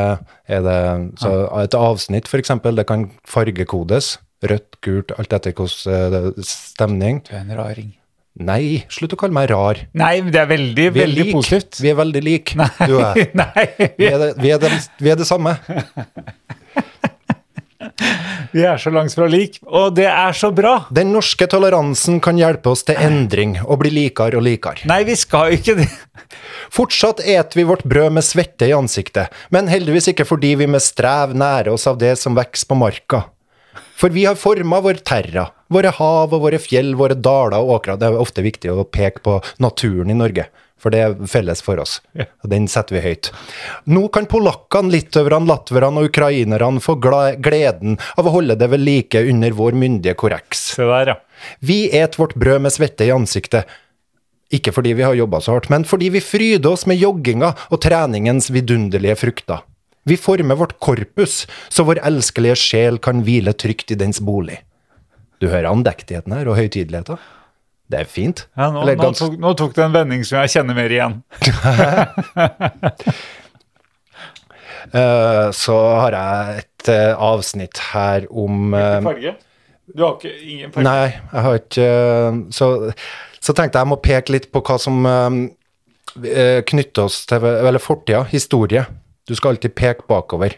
er det så Et avsnitt, for eksempel, det kan fargekodes. Rødt, gult, alt etter hvilken eh, stemning. Du er en raring. Nei, slutt å kalle meg rar. Nei, men det er veldig, Vi er veldig lik. positivt. Vi er veldig like, du og jeg. Nei, Vi er, det, vi, er det, vi er det samme. vi er så langt fra lik. Og det er så bra! Den norske toleransen kan hjelpe oss til endring og bli likere og likere. Nei, vi skal ikke det. Fortsatt et vi vårt brød med svette i ansiktet, men heldigvis ikke fordi vi med strev nærer oss av det som vokser på marka. For vi har forma vår terra, våre hav og våre fjell, våre daler og åkrer. Det er ofte viktig å peke på naturen i Norge, for det er felles for oss. Ja. Og den setter vi høyt. Nå kan polakkene, litauerne, latverne og ukrainerne få gla- gleden av å holde det ved like under vår myndige korreks. Se der, ja. Vi et vårt brød med svette i ansiktet. Ikke fordi vi har jobba så hardt, men fordi vi fryder oss med jogginga og treningens vidunderlige frukter. Vi former vårt korpus, så vår elskelige sjel kan hvile trygt i dens bolig. Du hører andektigheten her, og høytideligheten. Det er fint. ja nå, Eller nå, gans- tok, nå tok det en vending som jeg kjenner mer igjen. Eh, så har jeg et eh, avsnitt her om eh, Farge? Du har ikke ingen farge? Nei, jeg har ikke øh, Så, så tenkte jeg jeg må peke litt på hva som øh, øh, knytter oss til Eller fortida, historie. Du skal alltid peke bakover.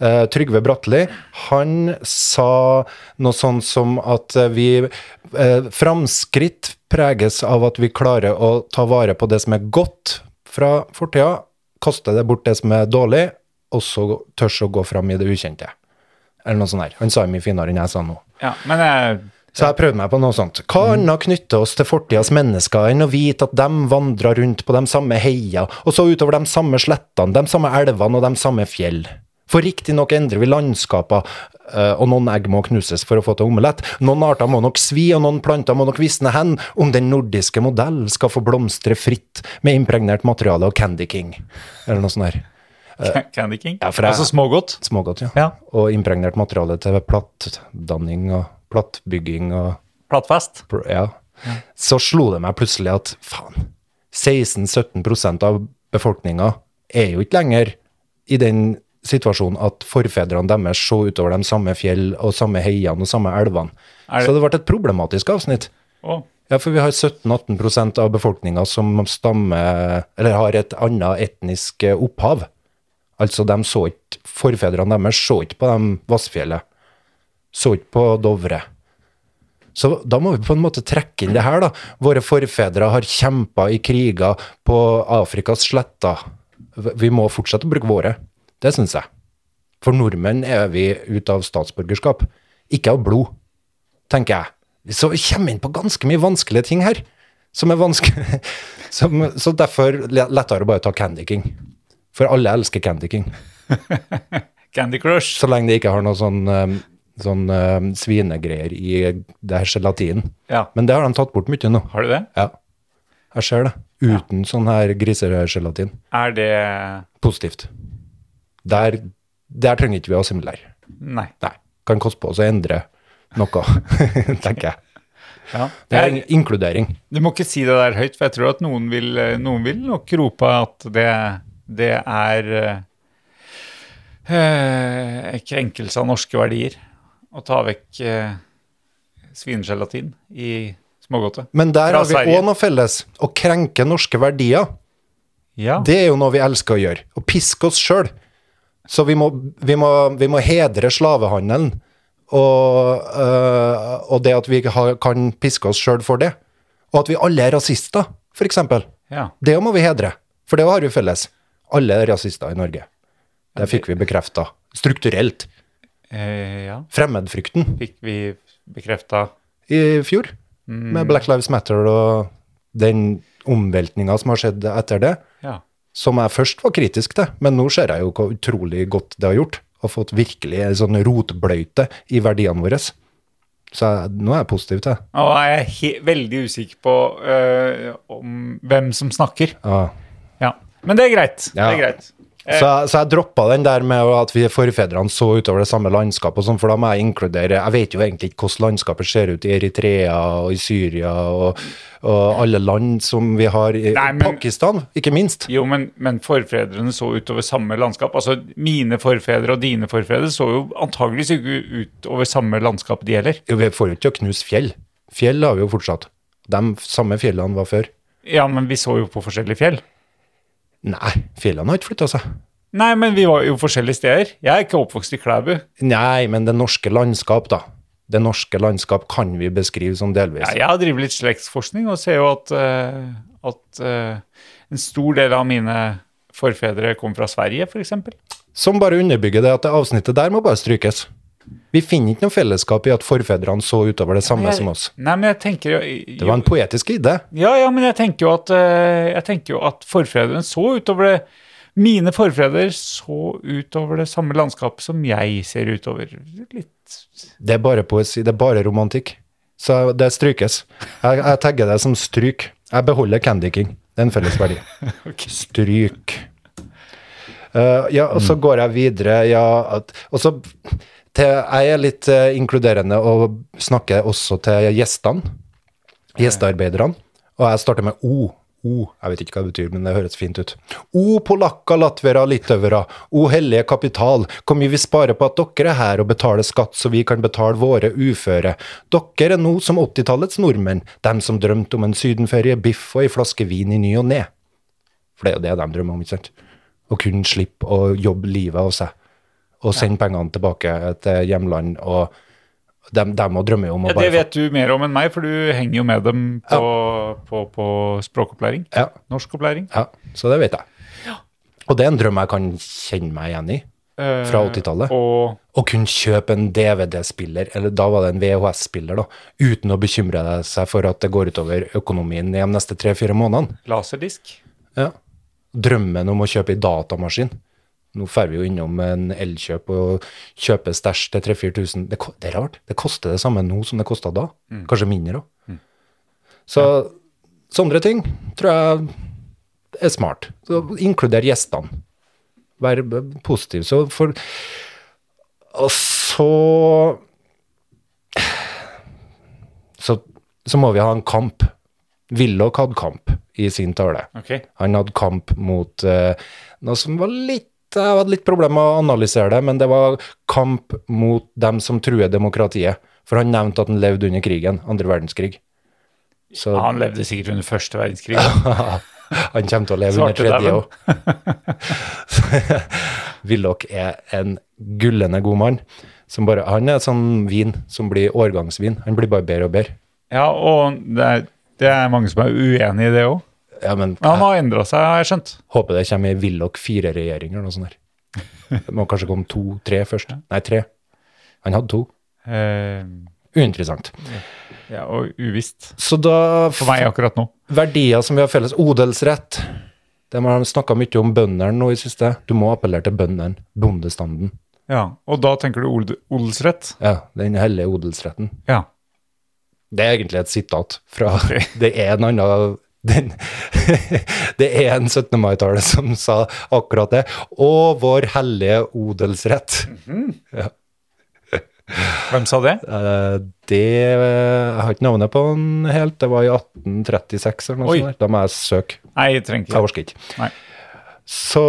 Eh, Trygve Bratteli, han sa noe sånn som at eh, vi eh, Framskritt preges av at vi klarer å ta vare på det som er godt fra fortida, kaste det bort det som er dårlig, og så tørs å gå fram i det ukjente. Eller noe sånt her. Han sa det mye finere enn jeg sa nå. Ja, men eh, jeg Så jeg prøvde meg på noe sånt. Hva annet knytter oss til fortidas mennesker enn å vite at de vandra rundt på de samme heia, og så utover de samme slettene, de samme elvene og de samme fjell? For riktignok endrer vi landskaper, eh, og noen egg må knuses for å få til omelett. Noen arter må nok svi, og noen planter må nok visne hen, om den nordiske modell skal få blomstre fritt med impregnert materiale og Candy King, eller noe sånt her. Candy King? Eh, Ja, for jeg- Altså smågodt? Smågodt, ja. Ja. Og impregnert materiale til plattdanning og plattbygging og Plattfast? Pro- ja. Så slo det meg plutselig at faen, 16-17 av befolkninga er jo ikke lenger i den situasjonen at forfedrene deres så utover de samme fjell og samme heiene og samme elvene. Er det- Så det ble et problematisk avsnitt. Å, Ja, for vi har 17-18 av befolkninga som stammer Eller har et annet etnisk eh, opphav. Altså, de så ikke Forfedrene deres så ikke på de Vassfjellet. Så ikke på Dovre. Så da må vi på en måte trekke inn det her, da. Våre forfedre har kjempa i kriger på Afrikas sletter. Vi må fortsette å bruke våre. Det syns jeg. For nordmenn er vi ut av statsborgerskap, ikke av blod tenker jeg. Så vi kommer inn på ganske mye vanskelige ting her. Som er vanskelig som, Så derfor le- lettere å bare ta Candy King. For alle elsker Candy King. Candy Crush. Så lenge det ikke har noe sånn, eh, sånn eh, svinegreier i det her gelatinen. Ja. Men det har de tatt bort mye nå. Har du det? Ja, jeg ser det. Uten sånn her grisegelatin. Er det Positivt. Der, der trenger ikke vi å assimilere. Nei. Nei. Kan koste på oss å endre noe, tenker jeg. Ja. Det er in- inkludering. Du må ikke si det der høyt, for jeg tror at noen vil, eh, noen vil nok rope at det, det er eh, krenkelse av norske verdier å ta vekk eh, svinegelatin i smågodtet. Men der Fra har vi Sverige. òg noe felles. Å krenke norske verdier. Ja. Det er jo noe vi elsker å gjøre. Å piske oss sjøl. Så vi må, vi, må, vi må hedre slavehandelen. Og, øh, og det at vi har, kan piske oss sjøl for det. Og at vi alle er rasister, f.eks. ja. Det må vi hedre. For det har vi felles. Alle er rasister i Norge. Det fikk vi bekrefta. Strukturelt. Eh, ja. Fremmedfrykten Fikk vi bekrefta i fjor, Mm. med Black Lives Matter og den omveltninga som har skjedd etter det. Ja. som jeg først var kritisk til, men nå ser jeg jo hvor utrolig godt det har gjort, og fått virkelig en sånn rotbløyte i verdiene våre. Så jeg, nå er jeg positiv til det. Nå er jeg he veldig usikker på eh, om hvem som snakker. Ja. Ja. Men det er greit. Ja. Det er greit. Så jeg, så jeg droppa den der med at vi forfedrene så utover det samme landskapet, og sånn, for da må jeg inkludere Jeg vet jo egentlig ikke hvordan landskapet ser ut i Eritrea og i Syria og, og alle land som vi har i Nei, men- Pakistan, ikke minst. Jo, men, men forfedrene så utover samme landskap. Altså, mine forfedre og dine forfedre så jo antageligvis ikke ut over samme landskap de heller. Jo, Vi får jo ikke til å knuse fjell. Fjell har vi jo fortsatt. De samme fjellene var før. Ja, men vi så jo på forskjellige fjell. Nei, fjellene har ikke flytta seg. Nei, men vi var jo forskjellige steder. Jeg er ikke oppvokst i Klæbu. Nei, men det norske landskap, da. Det norske landskap kan vi beskrive som delvis. Ja, jeg har drevet litt slektsforskning og ser jo at, eh, at eh, en stor del av mine forfedre kom fra Sverige, f.eks. Som bare underbygger det at det avsnittet der må bare strykes. Vi finner ikke noe fellesskap i at forfedrene så utover det samme som oss. Nei, men jeg tenker jo, Det var en poetisk idé. Ja, ja, men jeg tenker jo at, eh, jeg tenker jo at forfedrene så utover det Mine forfedre så utover det samme landskapet som jeg ser utover. Litt Det er bare poesi, det er bare romantikk. Så det strykes. Jeg, jeg tagger det som stryk. Jeg beholder Candy King. Det er en felles verdi. Stryk. Eh, ja, og så går jeg videre, ja at, Og så til, Jeg er litt eh, inkluderende og snakker også til gjestene. Gjestearbeiderne. Og jeg starter med O. O, Jeg vet ikke hva det betyr, men det høres fint ut. O polakker, latvere, litauere. O hellige kapital. Hvor mye vi sparer på at dere er her og betaler skatt så vi kan betale våre uføre. Dere er nå som 80-tallets nordmenn. Dem som drømte om en sydenferie, biff og ei flaske vin i ny og ne. For det er jo det de drømmer om, ikke sant? Å kunne slippe å jobbe livet av seg. Og sende pengene tilbake til hjemland. Og de, de drømmer jo om å ja, Det vet du mer om enn meg, for du henger jo med dem på, på, på språkopplæring. Ja. Norskopplæring. Ja, så det vet jeg. Og det er en drøm jeg kan kjenne meg igjen i. eh, Fra 80-tallet. Og Å kunne kjøpe en DVD-spiller, eller da var det en VHS-spiller, da, uten å bekymre seg for at det går utover økonomien de neste tre-fire månedene. laserdisk. Ja. Drømmen om å kjøpe en datamaskin. Nå drar vi jo innom en elkjøp og kjøper stæsj til 3000-4000. Det, ko- det er rart. Det koster det samme nå som det kosta da. Kanskje mindre òg. Så sånne ting tror jeg er smart. Så inkluder gjestene. Vær b- positiv. Så for Og så Så, så må vi ha en kamp. Willoch hadde kamp i sin tale. Ok. Han hadde kamp mot eh, noe som var litt Jeg hadde litt problemer med å analysere det, men det var kamp mot dem som truer demokratiet. For han nevnte at han levde under krigen, andre verdenskrig. Så Ja, han levde sikkert under første verdenskrig. da. han kommer til å leve under Svarte tredje òg. Willoch er en gullende god mann. Som bare, han er sånn vin som blir årgangsvin. Han blir bare bedre og bedre. Ja, og det er, det er mange som er uenig i det òg. Ja, men Men han har endra seg, har jeg skjønt. Håper det kommer ei Willoch fire-regjering eller noe sånt. der. Det må kanskje komme to-tre først. Nei, tre. Han hadde to. Eh, Uinteressant. ja, og uvisst. Så da For meg akkurat nå. Verdier som vi har felles. Odelsrett. Det har de snakka mye om bøndene nå i siste. Du må appellere til bøndene. Bondestanden. Ja, Og da tenker du od odelsrett? Ja, den hellige odelsretten. Ja. Det er egentlig et sitat fra Det er en annen den, Det er en 17. mai-tale som sa akkurat det. Og vår hellige odelsrett. Hvem sa det? Eh, Det eh, Jeg har ikke navnet på den helt. Det var i 1836 eller noe Oi. sånt. der. Da må jeg søke. Nei, jeg trenger Jeg ikke. orker ikke. Nei. Så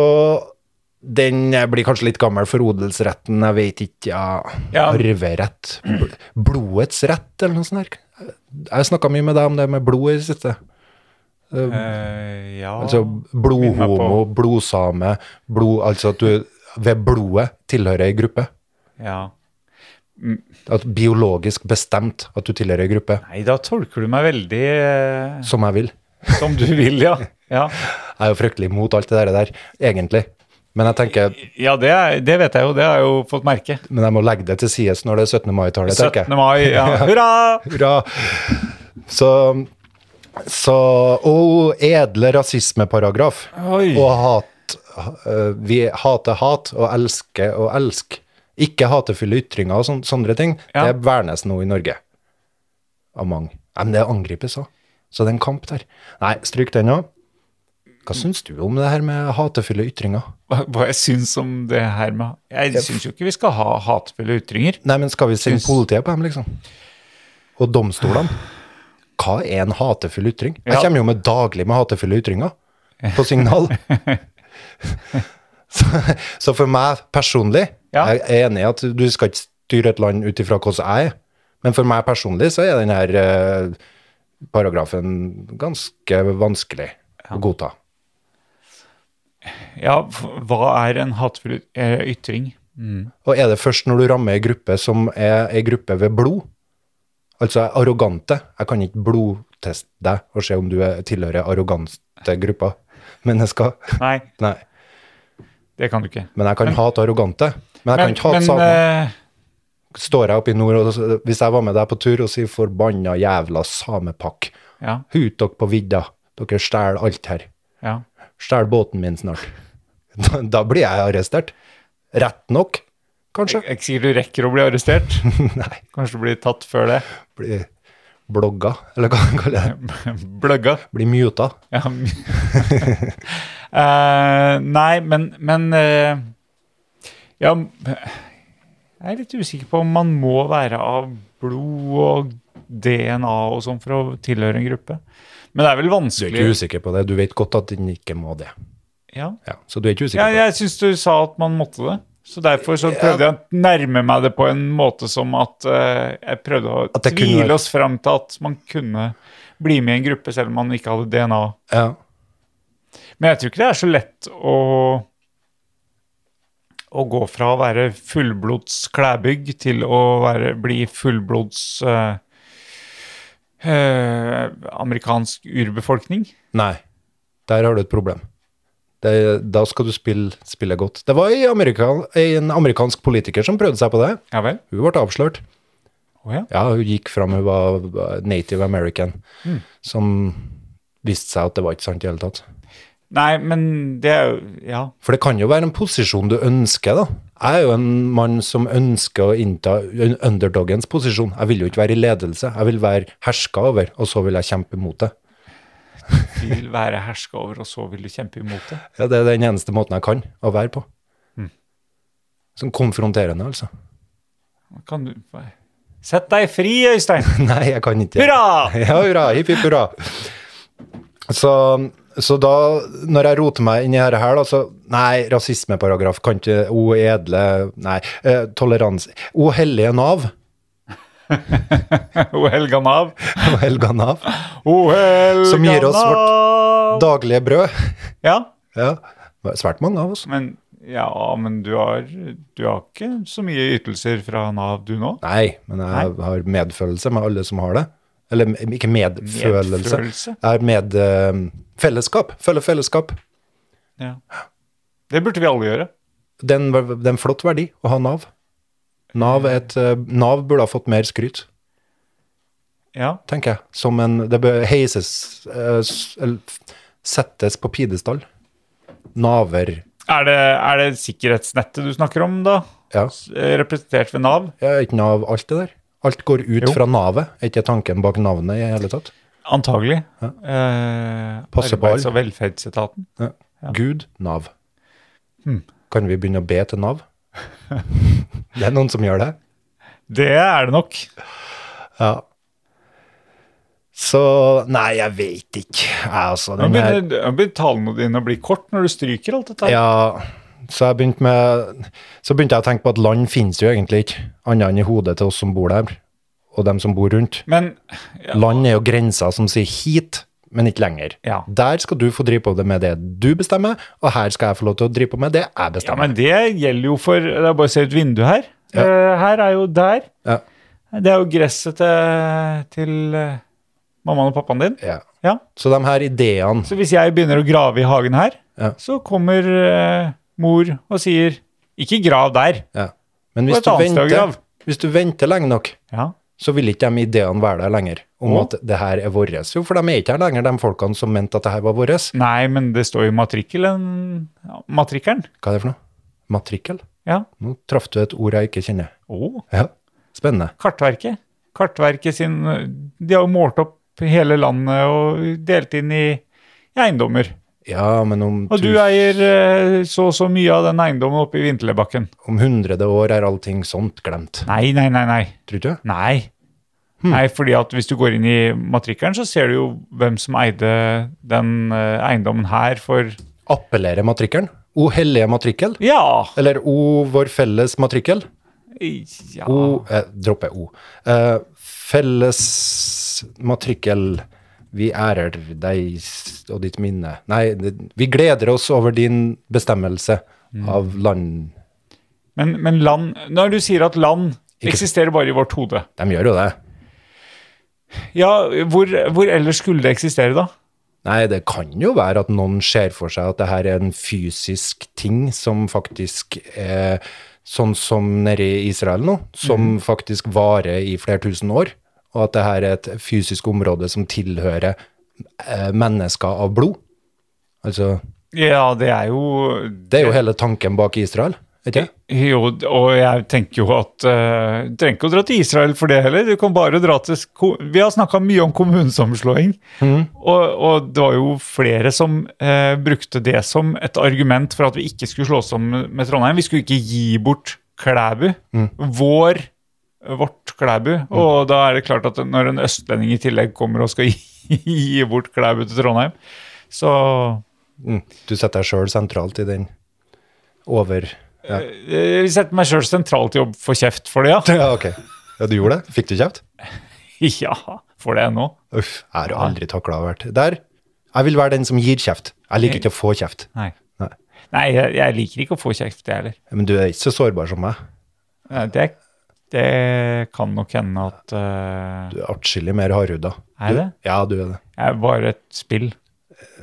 den eh, blir kanskje litt gammel for odelsretten. Jeg vet ikke. Ja. Ja. Arverett. Bl- Blodets rett, eller noe sånt. her. Jeg snakka mye med deg om det med blod i det siste. Eh, ja Altså blodhomo, blodsame, blod Altså at du ved blodet tilhører ei gruppe. ja. At biologisk bestemt at du tilhører ei gruppe. Nei, da tolker du meg veldig eh, Som jeg vil. som du vil, ja. Ja, Jeg er jo fryktelig imot alt det der, der, egentlig. Men jeg tenker, ja det, er, det vet jeg jo. Det har jeg jo fått merke. men jeg må legge det til sides når det er 17. mai-tallet, 17. tenker jeg. mai, ja. Hurra! Hurra! Så, så Å, edle rasismeparagraf. Oi. Og hat. eh, Vi hater hat og elsker og elsk. Ikke hatefulle ytringer og sån- sånne ting. Ja. Det vernes nå i Norge. Av mange. Nei, Men det angripes òg. Så det er en kamp der. Nei, stryk den òg. Hva syns du om det her med hatefulle ytringer? Hva, hva jeg syns om det her med Jeg syns jo ikke vi skal ha hatefulle ytringer. Nei, men skal vi sende Syns- politiet på dem, liksom? Og domstolene? Hva er en hatefull ytring? Jeg Ja. kommer jo med daglig med hatefulle ytringer på signal. så, så for meg personlig, Ja. jeg er enig i at du skal ikke styre et land ut ifra hvordan jeg er, men for meg personlig så er denne paragrafen ganske vanskelig å godta. Ja, f- hva er en hatefull yt- eh, ytring? Og er det først når du rammer ei gruppe som er ei gruppe ved blod? Altså er arrogante. Jeg kan ikke blodteste deg og se om du er, tilhører arrogante grupper. Men jeg skal Nei, Nei. det kan du ikke. Men jeg kan hate arrogante. Men jeg kan ikke hate men samer. eh, står jeg oppe i nord, og så- hvis jeg var med deg på tur, og sier 'forbanna jævla samepakk', Ja, hut dere på vidda, dere stjeler alt her, ja. stjeler båten min snart. Da, da blir jeg arrestert. Rett nok, kanskje. Jeg er ikke sikkert du rekker å bli arrestert. Nei, Kanskje du blir tatt før det. blir blogga, eller hva man kaller det. Bløgga. Blir muta. Ja. Eh, nei, men, men eh, Ja, jeg er litt usikker på om man må være av blod og DNA og sånn for å tilhøre en gruppe. Men det er vel Du er ikke vanskelig usikker på det. Du vet godt at den ikke må det. Ja, Ja, så du er ikke usikker ja på det. jeg syns du sa at man måtte det. Så derfor så prøvde jeg å nærme meg det på en måte som at eh, jeg prøvde å At det kunne tvile være- oss fram til at man kunne bli med i en gruppe selv om man ikke hadde DNA. Ja. Men jeg tror ikke det er så lett å, å gå fra å være fullblods klæbygg til å være, bli fullblods eh, eh, amerikansk urbefolkning. Nei, der har du et problem. Det, da skal du spille, spille godt. Det var en, amerikan, en amerikansk politiker som prøvde seg på det. Ja vel? Hun ble avslørt. Å ja. Ja, hun gikk fram, hun var native american, Mm. som viste seg at det var ikke sant i hele tatt. Nei, men det er jo Ja. For det kan jo være en posisjon du ønsker, da. Jeg er jo en mann som ønsker å innta un- underdogens posisjon. Jeg vil jo ikke være i ledelse, jeg vil være herska over, og så vil jeg kjempe mot det. Du vil være herska over, og så vil du kjempe imot det. Ja, det er den eneste måten jeg kan å være på. Sånn konfronterende, altså. Kan du Sett deg fri, Øystein! Nei, jeg kan ikke. Hurra! Ja, hurra, hipp, hipp, hurra. Så, så da, når jeg roter meg inn i dette her, da, så Nei, rasismeparagraf kan ikke O edle Nei, eh, toleranse O hellige Nav. O helga nav. O helga Nav. O helga Som gir oss vårt- vårt Daglige brød. Ja, Ja. det er Svært mange av oss. men Ja, men du har, du har ikke så mye ytelser fra Nav, du nå? Nei, men jeg har medfølelse med alle som har det. Eller m- ikke medfølelse. Medfølelse? Jeg har med eh, fellesskap. Føler fellesskap. Ja. Det burde vi alle gjøre. Det er en v- det er en flott verdi å ha Nav. Nav, er et, eh, NAV burde ha fått mer skryt, Ja. tenker jeg. Som en, det bør heises eh, s- eller f- settes på pidestall. Naver. Er det, er det sikkerhetsnettet du snakker om, da? Ja. S- eh, Representert ved Nav? ja, er ikke Nav alt det der? Alt går ut Jo. fra navet, er ikke tanken bak navnet i hele tatt? Antagelig. Eh, Passe på Arbeids- alle. og velferdsetaten. Ja. Gud, Nav. Hm. Kan vi begynne å be til Nav? det er noen som gjør det. Det er det nok. Ja. Så Nei, jeg veit ikke. Jeg, altså, Nå den her- begynner, nå begynner talene dine å bli kort når du stryker alt dette. her. Ja, så jeg begynte med Så begynte jeg å tenke på at land finnes jo egentlig ikke, annet enn i hodet til oss som bor der, og dem som bor rundt. Men ja, Land er jo grenser som sier hit, men ikke lenger. Ja. Der skal du få drive på det med det du bestemmer, og her skal jeg få lov til å drive på med det jeg ja, bestemmer. men det gjelder jo for Det er bare å se ut vinduet her. Eh, her er jo der. Ja, Det er jo gresset til, til eh, mammaen og pappaen din. ja. Ja. Så de her ideene Så hvis jeg begynner å grave i hagen her, Ja. så kommer eh, mor og sier Ikke grav der. ja. Men Og hvis et du, annet sted å venter, grave. hvis du venter lenge nok, Ja. så vil ikke de ideene være der lenger, om Å. at det her er vårt. Jo, for de er ikke her lenger, de folkene som mente at det her var vårt. Nei, men det står jo i matrikkelen. ja, Matrikkelen. Hva er det for noe? Matrikkel? Ja. Nå traff du et ord jeg ikke kjenner. Å, Ja, spennende. Kartverket. Kartverket sin De har jo målt opp hele landet og delt inn i i eiendommer. Ja, men om, Og du tus- eier eh, så og så mye av den eiendommen oppe i Vinterlebakken. om hundrede år er allting sånt glemt. Nei, nei, nei, nei. Tror du ikke? Nei. Nei, fordi at hvis du går inn i matrikkelen, så ser du jo hvem som eide den eh, eiendommen her for Appellere matrikkelen? O hellige matrikkel? Ja! Eller O vår felles matrikkel? ja. O eh, Dropper O. Eh, felles matrikkel, vi ærer deg s- og ditt minne. Nei, det, vi gleder oss over din bestemmelse av land. Men, men land Når du sier at land Ikke- eksisterer bare i vårt hode, De gjør jo det. ja, hvor, hvor ellers skulle det eksistere, da? Nei, det kan jo være at noen ser for seg at det her er en fysisk ting som faktisk er sånn som nede i Israel nå, som faktisk varer i flere tusen år, og at det her er et fysisk område som tilhører eh, mennesker av blod. Altså, Ja, det er jo det er jo hele tanken bak Israel, ikke det? Jo, og jeg tenker jo at eh, Du trenger ikke å dra til Israel for det heller. Du kan bare dra til sko- Vi har snakka mye om kommunesammenslåing. Og, og det var jo flere som eh, brukte det som et argument for at vi ikke skulle slå oss sammen med Trondheim. Vi skulle ikke gi bort Klæbu. Vår vårt Klæbu. Og da er det klart at når en østlending i tillegg kommer og skal gi, gi bort Klæbu til Trondheim, så Mm. Du setter deg sjøl sentralt i den over Ja, eh, Vi setter meg sjøl sentralt i å få kjeft for det, ja. ja ok. Ja, du gjorde det? Fikk du kjeft? Ja, får det nå. Uff, jeg har aldri takla å ha vært der. Jeg vil være den som gir kjeft. Jeg liker ikke å få kjeft. Nei. Nei. Nei, jeg, jeg liker ikke å få kjeft, jeg heller. Men du er ikke så sårbar som meg. Nei, Det, det kan nok hende at eh, Du er atskillig mer hardhuda. Er det? Du, ja, du er det. jeg er bare et spill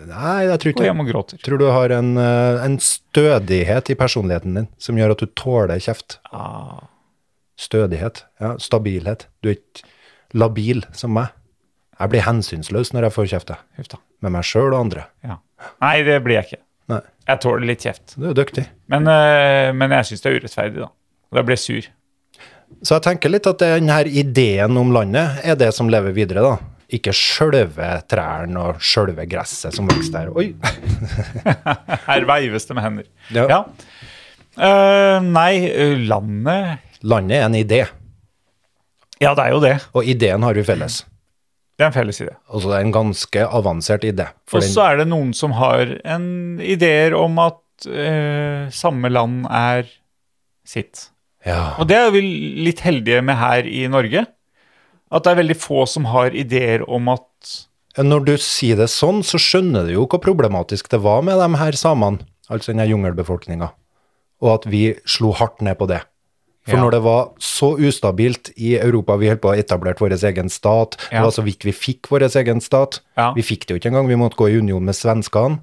Nei, jeg tror og ikke det. hjemme og gråter. Tror du har en, eh, en stødighet i personligheten din som gjør at du tåler kjeft. Ah, Stødighet. Ja, stabilhet. Du er ikke labil som meg. Jeg blir hensynsløs når jeg får kjeft, jeg. huff da. med meg sjøl og andre. Ja. Nei, det blir jeg ikke. Nei, Jeg tåler litt kjeft. du er dyktig. Men, eh, men jeg syns det er urettferdig, da. Og da blir jeg sur. Så jeg tenker litt at den her ideen om landet er det som lever videre, da. Ikke sjølve trærne og sjølve gresset som vokser der. Oi! Her veives det med hender. Ja. Ja. Eh, nei, eh, landet Landet er en idé, Ja, det er jo det. og ideen har vi felles. Det er en felles idé. Og så det er en ganske avansert idé. For Og så den, er det noen som har en ideer om at eh, samme land er sitt. ja, Og det er vi litt heldige med her i Norge. At det er veldig få som har ideer om at når du sier det sånn, så skjønner du jo hvor problematisk det var med de her samene, altså denne jungelbefolkninga, og at vi slo hardt ned på det. For Ja. når det var så ustabilt i Europa, vi holdt på å ha etablert vår egen stat, det Ja. var så vidt vi fikk vår egen stat, Ja. vi fikk det jo ikke engang, vi måtte gå i union med svenskene,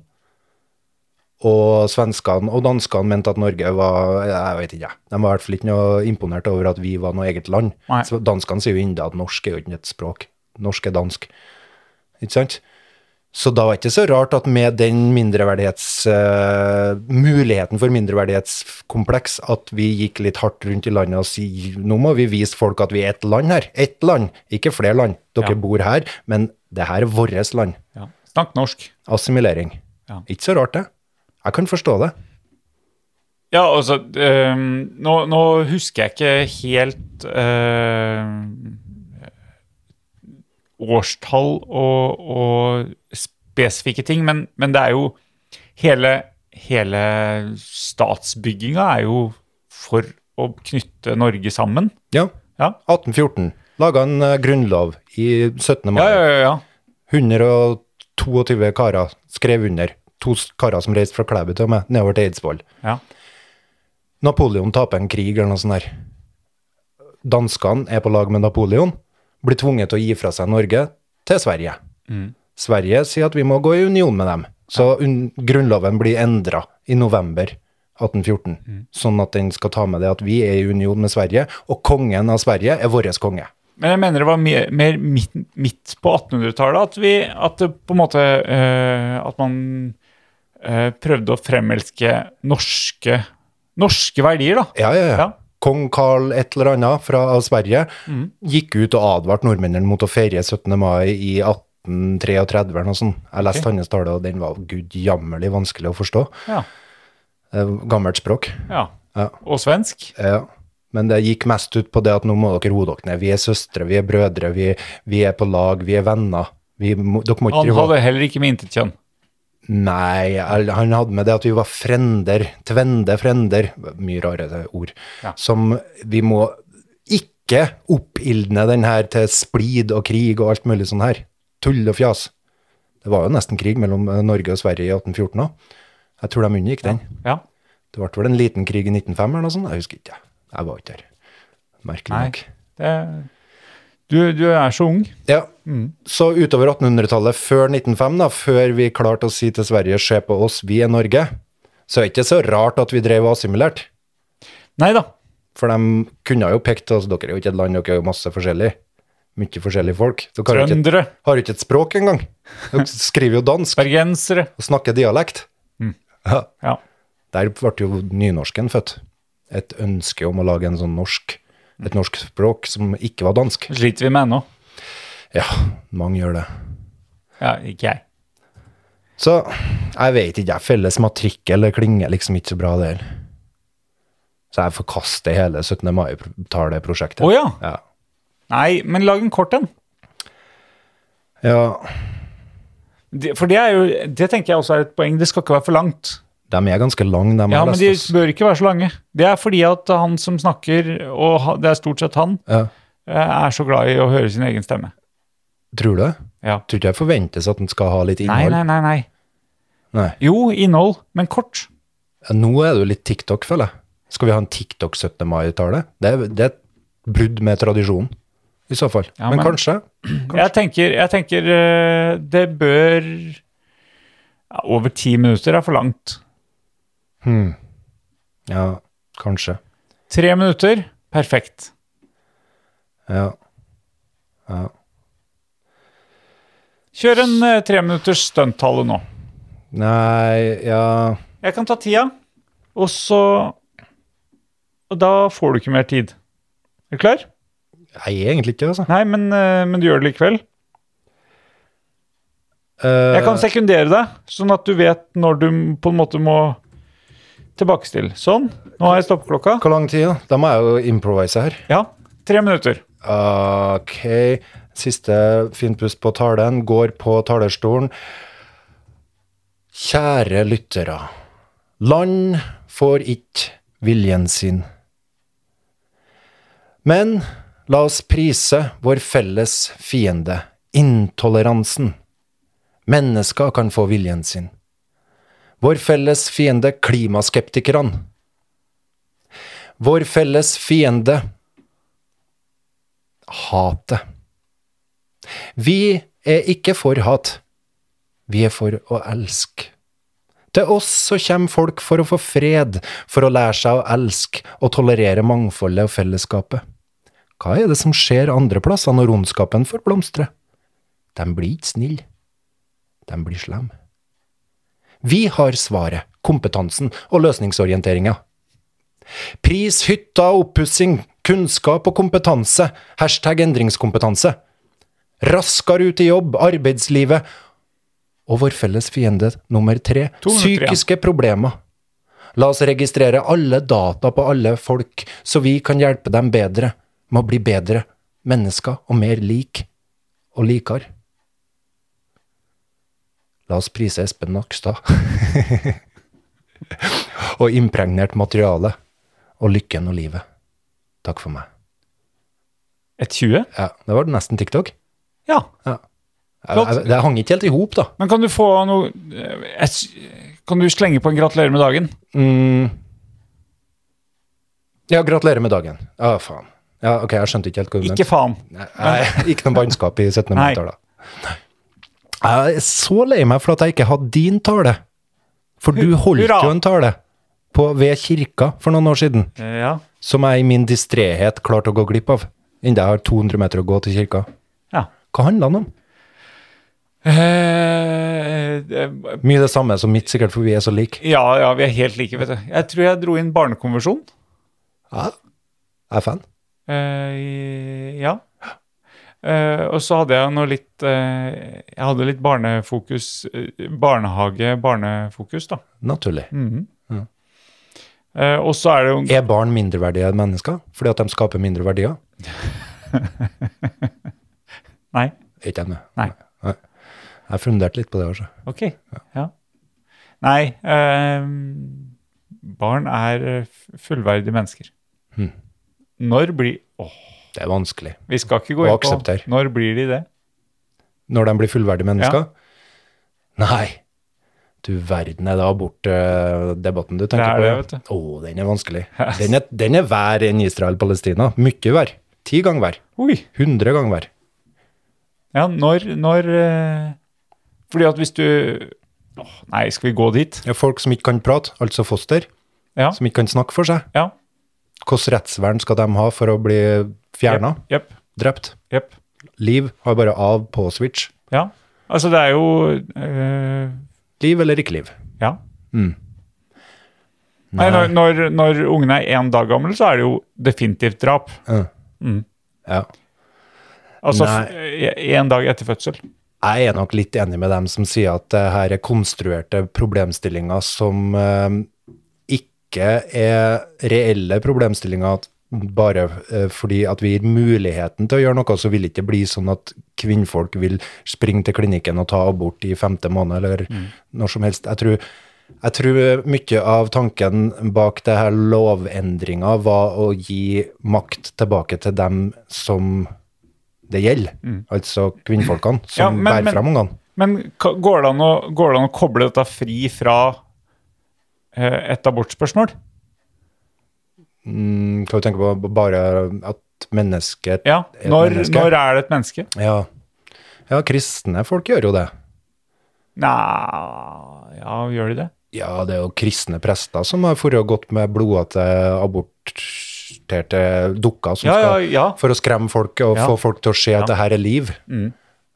og svenskene og danskene mente at Norge var, jeg vet ikke, jeg. de var i hvert fall ikke noe imponert over at vi var noe eget land. Nei. Så danskene sier jo enda at norsk er jo ikke et språk, norsk er dansk, ikke sant? Så da var det ikke så rart at med den mindreverdighets, eh, muligheten for mindreverdighetskompleks, at vi gikk litt hardt rundt i landet og si, nå må vi vise folk at vi er ett land her. Ett land, ikke flere land. Dere Ja. bor her, men det her er vårt land. ja, Snakk norsk. Assimilering. Ja. Ikke så rart det. Jeg kan forstå det. Ja, altså eh, nå, nå husker jeg ikke helt eh, årstall og, og spesifikke ting, men, men det er jo Hele, hele statsbygginga er jo for å knytte Norge sammen. Ja. Ja. 1814. Laget en eh, grunnlov i 17. mai. Ja, ja, ja. ja. 122 karer skrev under. To s- karer som reiste fra Klæbu til og med, nedover til Eidsvoll. Ja. Napoleon taper en krig eller noe sånt der. Danskene er på lag med Napoleon, blir tvunget til å gi fra seg Norge til Sverige. Mm. Sverige sier at vi må gå i union med dem. Så un grunnloven blir endra i november 1814, Mm. sånn at den skal ta med det at vi er i union med Sverige, og kongen av Sverige er vår konge. Men jeg mener det var mer, mer midt, midt på 1800-tallet at vi At det på en måte eh, At man eh, prøvde å fremelske norske Norske verdier, da. Ja, ja, ja. Ja. Kong Karl et eller annet fra av Sverige Mm. gikk ut og advarte nordmennene mot å feire 17. mai i 1833 eller noe sånt. Jeg leste hans tale, og den var gudjammerlig vanskelig å forstå. Ja. Det er Gammelt språk. ja. Ja. Og svensk. Ja. Men det gikk mest ut på det at nå må dere roe dere ned. Vi er søstre, vi er brødre, vi, vi er på lag, vi er venner. Vi må, dere må Han ikke drive og- hadde heller ikke med intet kjønn. Nei, al- han hadde med det at vi var frender, tvende frender, mye rare ord, Ja. som vi må ikke oppildne den her til splid og krig og alt mulig sånn her. Tull og fjas. Det var jo nesten krig mellom eh, Norge og Sverige i 1814 også. Jeg tror de unngikk den. Ja. Det ble vel en liten krig i 1905 eller noe sånt, jeg husker ikke. Jeg var ikke der. Merkelig Nei. nok. Det, du, du er så ung. Ja, så utover 1800-tallet, før 1905, da, før vi klarte å si til Sverige 'se på oss, vi er Norge', så er det ikke så rart at vi drev og assimilert. Nei da. For de kunne jo pekt altså, Dere er jo ikke et land, dere er jo masse forskjellig. Mye forskjellige folk. Dere har jo ikke, Trøndere, et- har jo ikke et språk engang. Dere skriver jo dansk bergensere. og snakker dialekt. Ja. Ja. Der ble jo nynorsken født. Et ønske om å lage en sånn norsk, et norsk språk som ikke var dansk. Det sliter vi med ennå. Ja, mange gjør det. Ja, ikke jeg. Så jeg vet ikke, jeg felles matrikkel, det klinger liksom ikke så bra det heller. Så jeg forkaster hele 17. mai-taleprosjektet. Å ja. Ja. Nei, men lag en kort en. ja, Det- For det er jo Det tenker jeg også er et poeng. Det skal ikke være for langt. de er ganske lange, de Ja, har men lest de oss. bør ikke være så lange. Det er fordi at han som snakker, og ha- det er stort sett han, Ja. eh, er så glad i å høre sin egen stemme. Tror du det? Ja. Tror ikke jeg forventes at den skal ha litt Nei, innhold. nei, nei, nei. Nei. Jo, innhold, men kort. Ja, Nå er det jo litt TikTok, føler jeg. Skal vi ha en TikTok 17. mai-tale? Det, er- det er et brudd med tradisjonen, i så fall. Ja, men, men- kanskje. Jeg tenker, jeg tenker eh, det bør ja, Over ti minutter er for langt. Ja, kanskje. Tre minutter, perfekt. Ja. Kjør en eh, treminutters stunttale nå. Nei, ja Jeg kan ta tida, og så Og da får du ikke mer tid. Er du klar? Jeg er egentlig ikke det, altså. Nei, men, eh, men du gjør det likevel. Jeg kan Eh, sekundere deg, sånn at du vet når du på en måte må tilbakestille. Sånn. Nå har jeg stoppeklokka. Hvor lang tid, da? Da må jeg jo improvise her. Ja, tre minutter. Ok. Siste fint pust på talen. Går på talerstolen. Kjære lyttere. Land får ikke viljen sin. Men la oss prise vår felles fiende, intoleransen. Mennesker kan få viljen sin. Vår felles fiende, klimaskeptikerne. Vår felles fiende, hatet. Vi er ikke for hat. Vi er for å elske. Til oss så kommer folk for å få fred, for å lære seg å elske og tolerere mangfoldet og fellesskapet. Hva er det som skjer andre plasser når ondskapen får blomstre? De blir ikke snille. De blir slemme. Vi har svaret, kompetansen og løsningsorienteringa. Pris hytta og oppussing, kunnskap og kompetanse, hashtag endringskompetanse. Raskere ut i jobb, arbeidslivet. Og vår felles fiende nummer tre, To minutter igjen. psykiske problemer. La oss registrere alle data på alle folk, så vi kan hjelpe dem bedre med å bli bedre mennesker og mer lik og likere. La oss prise Espen Nakstad og impregnert materiale og lykken og livet. Takk for meg. Et 20? Ja, det var nesten TikTok. Ja. Jeg, jeg, Flott. det hang ikke helt i hop, da. Men kan du få noe eh, jeg s- Kan du slenge på en gratulerer med dagen? Mm. Ja, gratulerer med dagen. Ja, faen. Ja, ok, jeg skjønte ikke helt hva du Ikke mente. faen. Nei, ikke noe bannskap i 17. Nei. mai-tala. Jeg er så lei meg for at jeg ikke hadde din tale. For du holdt hurra. jo en tale på, ved kirka for noen år siden, Eh, Ja. som jeg i min distréhet klarte å gå glipp av. Innen jeg har 200 meter å gå til kirka. ja. Hva handla den om? Eh, eh, Mye det samme som mitt, sikkert, for vi er så like. ja, ja, vi er helt like, vet du. Jeg tror jeg dro inn barnekonvensjon. Ja, jeg er fan. Eh, ja. Eh, og så hadde jeg noe litt eh, Jeg hadde litt barnefokus eh, Barnehage-barnefokus, da. Naturlig. Mm. Eh, og så er det jo Er barn mindreverdige enn mennesker fordi at de skaper mindre verdier? Nei. Er Ikke ennå. Nei. Nei. Jeg funderte litt på det. altså. Ok. Ja. Nei. eh, barn er eh, f- fullverdige mennesker. Hm. Når blir Åh, Det er vanskelig. vi skal ikke gå Og inn på aksepter. Når blir de det? Når de blir fullverdige mennesker? Nei. Du verden, er det abortdebatten du er tenker på? det, ja? Å, den er vanskelig. Den er, den er vær enn Israel-Palestina. Mye vær. Ti ganger vær. Oi. Hundre ganger vær. Ja, når, når eh, Fordi at hvis du Åh, Nei, skal vi gå dit? Ja, Folk som ikke kan prate, altså foster, Ja. som ikke kan snakke for seg, ja. Hvilket rettsvern skal de ha for å bli fjerna? Jepp. Drept? Jepp. Liv har bare av på switch. Ja. Altså, det er jo eh, Liv eller ikke liv? Ja. Mm. Nei, når, når, når ungen er én dag gammel, så er det jo definitivt drap. Ja. Ja. Altså Nei. f- én dag etter fødsel. Jeg er nok litt enig med dem som sier at det her er konstruerte problemstillinger som eh, ikke er reelle problemstillinger, at bare eh, fordi at vi gir muligheten til å gjøre noe, så vil det ikke bli sånn at kvinnfolk vil springe til klinikken og ta abort i femte måned, eller Mm. når som helst. Jeg tror, jeg tror mye av tanken bak det her lovendringa var å gi makt tilbake til dem som det gjelder, altså kvinnfolkene som Mm. Ja, men- bærer men- fram ungene. Men ka- går det, an å, går det an å koble dette fri fra eh, et abortspørsmål? Mm, kan du tenke på bare at mennesket Ja. Et Når, menneske. når er det et menneske? ja. Ja, kristne folk gjør jo det. Nja Ja, gjør de det? Ja, det er jo kristne prester som har for og gått med blodete, aborterte dukker som Ja, ja, skal, ja. for å skremme folk og Ja. Mm. få folk til å se at det her er liv.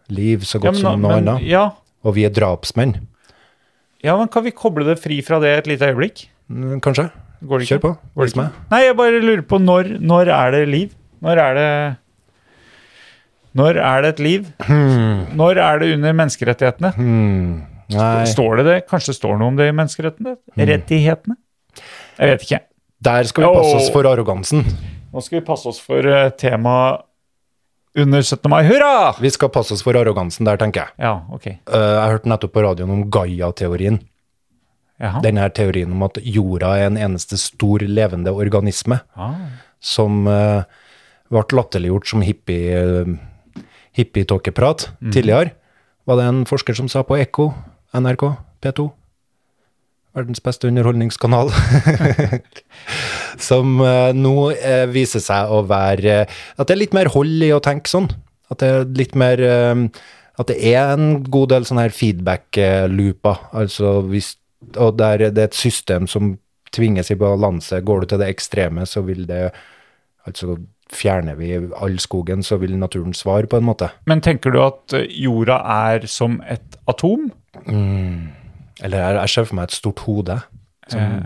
Liv så Ja, godt som noe men, annet. ja, Og vi er drapsmenn, ja, men kan vi koble det fri fra det et lite øyeblikk? Mm, kanskje. Går det Kjør på. Går det Vis meg. ikke? Nei, jeg bare lurer på når, når er det liv? Når er det Når er det et liv? Hmm. Når er det under menneskerettighetene? Mm. Nei, Hmm. Står det det? Kanskje står det noe om det i menneskerettighetene? Rettighetene? Jeg vet ikke. der skal vi passe oss Åh. for arrogansen. Nå skal vi passe oss for eh, tema under 17. mai. Hurra! Vi skal passe oss for arrogansen der, tenker jeg. Ja, ok. Eh, Jeg hørte nettopp på radioen om Gaia-teorien. Jaha. Denne her teorien om at jorda er en eneste stor levende organisme Ah. som eh, ble latterliggjort som hippie, eh, hippietåkeprat tidligere. Var det en forsker som sa på Ekko, NRK, P2, verdens beste underholdningskanal, som eh, nå eh, viser seg å være eh, At det er litt mer hold i å tenke sånn. At det er litt mer eh, At det er en god del sånne her feedback-looper. Altså hvis Og der det er et system som tvinges i balanse. Går du til det ekstreme, så vil det Altså fjerner vi all skogen, så vil naturen svare, på en måte. Men tenker du at eh, jorda er som et atom? Eller jeg, jeg ser for meg et stort hode. Som, Eh.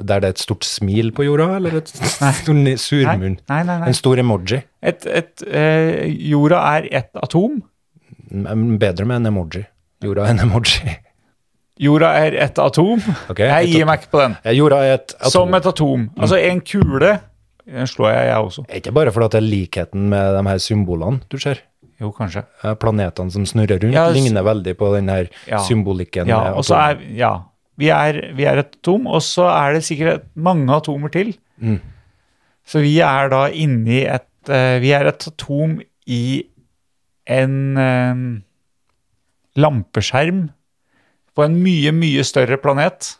Der det er et stort smil på jorda, eller et stor ne- Nei, surmunn. nei, nei. nei. En stor emoji. Et, et, eh, jorda er et atom. Men Bedre med en emoji. Jorda er en emoji. Jorda er et atom. Ok, et jeg gir atom. meg ikke på den. Ja, Jorda er et atom. Mm. Som et atom. Altså en kule. Den slår jeg, jeg også. Ikke bare fordi at det er likheten med de her symbolene du ser. Jo, kanskje. Eh, Planetene som snurrer rundt, Ja, s- ligner veldig på den her Ja. symbolikken. eh, Ja, med og så atom. er, ja. Vi, er, vi er et atom, og så er det sikkert mange atomer til. Mm. Så vi er da inni et eh, Vi er et atom i en eh, lampeskjerm på en mye, mye større planet.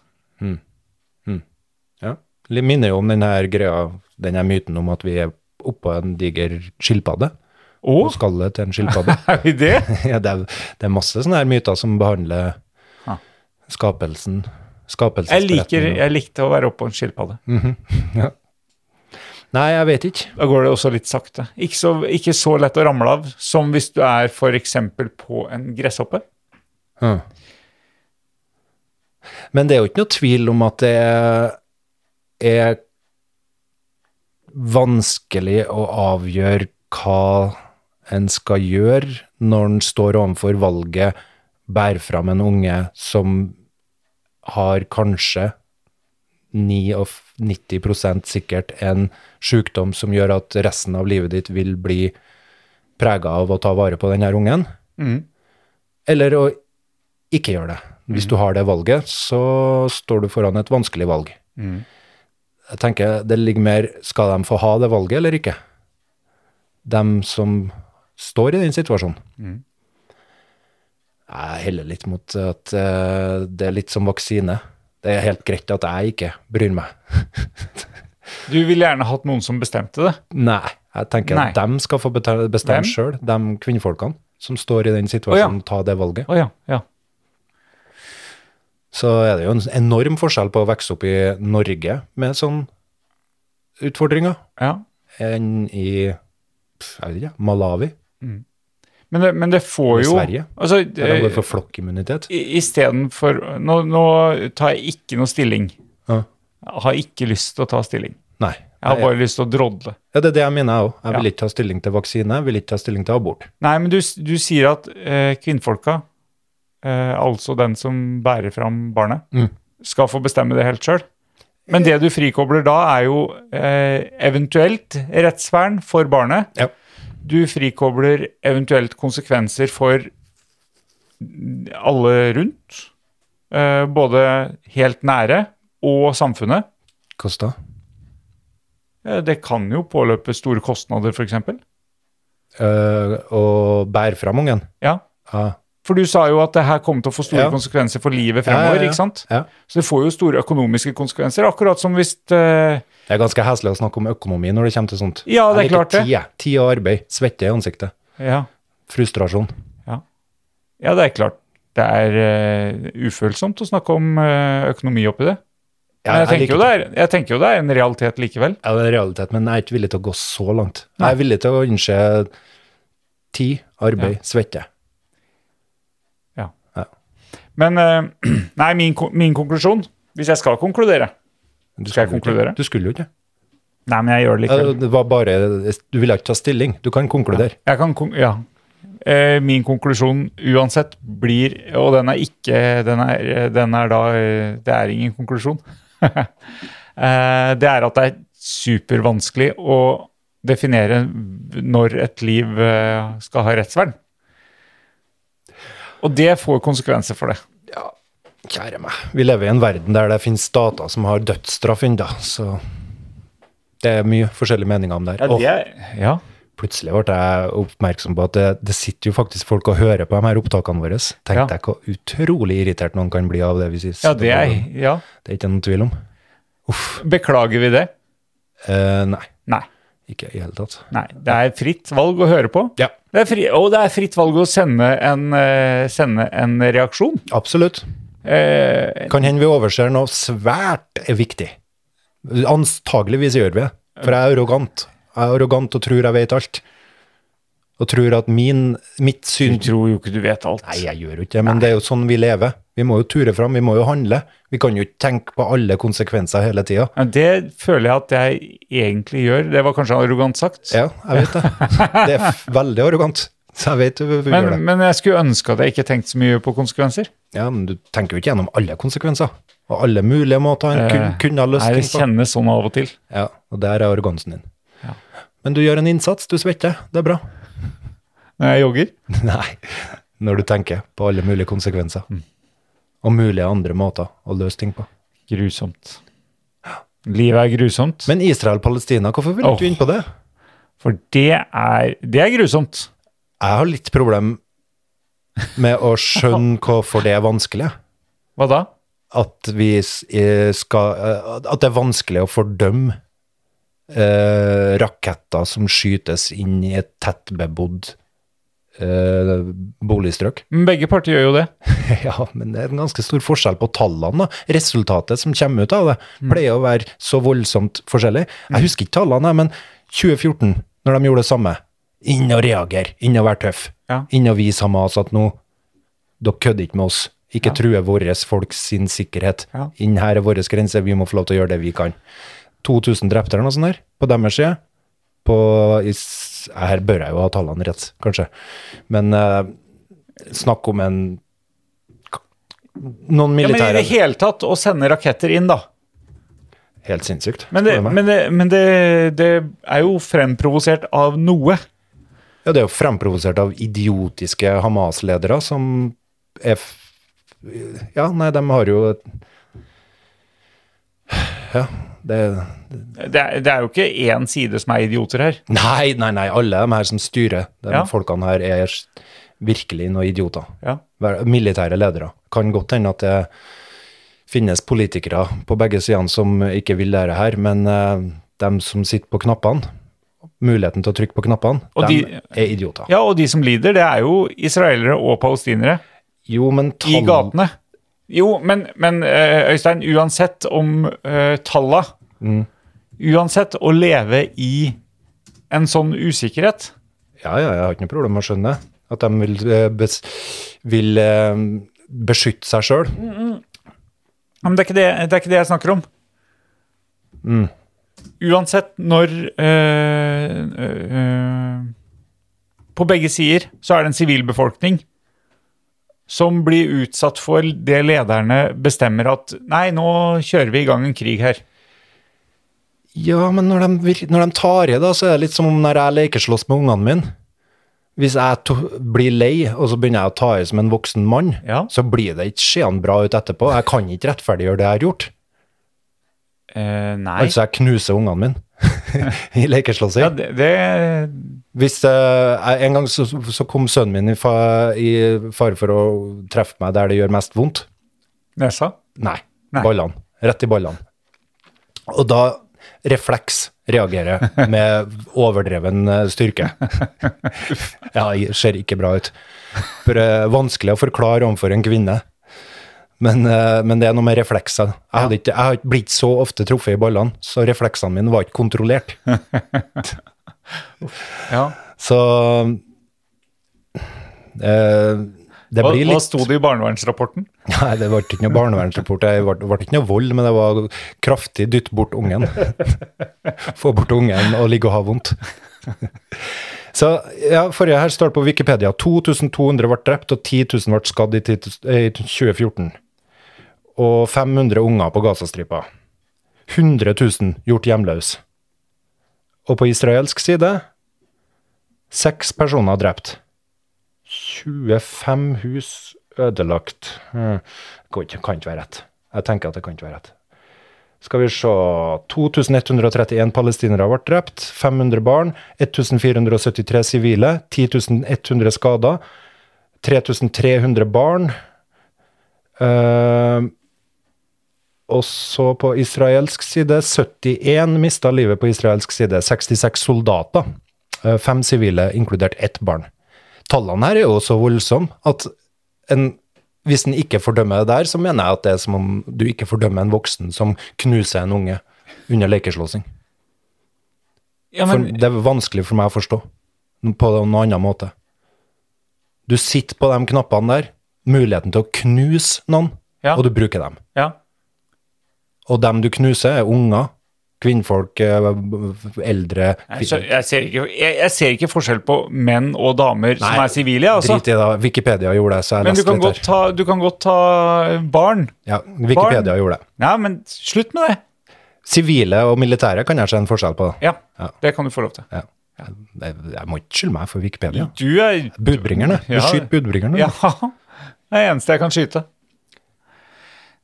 Ja. Det minner jo om den her greia, den her myten om at vi er oppå en diger skilpadde. Å, På skallet til en skilpadde. er vi det? ja, det, er, det er masse sånne her myter som behandler Ja. skapelsen. Jeg, liker, skapelsesberetningen. jeg likte å være oppå en skilpadde. Nei, jeg vet ikke. Da går det også litt sakte. Ikke så, ikke så lett å ramle av som hvis du er f.eks. på en gresshoppe. Hm. Men det er jo ikke noe tvil om at det er- er vanskelig å avgjøre hva en skal gjøre når en står overfor valget bærer fram en unge som har kanskje 99 sikkert en sykdom som gjør at resten av livet ditt vil bli prega av å ta vare på den her ungen. Eller å ikke gjør det. Hvis Mm. du har det valget, så står du foran et vanskelig valg. Mm. Jeg tenker det ligger mer skal de få ha det valget eller ikke? De som står i den situasjonen. Mm. Jeg heller litt mot at eh, det er litt som vaksine. Det er helt greit at jeg ikke bryr meg. Du ville gjerne hatt noen som bestemte det. Nei, jeg tenker at Nei. de skal få bete- Hvem? bestemme sjøl, de kvinnfolkene som står i den situasjonen, ta det valget. Å ja, ja. så er det jo en enorm forskjell på å vokse opp i Norge med sånn utfordringer Ja. enn i pff, jeg vet ikke, Malawi. Men, det, men det får I jo Sverige? Altså, Der de går eh, for flokkimmunitet. i- Istedenfor nå, nå tar jeg ikke noe stilling. Ja. Jeg har ikke lyst til å ta stilling. Nei. Jeg har Nei, bare lyst til å drodle. Ja, det er det jeg mener, jeg òg. Jeg vil Ja. ikke ta stilling til vaksine, jeg vil ikke ta stilling til abort. Nei, men du, s- du sier at eh, kvinnfolka, eh, altså den som bærer fram barnet, Mm. skal få bestemme det helt sjøl. Men det du frikobler da, er jo eh, eventuelt rettsvern for barnet. Ja. Du frikobler eventuelt konsekvenser for alle rundt. Eh, både helt nære og samfunnet. Hvordan da? Eh, det kan jo påløpe store kostnader, f.eks. Eh, Å bære fram ungen? Ja. Ja. For du sa jo at det her kommer til å få store Ja. konsekvenser for livet Ja, ja, fremover. ja. ikke sant? Ja. Så det får jo store økonomiske konsekvenser, akkurat som hvis eh, Det er ganske heslig å snakke om økonomi når det kommer til sånt. Ja, det er Jeg liker klart det. Tid, jeg. tid og arbeid. Svette i ansiktet. Ja, Frustrasjon. ja det er klart. Det er eh, ufølsomt å snakke om eh, økonomi oppi det. Men jeg, tenker liker jo det er, jeg tenker jo det er en realitet likevel. Ja, det er en realitet, men jeg er ikke villig til å gå så langt. Jeg er villig til å innse tid, arbeid, svette. Men eh, nei, min, ko- min konklusjon Hvis jeg skal konkludere Du Skal jeg skulle jo ikke- konkludere? Du skulle jo ikke. Nei, men jeg gjør det Ja, likevel. Det var bare, du ville ikke ta stilling. Du kan konkludere. Jeg kan, kon- ja. Eh, min konklusjon uansett blir Og den er ikke Den er, den er da eh, Det er ingen konklusjon. eh, det er at det er supervanskelig å definere når et liv eh, skal ha rettsvern. Og det får konsekvenser for det. Kjære meg. Vi lever i en verden der det finnes stater som har dødsstraff ennå, så det er mye forskjellige meninger om det her. Og ja. plutselig ble jeg oppmerksom på at det, det sitter jo faktisk folk og hører på de her opptakene våre. Tenk Ja. deg hvor utrolig irritert noen kan bli av det vi sier. ja, det er ja. Det er ikke noen tvil om. Beklager vi det? Eh, nei, Nei. ikke i det hele tatt. Nei, det er fritt valg å høre på. Ja. Det er fri, og det er fritt valg å sende en, eh, sende en reaksjon. Absolutt. Eh, Kan hende vi overser noe svært viktig. Antageligvis gjør vi det, for jeg er arrogant. Jeg er arrogant og tror jeg vet alt. Og tror at min, mitt du syn tror jo ikke du vet alt. Nei, jeg gjør jo ikke det, men det er jo sånn vi lever. Vi må jo ture fram, vi må jo handle. Vi kan jo ikke tenke på alle konsekvenser hele tida. Ja, Det føler jeg at jeg egentlig gjør. Det var kanskje arrogant sagt. Ja, jeg vet det. Det er f- veldig arrogant. Så jeg vet jo hvorfor vi gjør men, det. men jeg skulle ønske at jeg ikke tenkte så mye på konsekvenser. Ja, men du tenker jo ikke gjennom alle konsekvenser. Og alle mulige måter en kun, Eh, kunne ha løst Nei, det ting på. kjennes sånn av og til. Ja, og der er arrogansen din. Ja. Men du gjør en innsats, du svetter. Det er bra. Når jeg jogger. Nei, når du tenker på alle mulige konsekvenser. Mm. Og mulige andre måter å løse ting på. Grusomt. Livet er grusomt. Men Israel-Palestina, hvorfor vil Åh. du inn på det? For det er, det er grusomt. Jeg har litt problem med å skjønne hvorfor det er vanskelig. Hva da? At, vi s- eh, skal, eh, at det er vanskelig å fordømme eh, raketter som skytes inn i et tettbebodd eh, boligstrøk. Men begge partier gjør jo det. Ja, men det er en ganske stor forskjell på tallene. da. Resultatet som kommer ut av det, pleier å være så voldsomt forskjellig. Jeg husker ikke tallene, men 2014, når de gjorde det samme. Inn og reagere, inn og være tøff. Ja. Inn og vise Hamas at nå, dere kødder ikke med oss. Ikke true våre folk sin sikkerhet. Ja. Inn her er våre grenser, vi må få lov til å gjøre det vi kan. 2000 drepte eller noe sånt der, på deres side. På, is, her bør jeg jo ha tallene rett, kanskje. Men eh, snakk om en noen Ja, men i militære det hele tatt å sende raketter inn, da. Helt sinnssykt. Men det, spør du meg. men det, men det, det er jo fremprovosert av noe. ja, det er jo fremprovosert av idiotiske Hamas-ledere som er f Ja, nei, de har jo et Ja, det Det er, det er jo ikke én side som er idioter her. Nei, nei, nei, alle de her som styrer, de Ja. folkene her, er s- virkelig noen idioter. Ja. Vær- Militære ledere. Kan godt hende at det finnes politikere på begge sidene som ikke vil lære her, men eh, de som sitter på knappene, muligheten til å trykke på knappene, Og de, de- er idioter. ja, og de som lider, det er jo israelere og palestinere Jo, men tall... i gatene. Jo, men, men eh, Øystein, uansett om uh, talla eh, Uansett, å leve i en sånn usikkerhet Ja, ja, jeg har ikke noe problem med å skjønne det. At de vil, eh, bes, vil eh, beskytte seg sjøl. Men det er ikke det, det, er ikke det jeg snakker om. Mm. Uansett når øh, øh, øh, På begge sider så er det en sivilbefolkning som blir utsatt for det lederne bestemmer at Nei, nå kjører vi i gang en krig her. Ja, men når de, vir- når de tar i, da, så er det litt som om når jeg lekeslåss med ungene mine. Hvis jeg to, blir lei, og så begynner jeg å ta i som en voksen mann, Ja. så blir det ikke seende bra ut etterpå. Jeg kan ikke rettferdiggjøre det jeg har gjort. Eh, nei. Altså, jeg knuser ungene mine i lekeslåssing. ja, det, det Hvis eh, jeg- En gang så, så kom sønnen min i, fa, i fare for å treffe meg der det gjør mest vondt. Nesa? Nei. Nei. Ballene. Rett i ballene. Og da refleks reagerer jeg med overdreven eh, styrke. Ja, det ser ikke bra ut. For, eh, vanskelig å forklare overfor en kvinne. Men, eh, men det er noe med reflekser. Jeg, hadde ikke, jeg har ikke blitt så ofte truffet i ballene, så refleksene mine var ikke kontrollert. Ja. Så eh, det Hva, blir hva litt sto det i barnevernsrapporten? Nei, det ble ikke noe barnevernsrapport. Det ble, ble ikke noe vold, men det var kraftig dytt bort ungen. Få bort ungen og ligge og ha vondt. Så ja, Forrige her står det på Wikipedia 2200 ble drept og 10 000 ble skadd i 10 000 eh, i 2014. Og 500 unger på Gazastripa. 100 000 gjort hjemløse. Og på israelsk side seks personer drept. 25 hus ødelagt. Hmm. Det kan ikke- kan ikke være rett. Jeg tenker at det kan ikke være rett. Skal vi se 2131 palestinere ble drept, 500 barn, 1473 sivile, 10100 skader, 3300 barn. Eh, og så på israelsk side 71 mista livet på israelsk side. 66 soldater. eh, Fem sivile, inkludert ett barn tallene her er jo så voldsomme at en, hvis en ikke fordømmer det der, så mener jeg at det er som om du ikke fordømmer en voksen som knuser en unge under lekeslåssing. Ja, For men, det er vanskelig for meg å forstå på noen annen måte. Du sitter på de knappene der, muligheten til å knuse noen, Ja. og du bruker dem. ja. Og dem du knuser, er unger, kvinnfolk, eh, eldre Jeg, skjø- jeg, ser ikke, jeg, jeg ser ikke forskjell på menn og damer som Nei, er sivile. jeg, Altså. Drit i det, da. Wikipedia gjorde det, så jeg Men du leste kan, litt godt her. ta, du kan godt ta eh, barn. Ja, Wikipedia gjorde det. Nei, men slutt med det. Sivile og militære kan jeg se en forskjell på. Ja, Ja. det kan du få lov til. Ja. Jeg, jeg må ikke skylde meg for Wikipedia. Du er Budbringerne. Du Ja. skyter budbringerne. Ja, det er det eneste jeg kan skyte.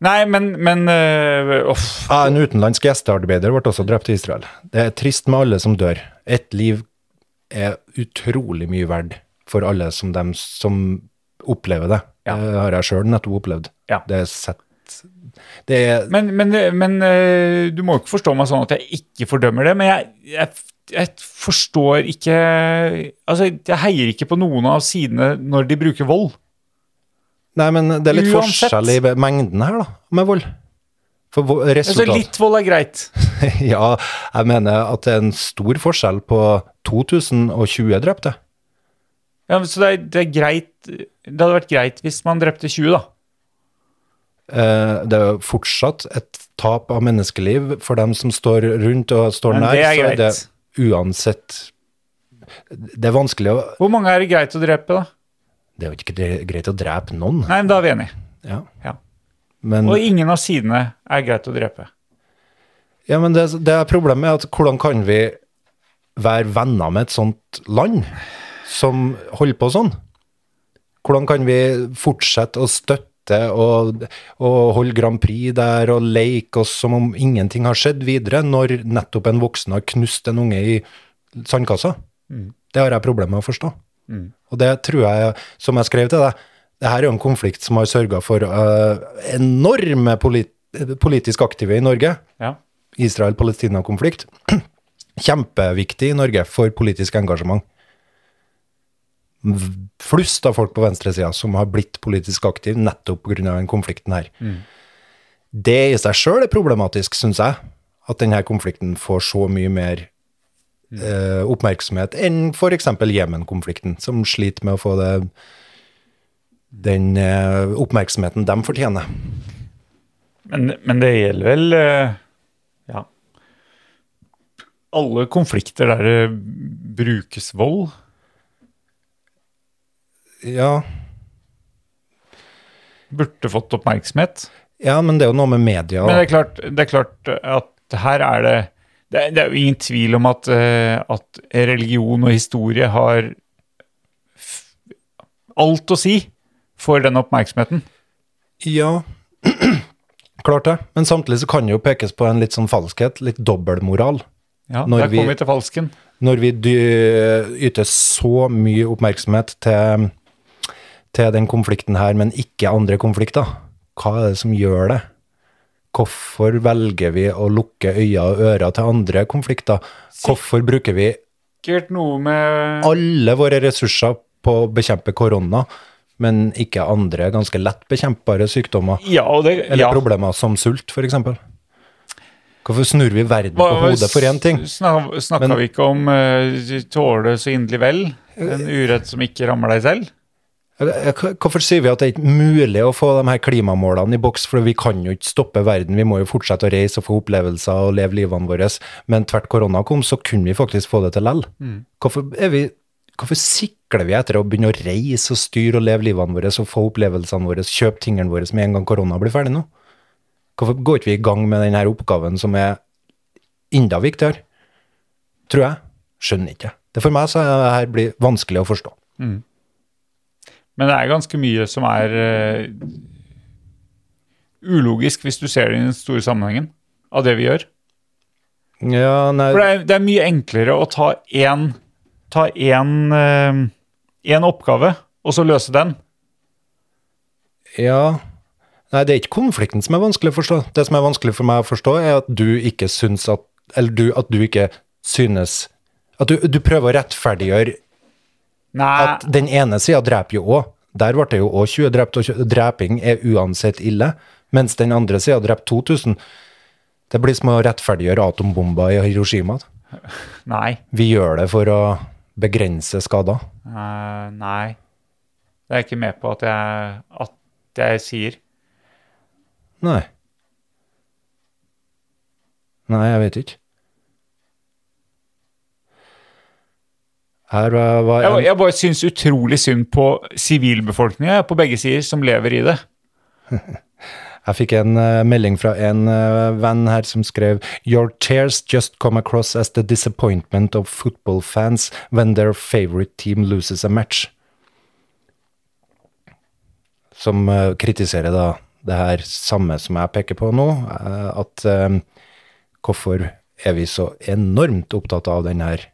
Nei, men, men øh, uff. Ja, en utenlandsk gjestearbeider ble også drept i Israel. Det er trist med alle som dør. Et liv er utrolig mye verd for alle som dem som opplever det. Ja. Det har jeg sjøl nettopp opplevd. Ja. Det er sett Det er Men, men, men øh, du må ikke forstå meg sånn at jeg ikke fordømmer det, men jeg, jeg, jeg forstår ikke Altså, jeg heier ikke på noen av sidene når de bruker vold. Nei, men det er litt Uansett. forskjell i mengden her, da, med vold. For vo- Altså, resultat litt vold er greit. Ja, jeg mener at det er en stor forskjell på 2020 drepte. Ja, men så det er, det er greit Det hadde vært greit hvis man drepte 20, da. Eh, det er jo fortsatt et tap av menneskeliv for dem som står rundt og står Men nær. det er greit. Så er det uansett Det er vanskelig å Hvor mange er det greit å drepe, da? Det er jo ikke dre- greit å drepe noen, Nei, men da er vi enige. ja. Ja. men, Og ingen av sidene er greit å drepe. ja, men det, det er problemet er at hvordan kan vi være venner med et sånt land som holder på sånn? Hvordan kan vi fortsette å støtte og, og holde Grand Prix der og leke oss som om ingenting har skjedd videre, når nettopp en voksen har knust en unge i sandkassa? Det har jeg problemer med å forstå. Og det tror jeg, som jeg skrev til deg, det her er jo en konflikt som har sørga for øh, enorme polit politisk aktive i Norge. Ja. Israel-Palestina-konflikt. Kjempeviktig i Norge for politisk engasjement. V- Flust av folk på venstresida som har blitt politisk aktive nettopp pga. den konflikten her. Det i seg sjøl er problematisk, syns jeg. at denne konflikten får så mye mer eh, oppmerksomhet enn f.eks. Jemen-konflikten, som sliter med å få det, den eh, oppmerksomheten de fortjener. Men, men det gjelder vel eh, ja. alle konflikter der det brukes vold. Ja, Burde fått oppmerksomhet. ja, men det er jo noe med media. Men det er, da. klart, det er klart at her er det Det er, det er jo ingen tvil om at, eh, at religion og historie har f- alt å si for den oppmerksomheten. Ja, klart det. Men samtidig så kan det jo pekes på en litt sånn falskhet, litt dobbeltmoral. Ja, Når Der vi- kom vi til falsken. når vi dy- yter så mye oppmerksomhet til, til den konflikten her, men ikke andre konflikter, hva er det som gjør det? Hvorfor velger vi å lukke øyne og ører til andre konflikter? Hvorfor bruker vi Sikkert noe med alle våre ressurser på å bekjempe korona, men ikke andre ganske lett bekjempbare sykdommer Ja, og det, eller ja. problemer som sult, for eksempel? Hvorfor snur vi verden på hodet for én ting? Snak, snakka Men- vi ikke om eh, tåle så inderlig vel? En Eh, urett som ikke rammer deg selv? Eller, eh, Hvorfor sier vi at det er ikke mulig å få de her klimamålene i boks, for vi kan jo ikke stoppe verden, vi må jo fortsette å reise og få opplevelser og leve livene våre, men tvert korona kom, så kunne vi faktisk få det til lell. Hvorfor, er vi- hvorfor sikler vi etter å begynne å reise og styre og leve livene våre og få opplevelsene våre, kjøpe tingene våre med en gang korona blir ferdig nå? Hvorfor går ikke vi i gang med denne oppgaven som er enda viktigere? Tror jeg. Skjønner ikke. Det for meg så er det her blir vanskelig å forstå. Men det er ganske mye som er eh, ulogisk, hvis du ser det i den store sammenhengen, av det vi gjør. Ja, nei... For det er, det er mye enklere å ta én ta én, eh, én oppgave, og så løse den. Ja. Nei, det er ikke konflikten som er vanskelig å forstå. Det som er vanskelig for meg å forstå, er at du ikke syns at Eller du, at du ikke synes At du, du prøver å rettferdiggjøre Nei, at den ene sida dreper jo òg. Der ble det jo òg 20 drept, og 20 dreping er uansett ille. Mens den andre sida drepte 2000. Det blir som å rettferdiggjøre atombomba i Hiroshima. nei, Vi gjør det for å begrense skader. eh, nei. Det er jeg ikke med på at jeg, at jeg sier. Nei. Nei, jeg vet ikke. Her var, var Jeg, jeg bare syns utrolig synd på sivilbefolkninga på begge sider som lever i det. Jeg fikk en eh, melding fra en eh, venn her som skrev Your tears just come across as the disappointment of football fans when their favorite team loses a match. Som eh, kritiserer da det her samme som jeg peker på nå, eh, at eh, hvorfor er vi så enormt opptatt av den her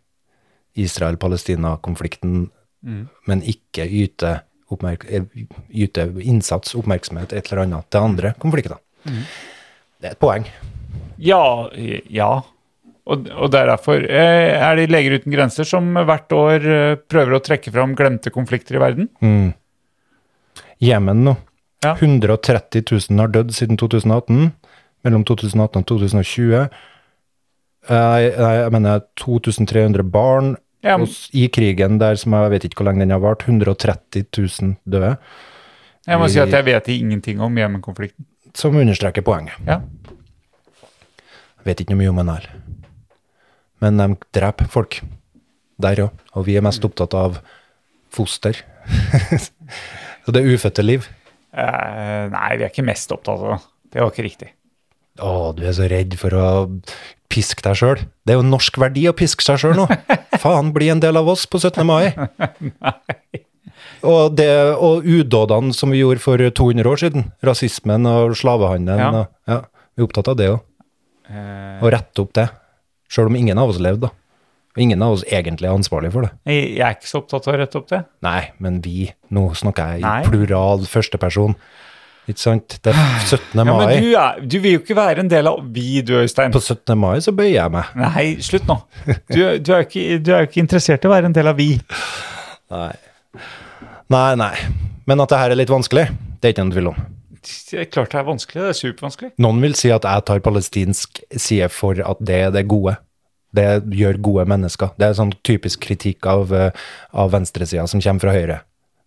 Israel-Palestina-konflikten, Mm. men ikke yte, oppmerk eh, yte innsats, oppmerksomhet, et eller annet til andre konflikter. Mm. Det er et poeng. Ja. ja. Og, og det er derfor eh, er det Leger uten grenser som hvert år eh, prøver å trekke fram glemte konflikter i verden. Jemen nå. Ja. 130 000 har dødd siden 2018. Mellom 2018 og 2020. Nei, nei, jeg mener 2300 barn Ja, men- og s- i krigen der som jeg vet ikke hvor lenge den har vart. 130 000 døde. Jeg må si at jeg vet ingenting om Jemen-konflikten. Som understreker poenget. Ja. Vet ikke noe mye om den her. Men de dreper folk der òg. Og vi er mest opptatt av foster. Så det er ufødte liv. Eh, nei, vi er ikke mest opptatt av det. Det var ikke riktig. Å, du er så redd for å piske deg sjøl. Det er jo norsk verdi å piske seg sjøl nå. Faen, bli en del av oss på 17. mai. Og, det, og udådene som vi gjorde for 200 år siden. Rasismen og slavehandelen. Ja. Eh. Og, ja, vi er opptatt av det òg. Å rette opp det. Sjøl om ingen av oss levde, da. Og ingen av oss egentlig er ansvarlig for det. Jeg, jeg er ikke så opptatt av å rette opp det. Nei, men vi Nå snakker jeg i Nei. plural førsteperson. Ikke sant? Det er 17. Ja, mai. men du, er, du vil jo ikke være en del av vi, du Øystein. På 17. mai så bøyer jeg meg. Nei, slutt nå. Du, du, er jo ikke, du er jo ikke interessert i å være en del av vi. Nei. Nei, nei. Men at det her er litt vanskelig, det er ikke noen tvil om. det er klart det er vanskelig. Det er supervanskelig. Noen vil si at jeg tar palestinsk side for at det er det gode. Det gjør gode mennesker. Det er sånn typisk kritikk av, eh, av venstresida som kommer fra høyre.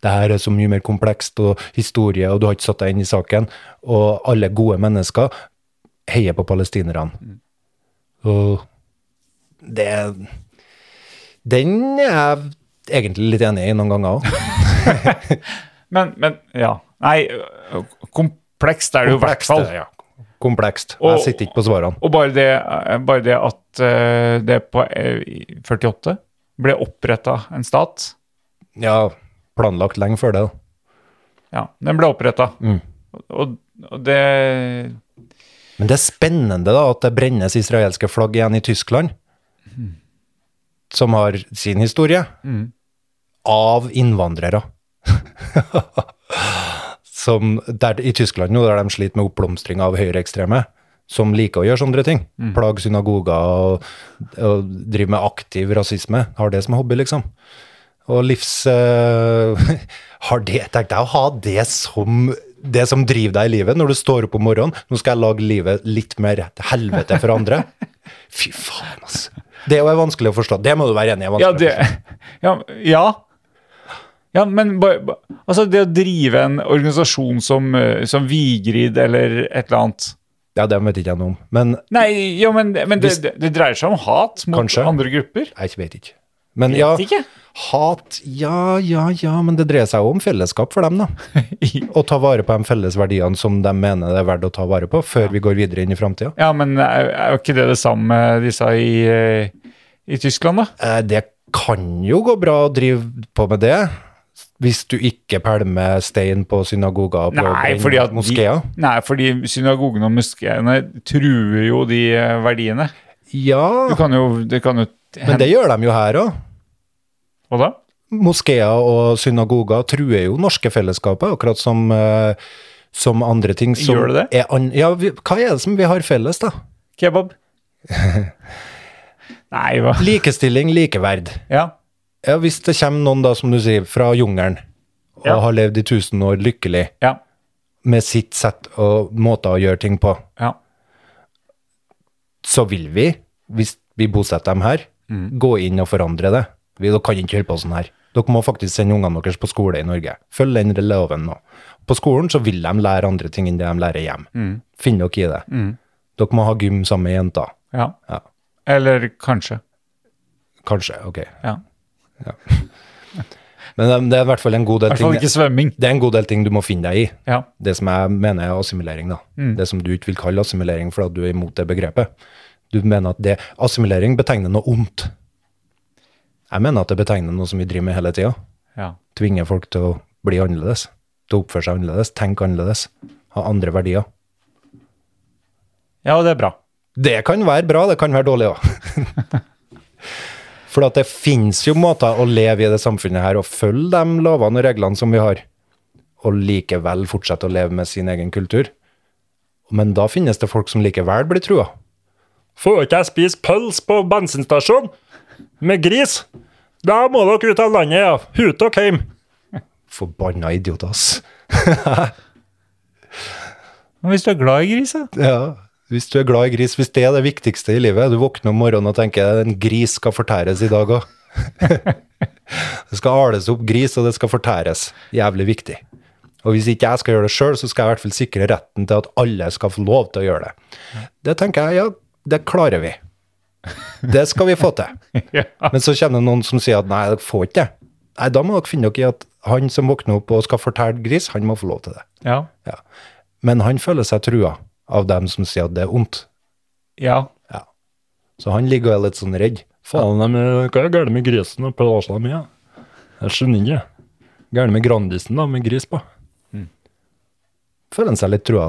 Det her er så mye mer komplekst og historie, og du har ikke satt deg inn i saken. Og alle gode mennesker heier på palestinerne. Og det Den er jeg egentlig litt enig i noen ganger òg. Men, men ja. Nei, ø- komplekst er det jo i hvert fall. Komplekst. Og- Jeg sitter ikke på svarene. Og bare det, bare det at eh, det på eh, i 48 ble oppretta en stat Ja, planlagt lenge før det. da. Ja, den ble oppretta. Og, og det Men det er spennende da at det brennes israelske flagg igjen i Tyskland, som har sin historie, av innvandrere. som der, I Tyskland nå, der de sliter med oppblomstring av høyreekstreme, som liker å gjøre sånne ting. Mm. Plage synagoger og, og drive med aktiv rasisme. Har det som hobby, liksom. Og livs... eh, har det, tenk deg å ha det som, det som driver deg i livet når du står opp om morgenen. Nå skal jeg lage livet litt mer til helvete for andre. Fy faen, altså. Det er jo vanskelig å forstå. Det må du være enig i. er Ja, vanskelig å det Ja. ja. Ja, men ba- ba- altså det å drive en organisasjon som, eh, som Vigrid eller et eller annet forstå. ja, det vet ikke jeg noe om. Men Nei, jo, men, men det, Hvis- det, det dreier seg om hat mot Kanskje. andre grupper. jeg vet ikke. Men ja, ikke. hat Ja, ja, ja, men det dreier seg jo om fellesskap for dem, da. Å ta vare på de felles verdiene som de mener det er verdt å ta vare på, før vi går videre inn i framtida. Ja, men er, er jo ikke det det samme med de sa i, eh, i Tyskland, da? Eh, Det kan jo gå bra å drive på med det, hvis du ikke pælmer stein på synagoger og Nei, på brenne fordi at moskeer. De, nei, fordi synagogene og moskeene truer jo de eh, verdiene. Du Ja, kan jo, det kan jo men det gjør de jo her òg. Hva da? Moskeer og synagoger truer jo norske fellesskapet, akkurat som, eh, som andre ting. Som Gjør det det? Er an ja, vi, hva er det som vi har felles, da? Kebab? nei, hva? Likestilling, likeverd. Ja. Ja, hvis det kommer noen, da, som du sier, fra jungelen og Ja. har levd i tusen år lykkelig Ja. med sitt sett og måter å gjøre ting på, ja. så vil vi, hvis vi bosetter dem her, Mm. gå inn og forandre det. Vi dere kan ikke holde på sånn her. Dere må faktisk sende ungene deres på skole i Norge. Følg den loven nå. På skolen så vil de lære andre ting enn det de lærer hjemme. Mm. Finn dere i det. Dere må ha gym sammen med jenter. Ja. Ja. Eller kanskje. Kanskje, ok. Ja. Men eh, det- det er i hvert fall en god I del hvert fall ting, ikke svømming. det er en god del ting du må finne deg i. Ja. Det som jeg mener er assimilering, da. Det som du ikke vil kalle assimilering fordi at du er imot det begrepet. Du mener at det, assimilering betegner noe ondt. Jeg mener at det betegner noe som vi driver med hele tida. ja. tvinge folk til å bli annerledes, til å oppføre seg annerledes, tenke annerledes, ha andre verdier. Ja, og det er bra. Det kan være bra, det kan være dårlig òg. For at det finnes jo måter å leve i det samfunnet her og følge de lovene og reglene som vi har, og likevel fortsette å leve med sin egen kultur. Men da finnes det folk som likevel blir trua. Får ikke jeg spise pøls på bensinstasjon med gris? Da må dere ut av landet, ja. Hut og heim. Forbanna idioter, ass. Men hvis du er glad i gris, da? Ja, hvis du er glad i gris, hvis det er det viktigste i livet, du våkner om morgenen og tenker en gris skal fortæres i dag òg. det skal ales opp gris, og det skal fortæres. Jævlig viktig. Og hvis ikke jeg skal gjøre det sjøl, så skal jeg i hvert fall sikre retten til at alle skal få lov til å gjøre det. Det tenker jeg, ja, det klarer vi. Det skal vi få til. Men så kommer det noen som sier at nei, dere får ikke det. Nei, da må dere finne dere i at han som våkner opp og skal fortelle gris, han må få lov til det. Ja. Ja. Men han føler seg trua av dem som sier at det er ondt. Ja. Så han ligger og er litt sånn redd. Faen, Faen, de- hva er galt med grisen og pølsa mi? ja? Jeg skjønner ikke. gærent med Grandisen da, med gris på. Føler han seg litt trua.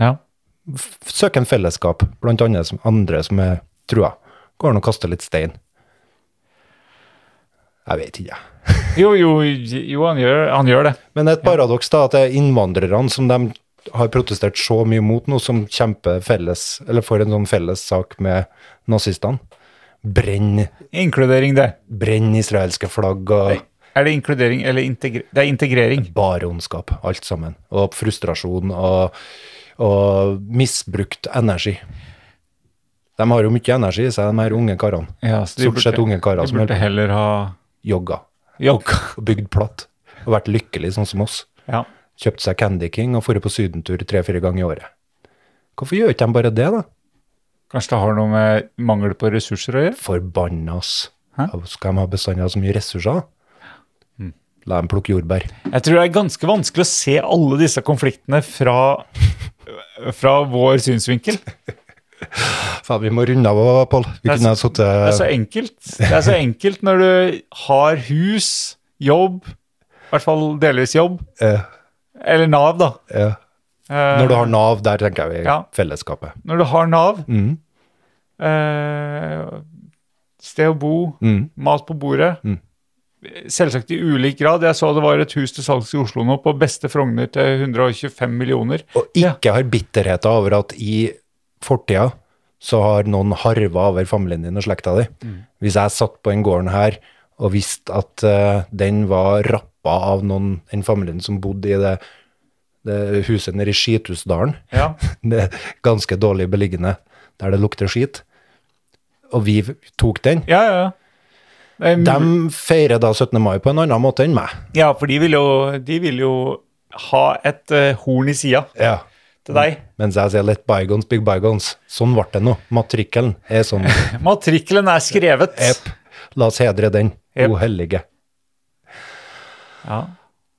ja. F- Søker en fellesskap, blant annet som andre som er trua. Går han og kaster litt stein. Jeg vet ikke, jeg. Jo, jo, jo han, gjør, han gjør det. Men det er et paradoks da, at det er innvandrerne som de har protestert så mye mot nå, som kjemper felles, eller får en sånn felles sak med nazistene. Brenn Inkludering, det. brenn israelske flagg og Er det inkludering eller integrering? Det er integrering. Bare ondskap, alt sammen. Og frustrasjon og, og misbrukt energi. De har jo mye energi i seg, de her unge karene. så de Stort sett burde- unge karer De som burde holder på. heller ha Jogga jogga. og bygd platt. Og vært lykkelig, sånn som oss. Ja. Kjøpt seg Candy King og dratt på sydentur tre-fire ganger i året. Hvorfor gjør ikke de bare det, da? Kanskje det har noe med mangel på ressurser å gjøre? Forbanna, ass. Hæ? Mm. Skal de ha bestandig ha så mye ressurser? La dem plukke jordbær. Jeg tror det er ganske vanskelig å se alle disse konfliktene fra, fra vår synsvinkel. Faen, vi må runde av, Pål. Vi Det er kunne ha så- Det er så sittet enkelt. Det er så enkelt når du har hus, jobb, i hvert fall delvis jobb, eh, eller Nav, da. eh, Eh, Når du har Nav, der tenker jeg vi Ja. fellesskapet. når du har Nav, Mm. eh, sted å bo, Mm. mat på bordet. Mm. Selvsagt i ulik grad. Jeg så det var et hus til salgs i Oslo nå, på beste Frogner til 125 millioner. Og ikke har bitterheten over at i fortida så har noen harva over familien din og slekta di. Hvis jeg satt på den gården her og visste at eh, den var rappa av noen, den familien som bodde i det, det huset nede i Skithusdalen, Ja. det er ganske dårlig beliggende, der det lukter skit, og vi tok den Ja, ja, ja. Det er mul- De feirer da 17. mai på en annen måte enn meg. ja, for de vil jo, de vil jo ha et eh, horn i sida Ja. til deg. Mens jeg sier 'let bygones be bygones'. Sånn ble det nå. Matrikkelen er sånn. Matrikkelen er skrevet. Epp. La oss hedre den, Epp. o hellige. Ja.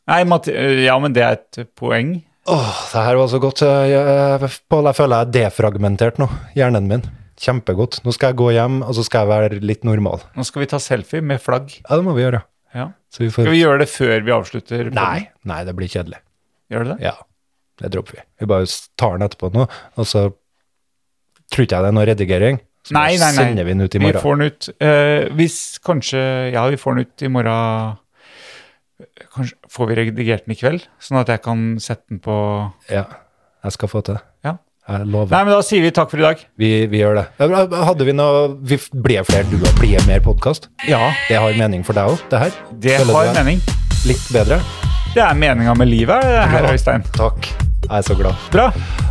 Nei, mat ja, men det er et poeng. Åh, det her var så godt. eh, Pål, jeg føler jeg er defragmentert nå. Hjernen min. Kjempegodt. Nå skal jeg gå hjem, og så skal jeg være litt normal. Nå skal vi ta selfie med flagg. Ja, det må vi gjøre. Ja. Så vi Skal får vi gjøre det før vi avslutter? podden? Nei. Nei, det blir kjedelig. Gjør du det? Ja, det dropper vi. Vi bare tar den etterpå nå, og så tror ikke jeg det er noe redigering. Så Nei, nei, nei. sender vi den ut i Vi morgen. får den ut eh, Hvis kanskje Ja, vi får den ut i morgen. Kanskje Får vi redigert den i kveld, sånn at jeg kan sette den på Ja, jeg skal få til det. Ja. Jeg lover. Nei, men da sier vi takk for i dag. Vi, vi gjør det. Hadde vi noe vi f- Ble flere duer, ble mer podkast? Ja, Det har mening for deg òg, det her? det Føler du har deg mening. Litt bedre? Det er meninga med livet, herr Øystein. Takk. Jeg er så glad. Bra.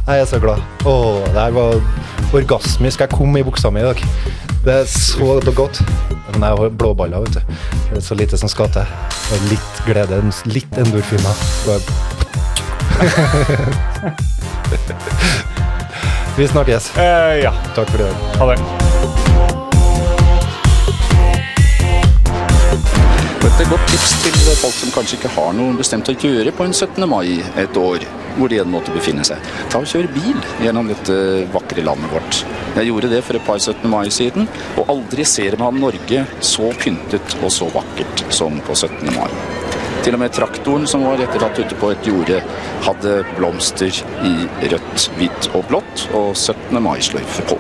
Jeg er så glad. Å, det her var orgasmisk. Jeg kom i buksa mi i dag. Det er så godt. Men jeg har blåballer, vet du. Det er så lite som skal til. Det er Litt glede, litt endorfiner. Bare- Vi snakkes. Eh, ja. Takk for i dag. Ha det. Et godt tips til folk som kanskje ikke har noe bestemt å gjøre på en 17. mai et år, hvor de enn måtte befinne seg. Ta og Kjør bil gjennom dette vakre landet vårt. Jeg gjorde det for et par 17. mai siden, og aldri ser man Norge så pyntet og så vakkert som på 17. mai. Til og med traktoren som var etterlatt ute på et jorde, hadde blomster i rødt, hvitt og blått, og 17. mai-sløyfe på.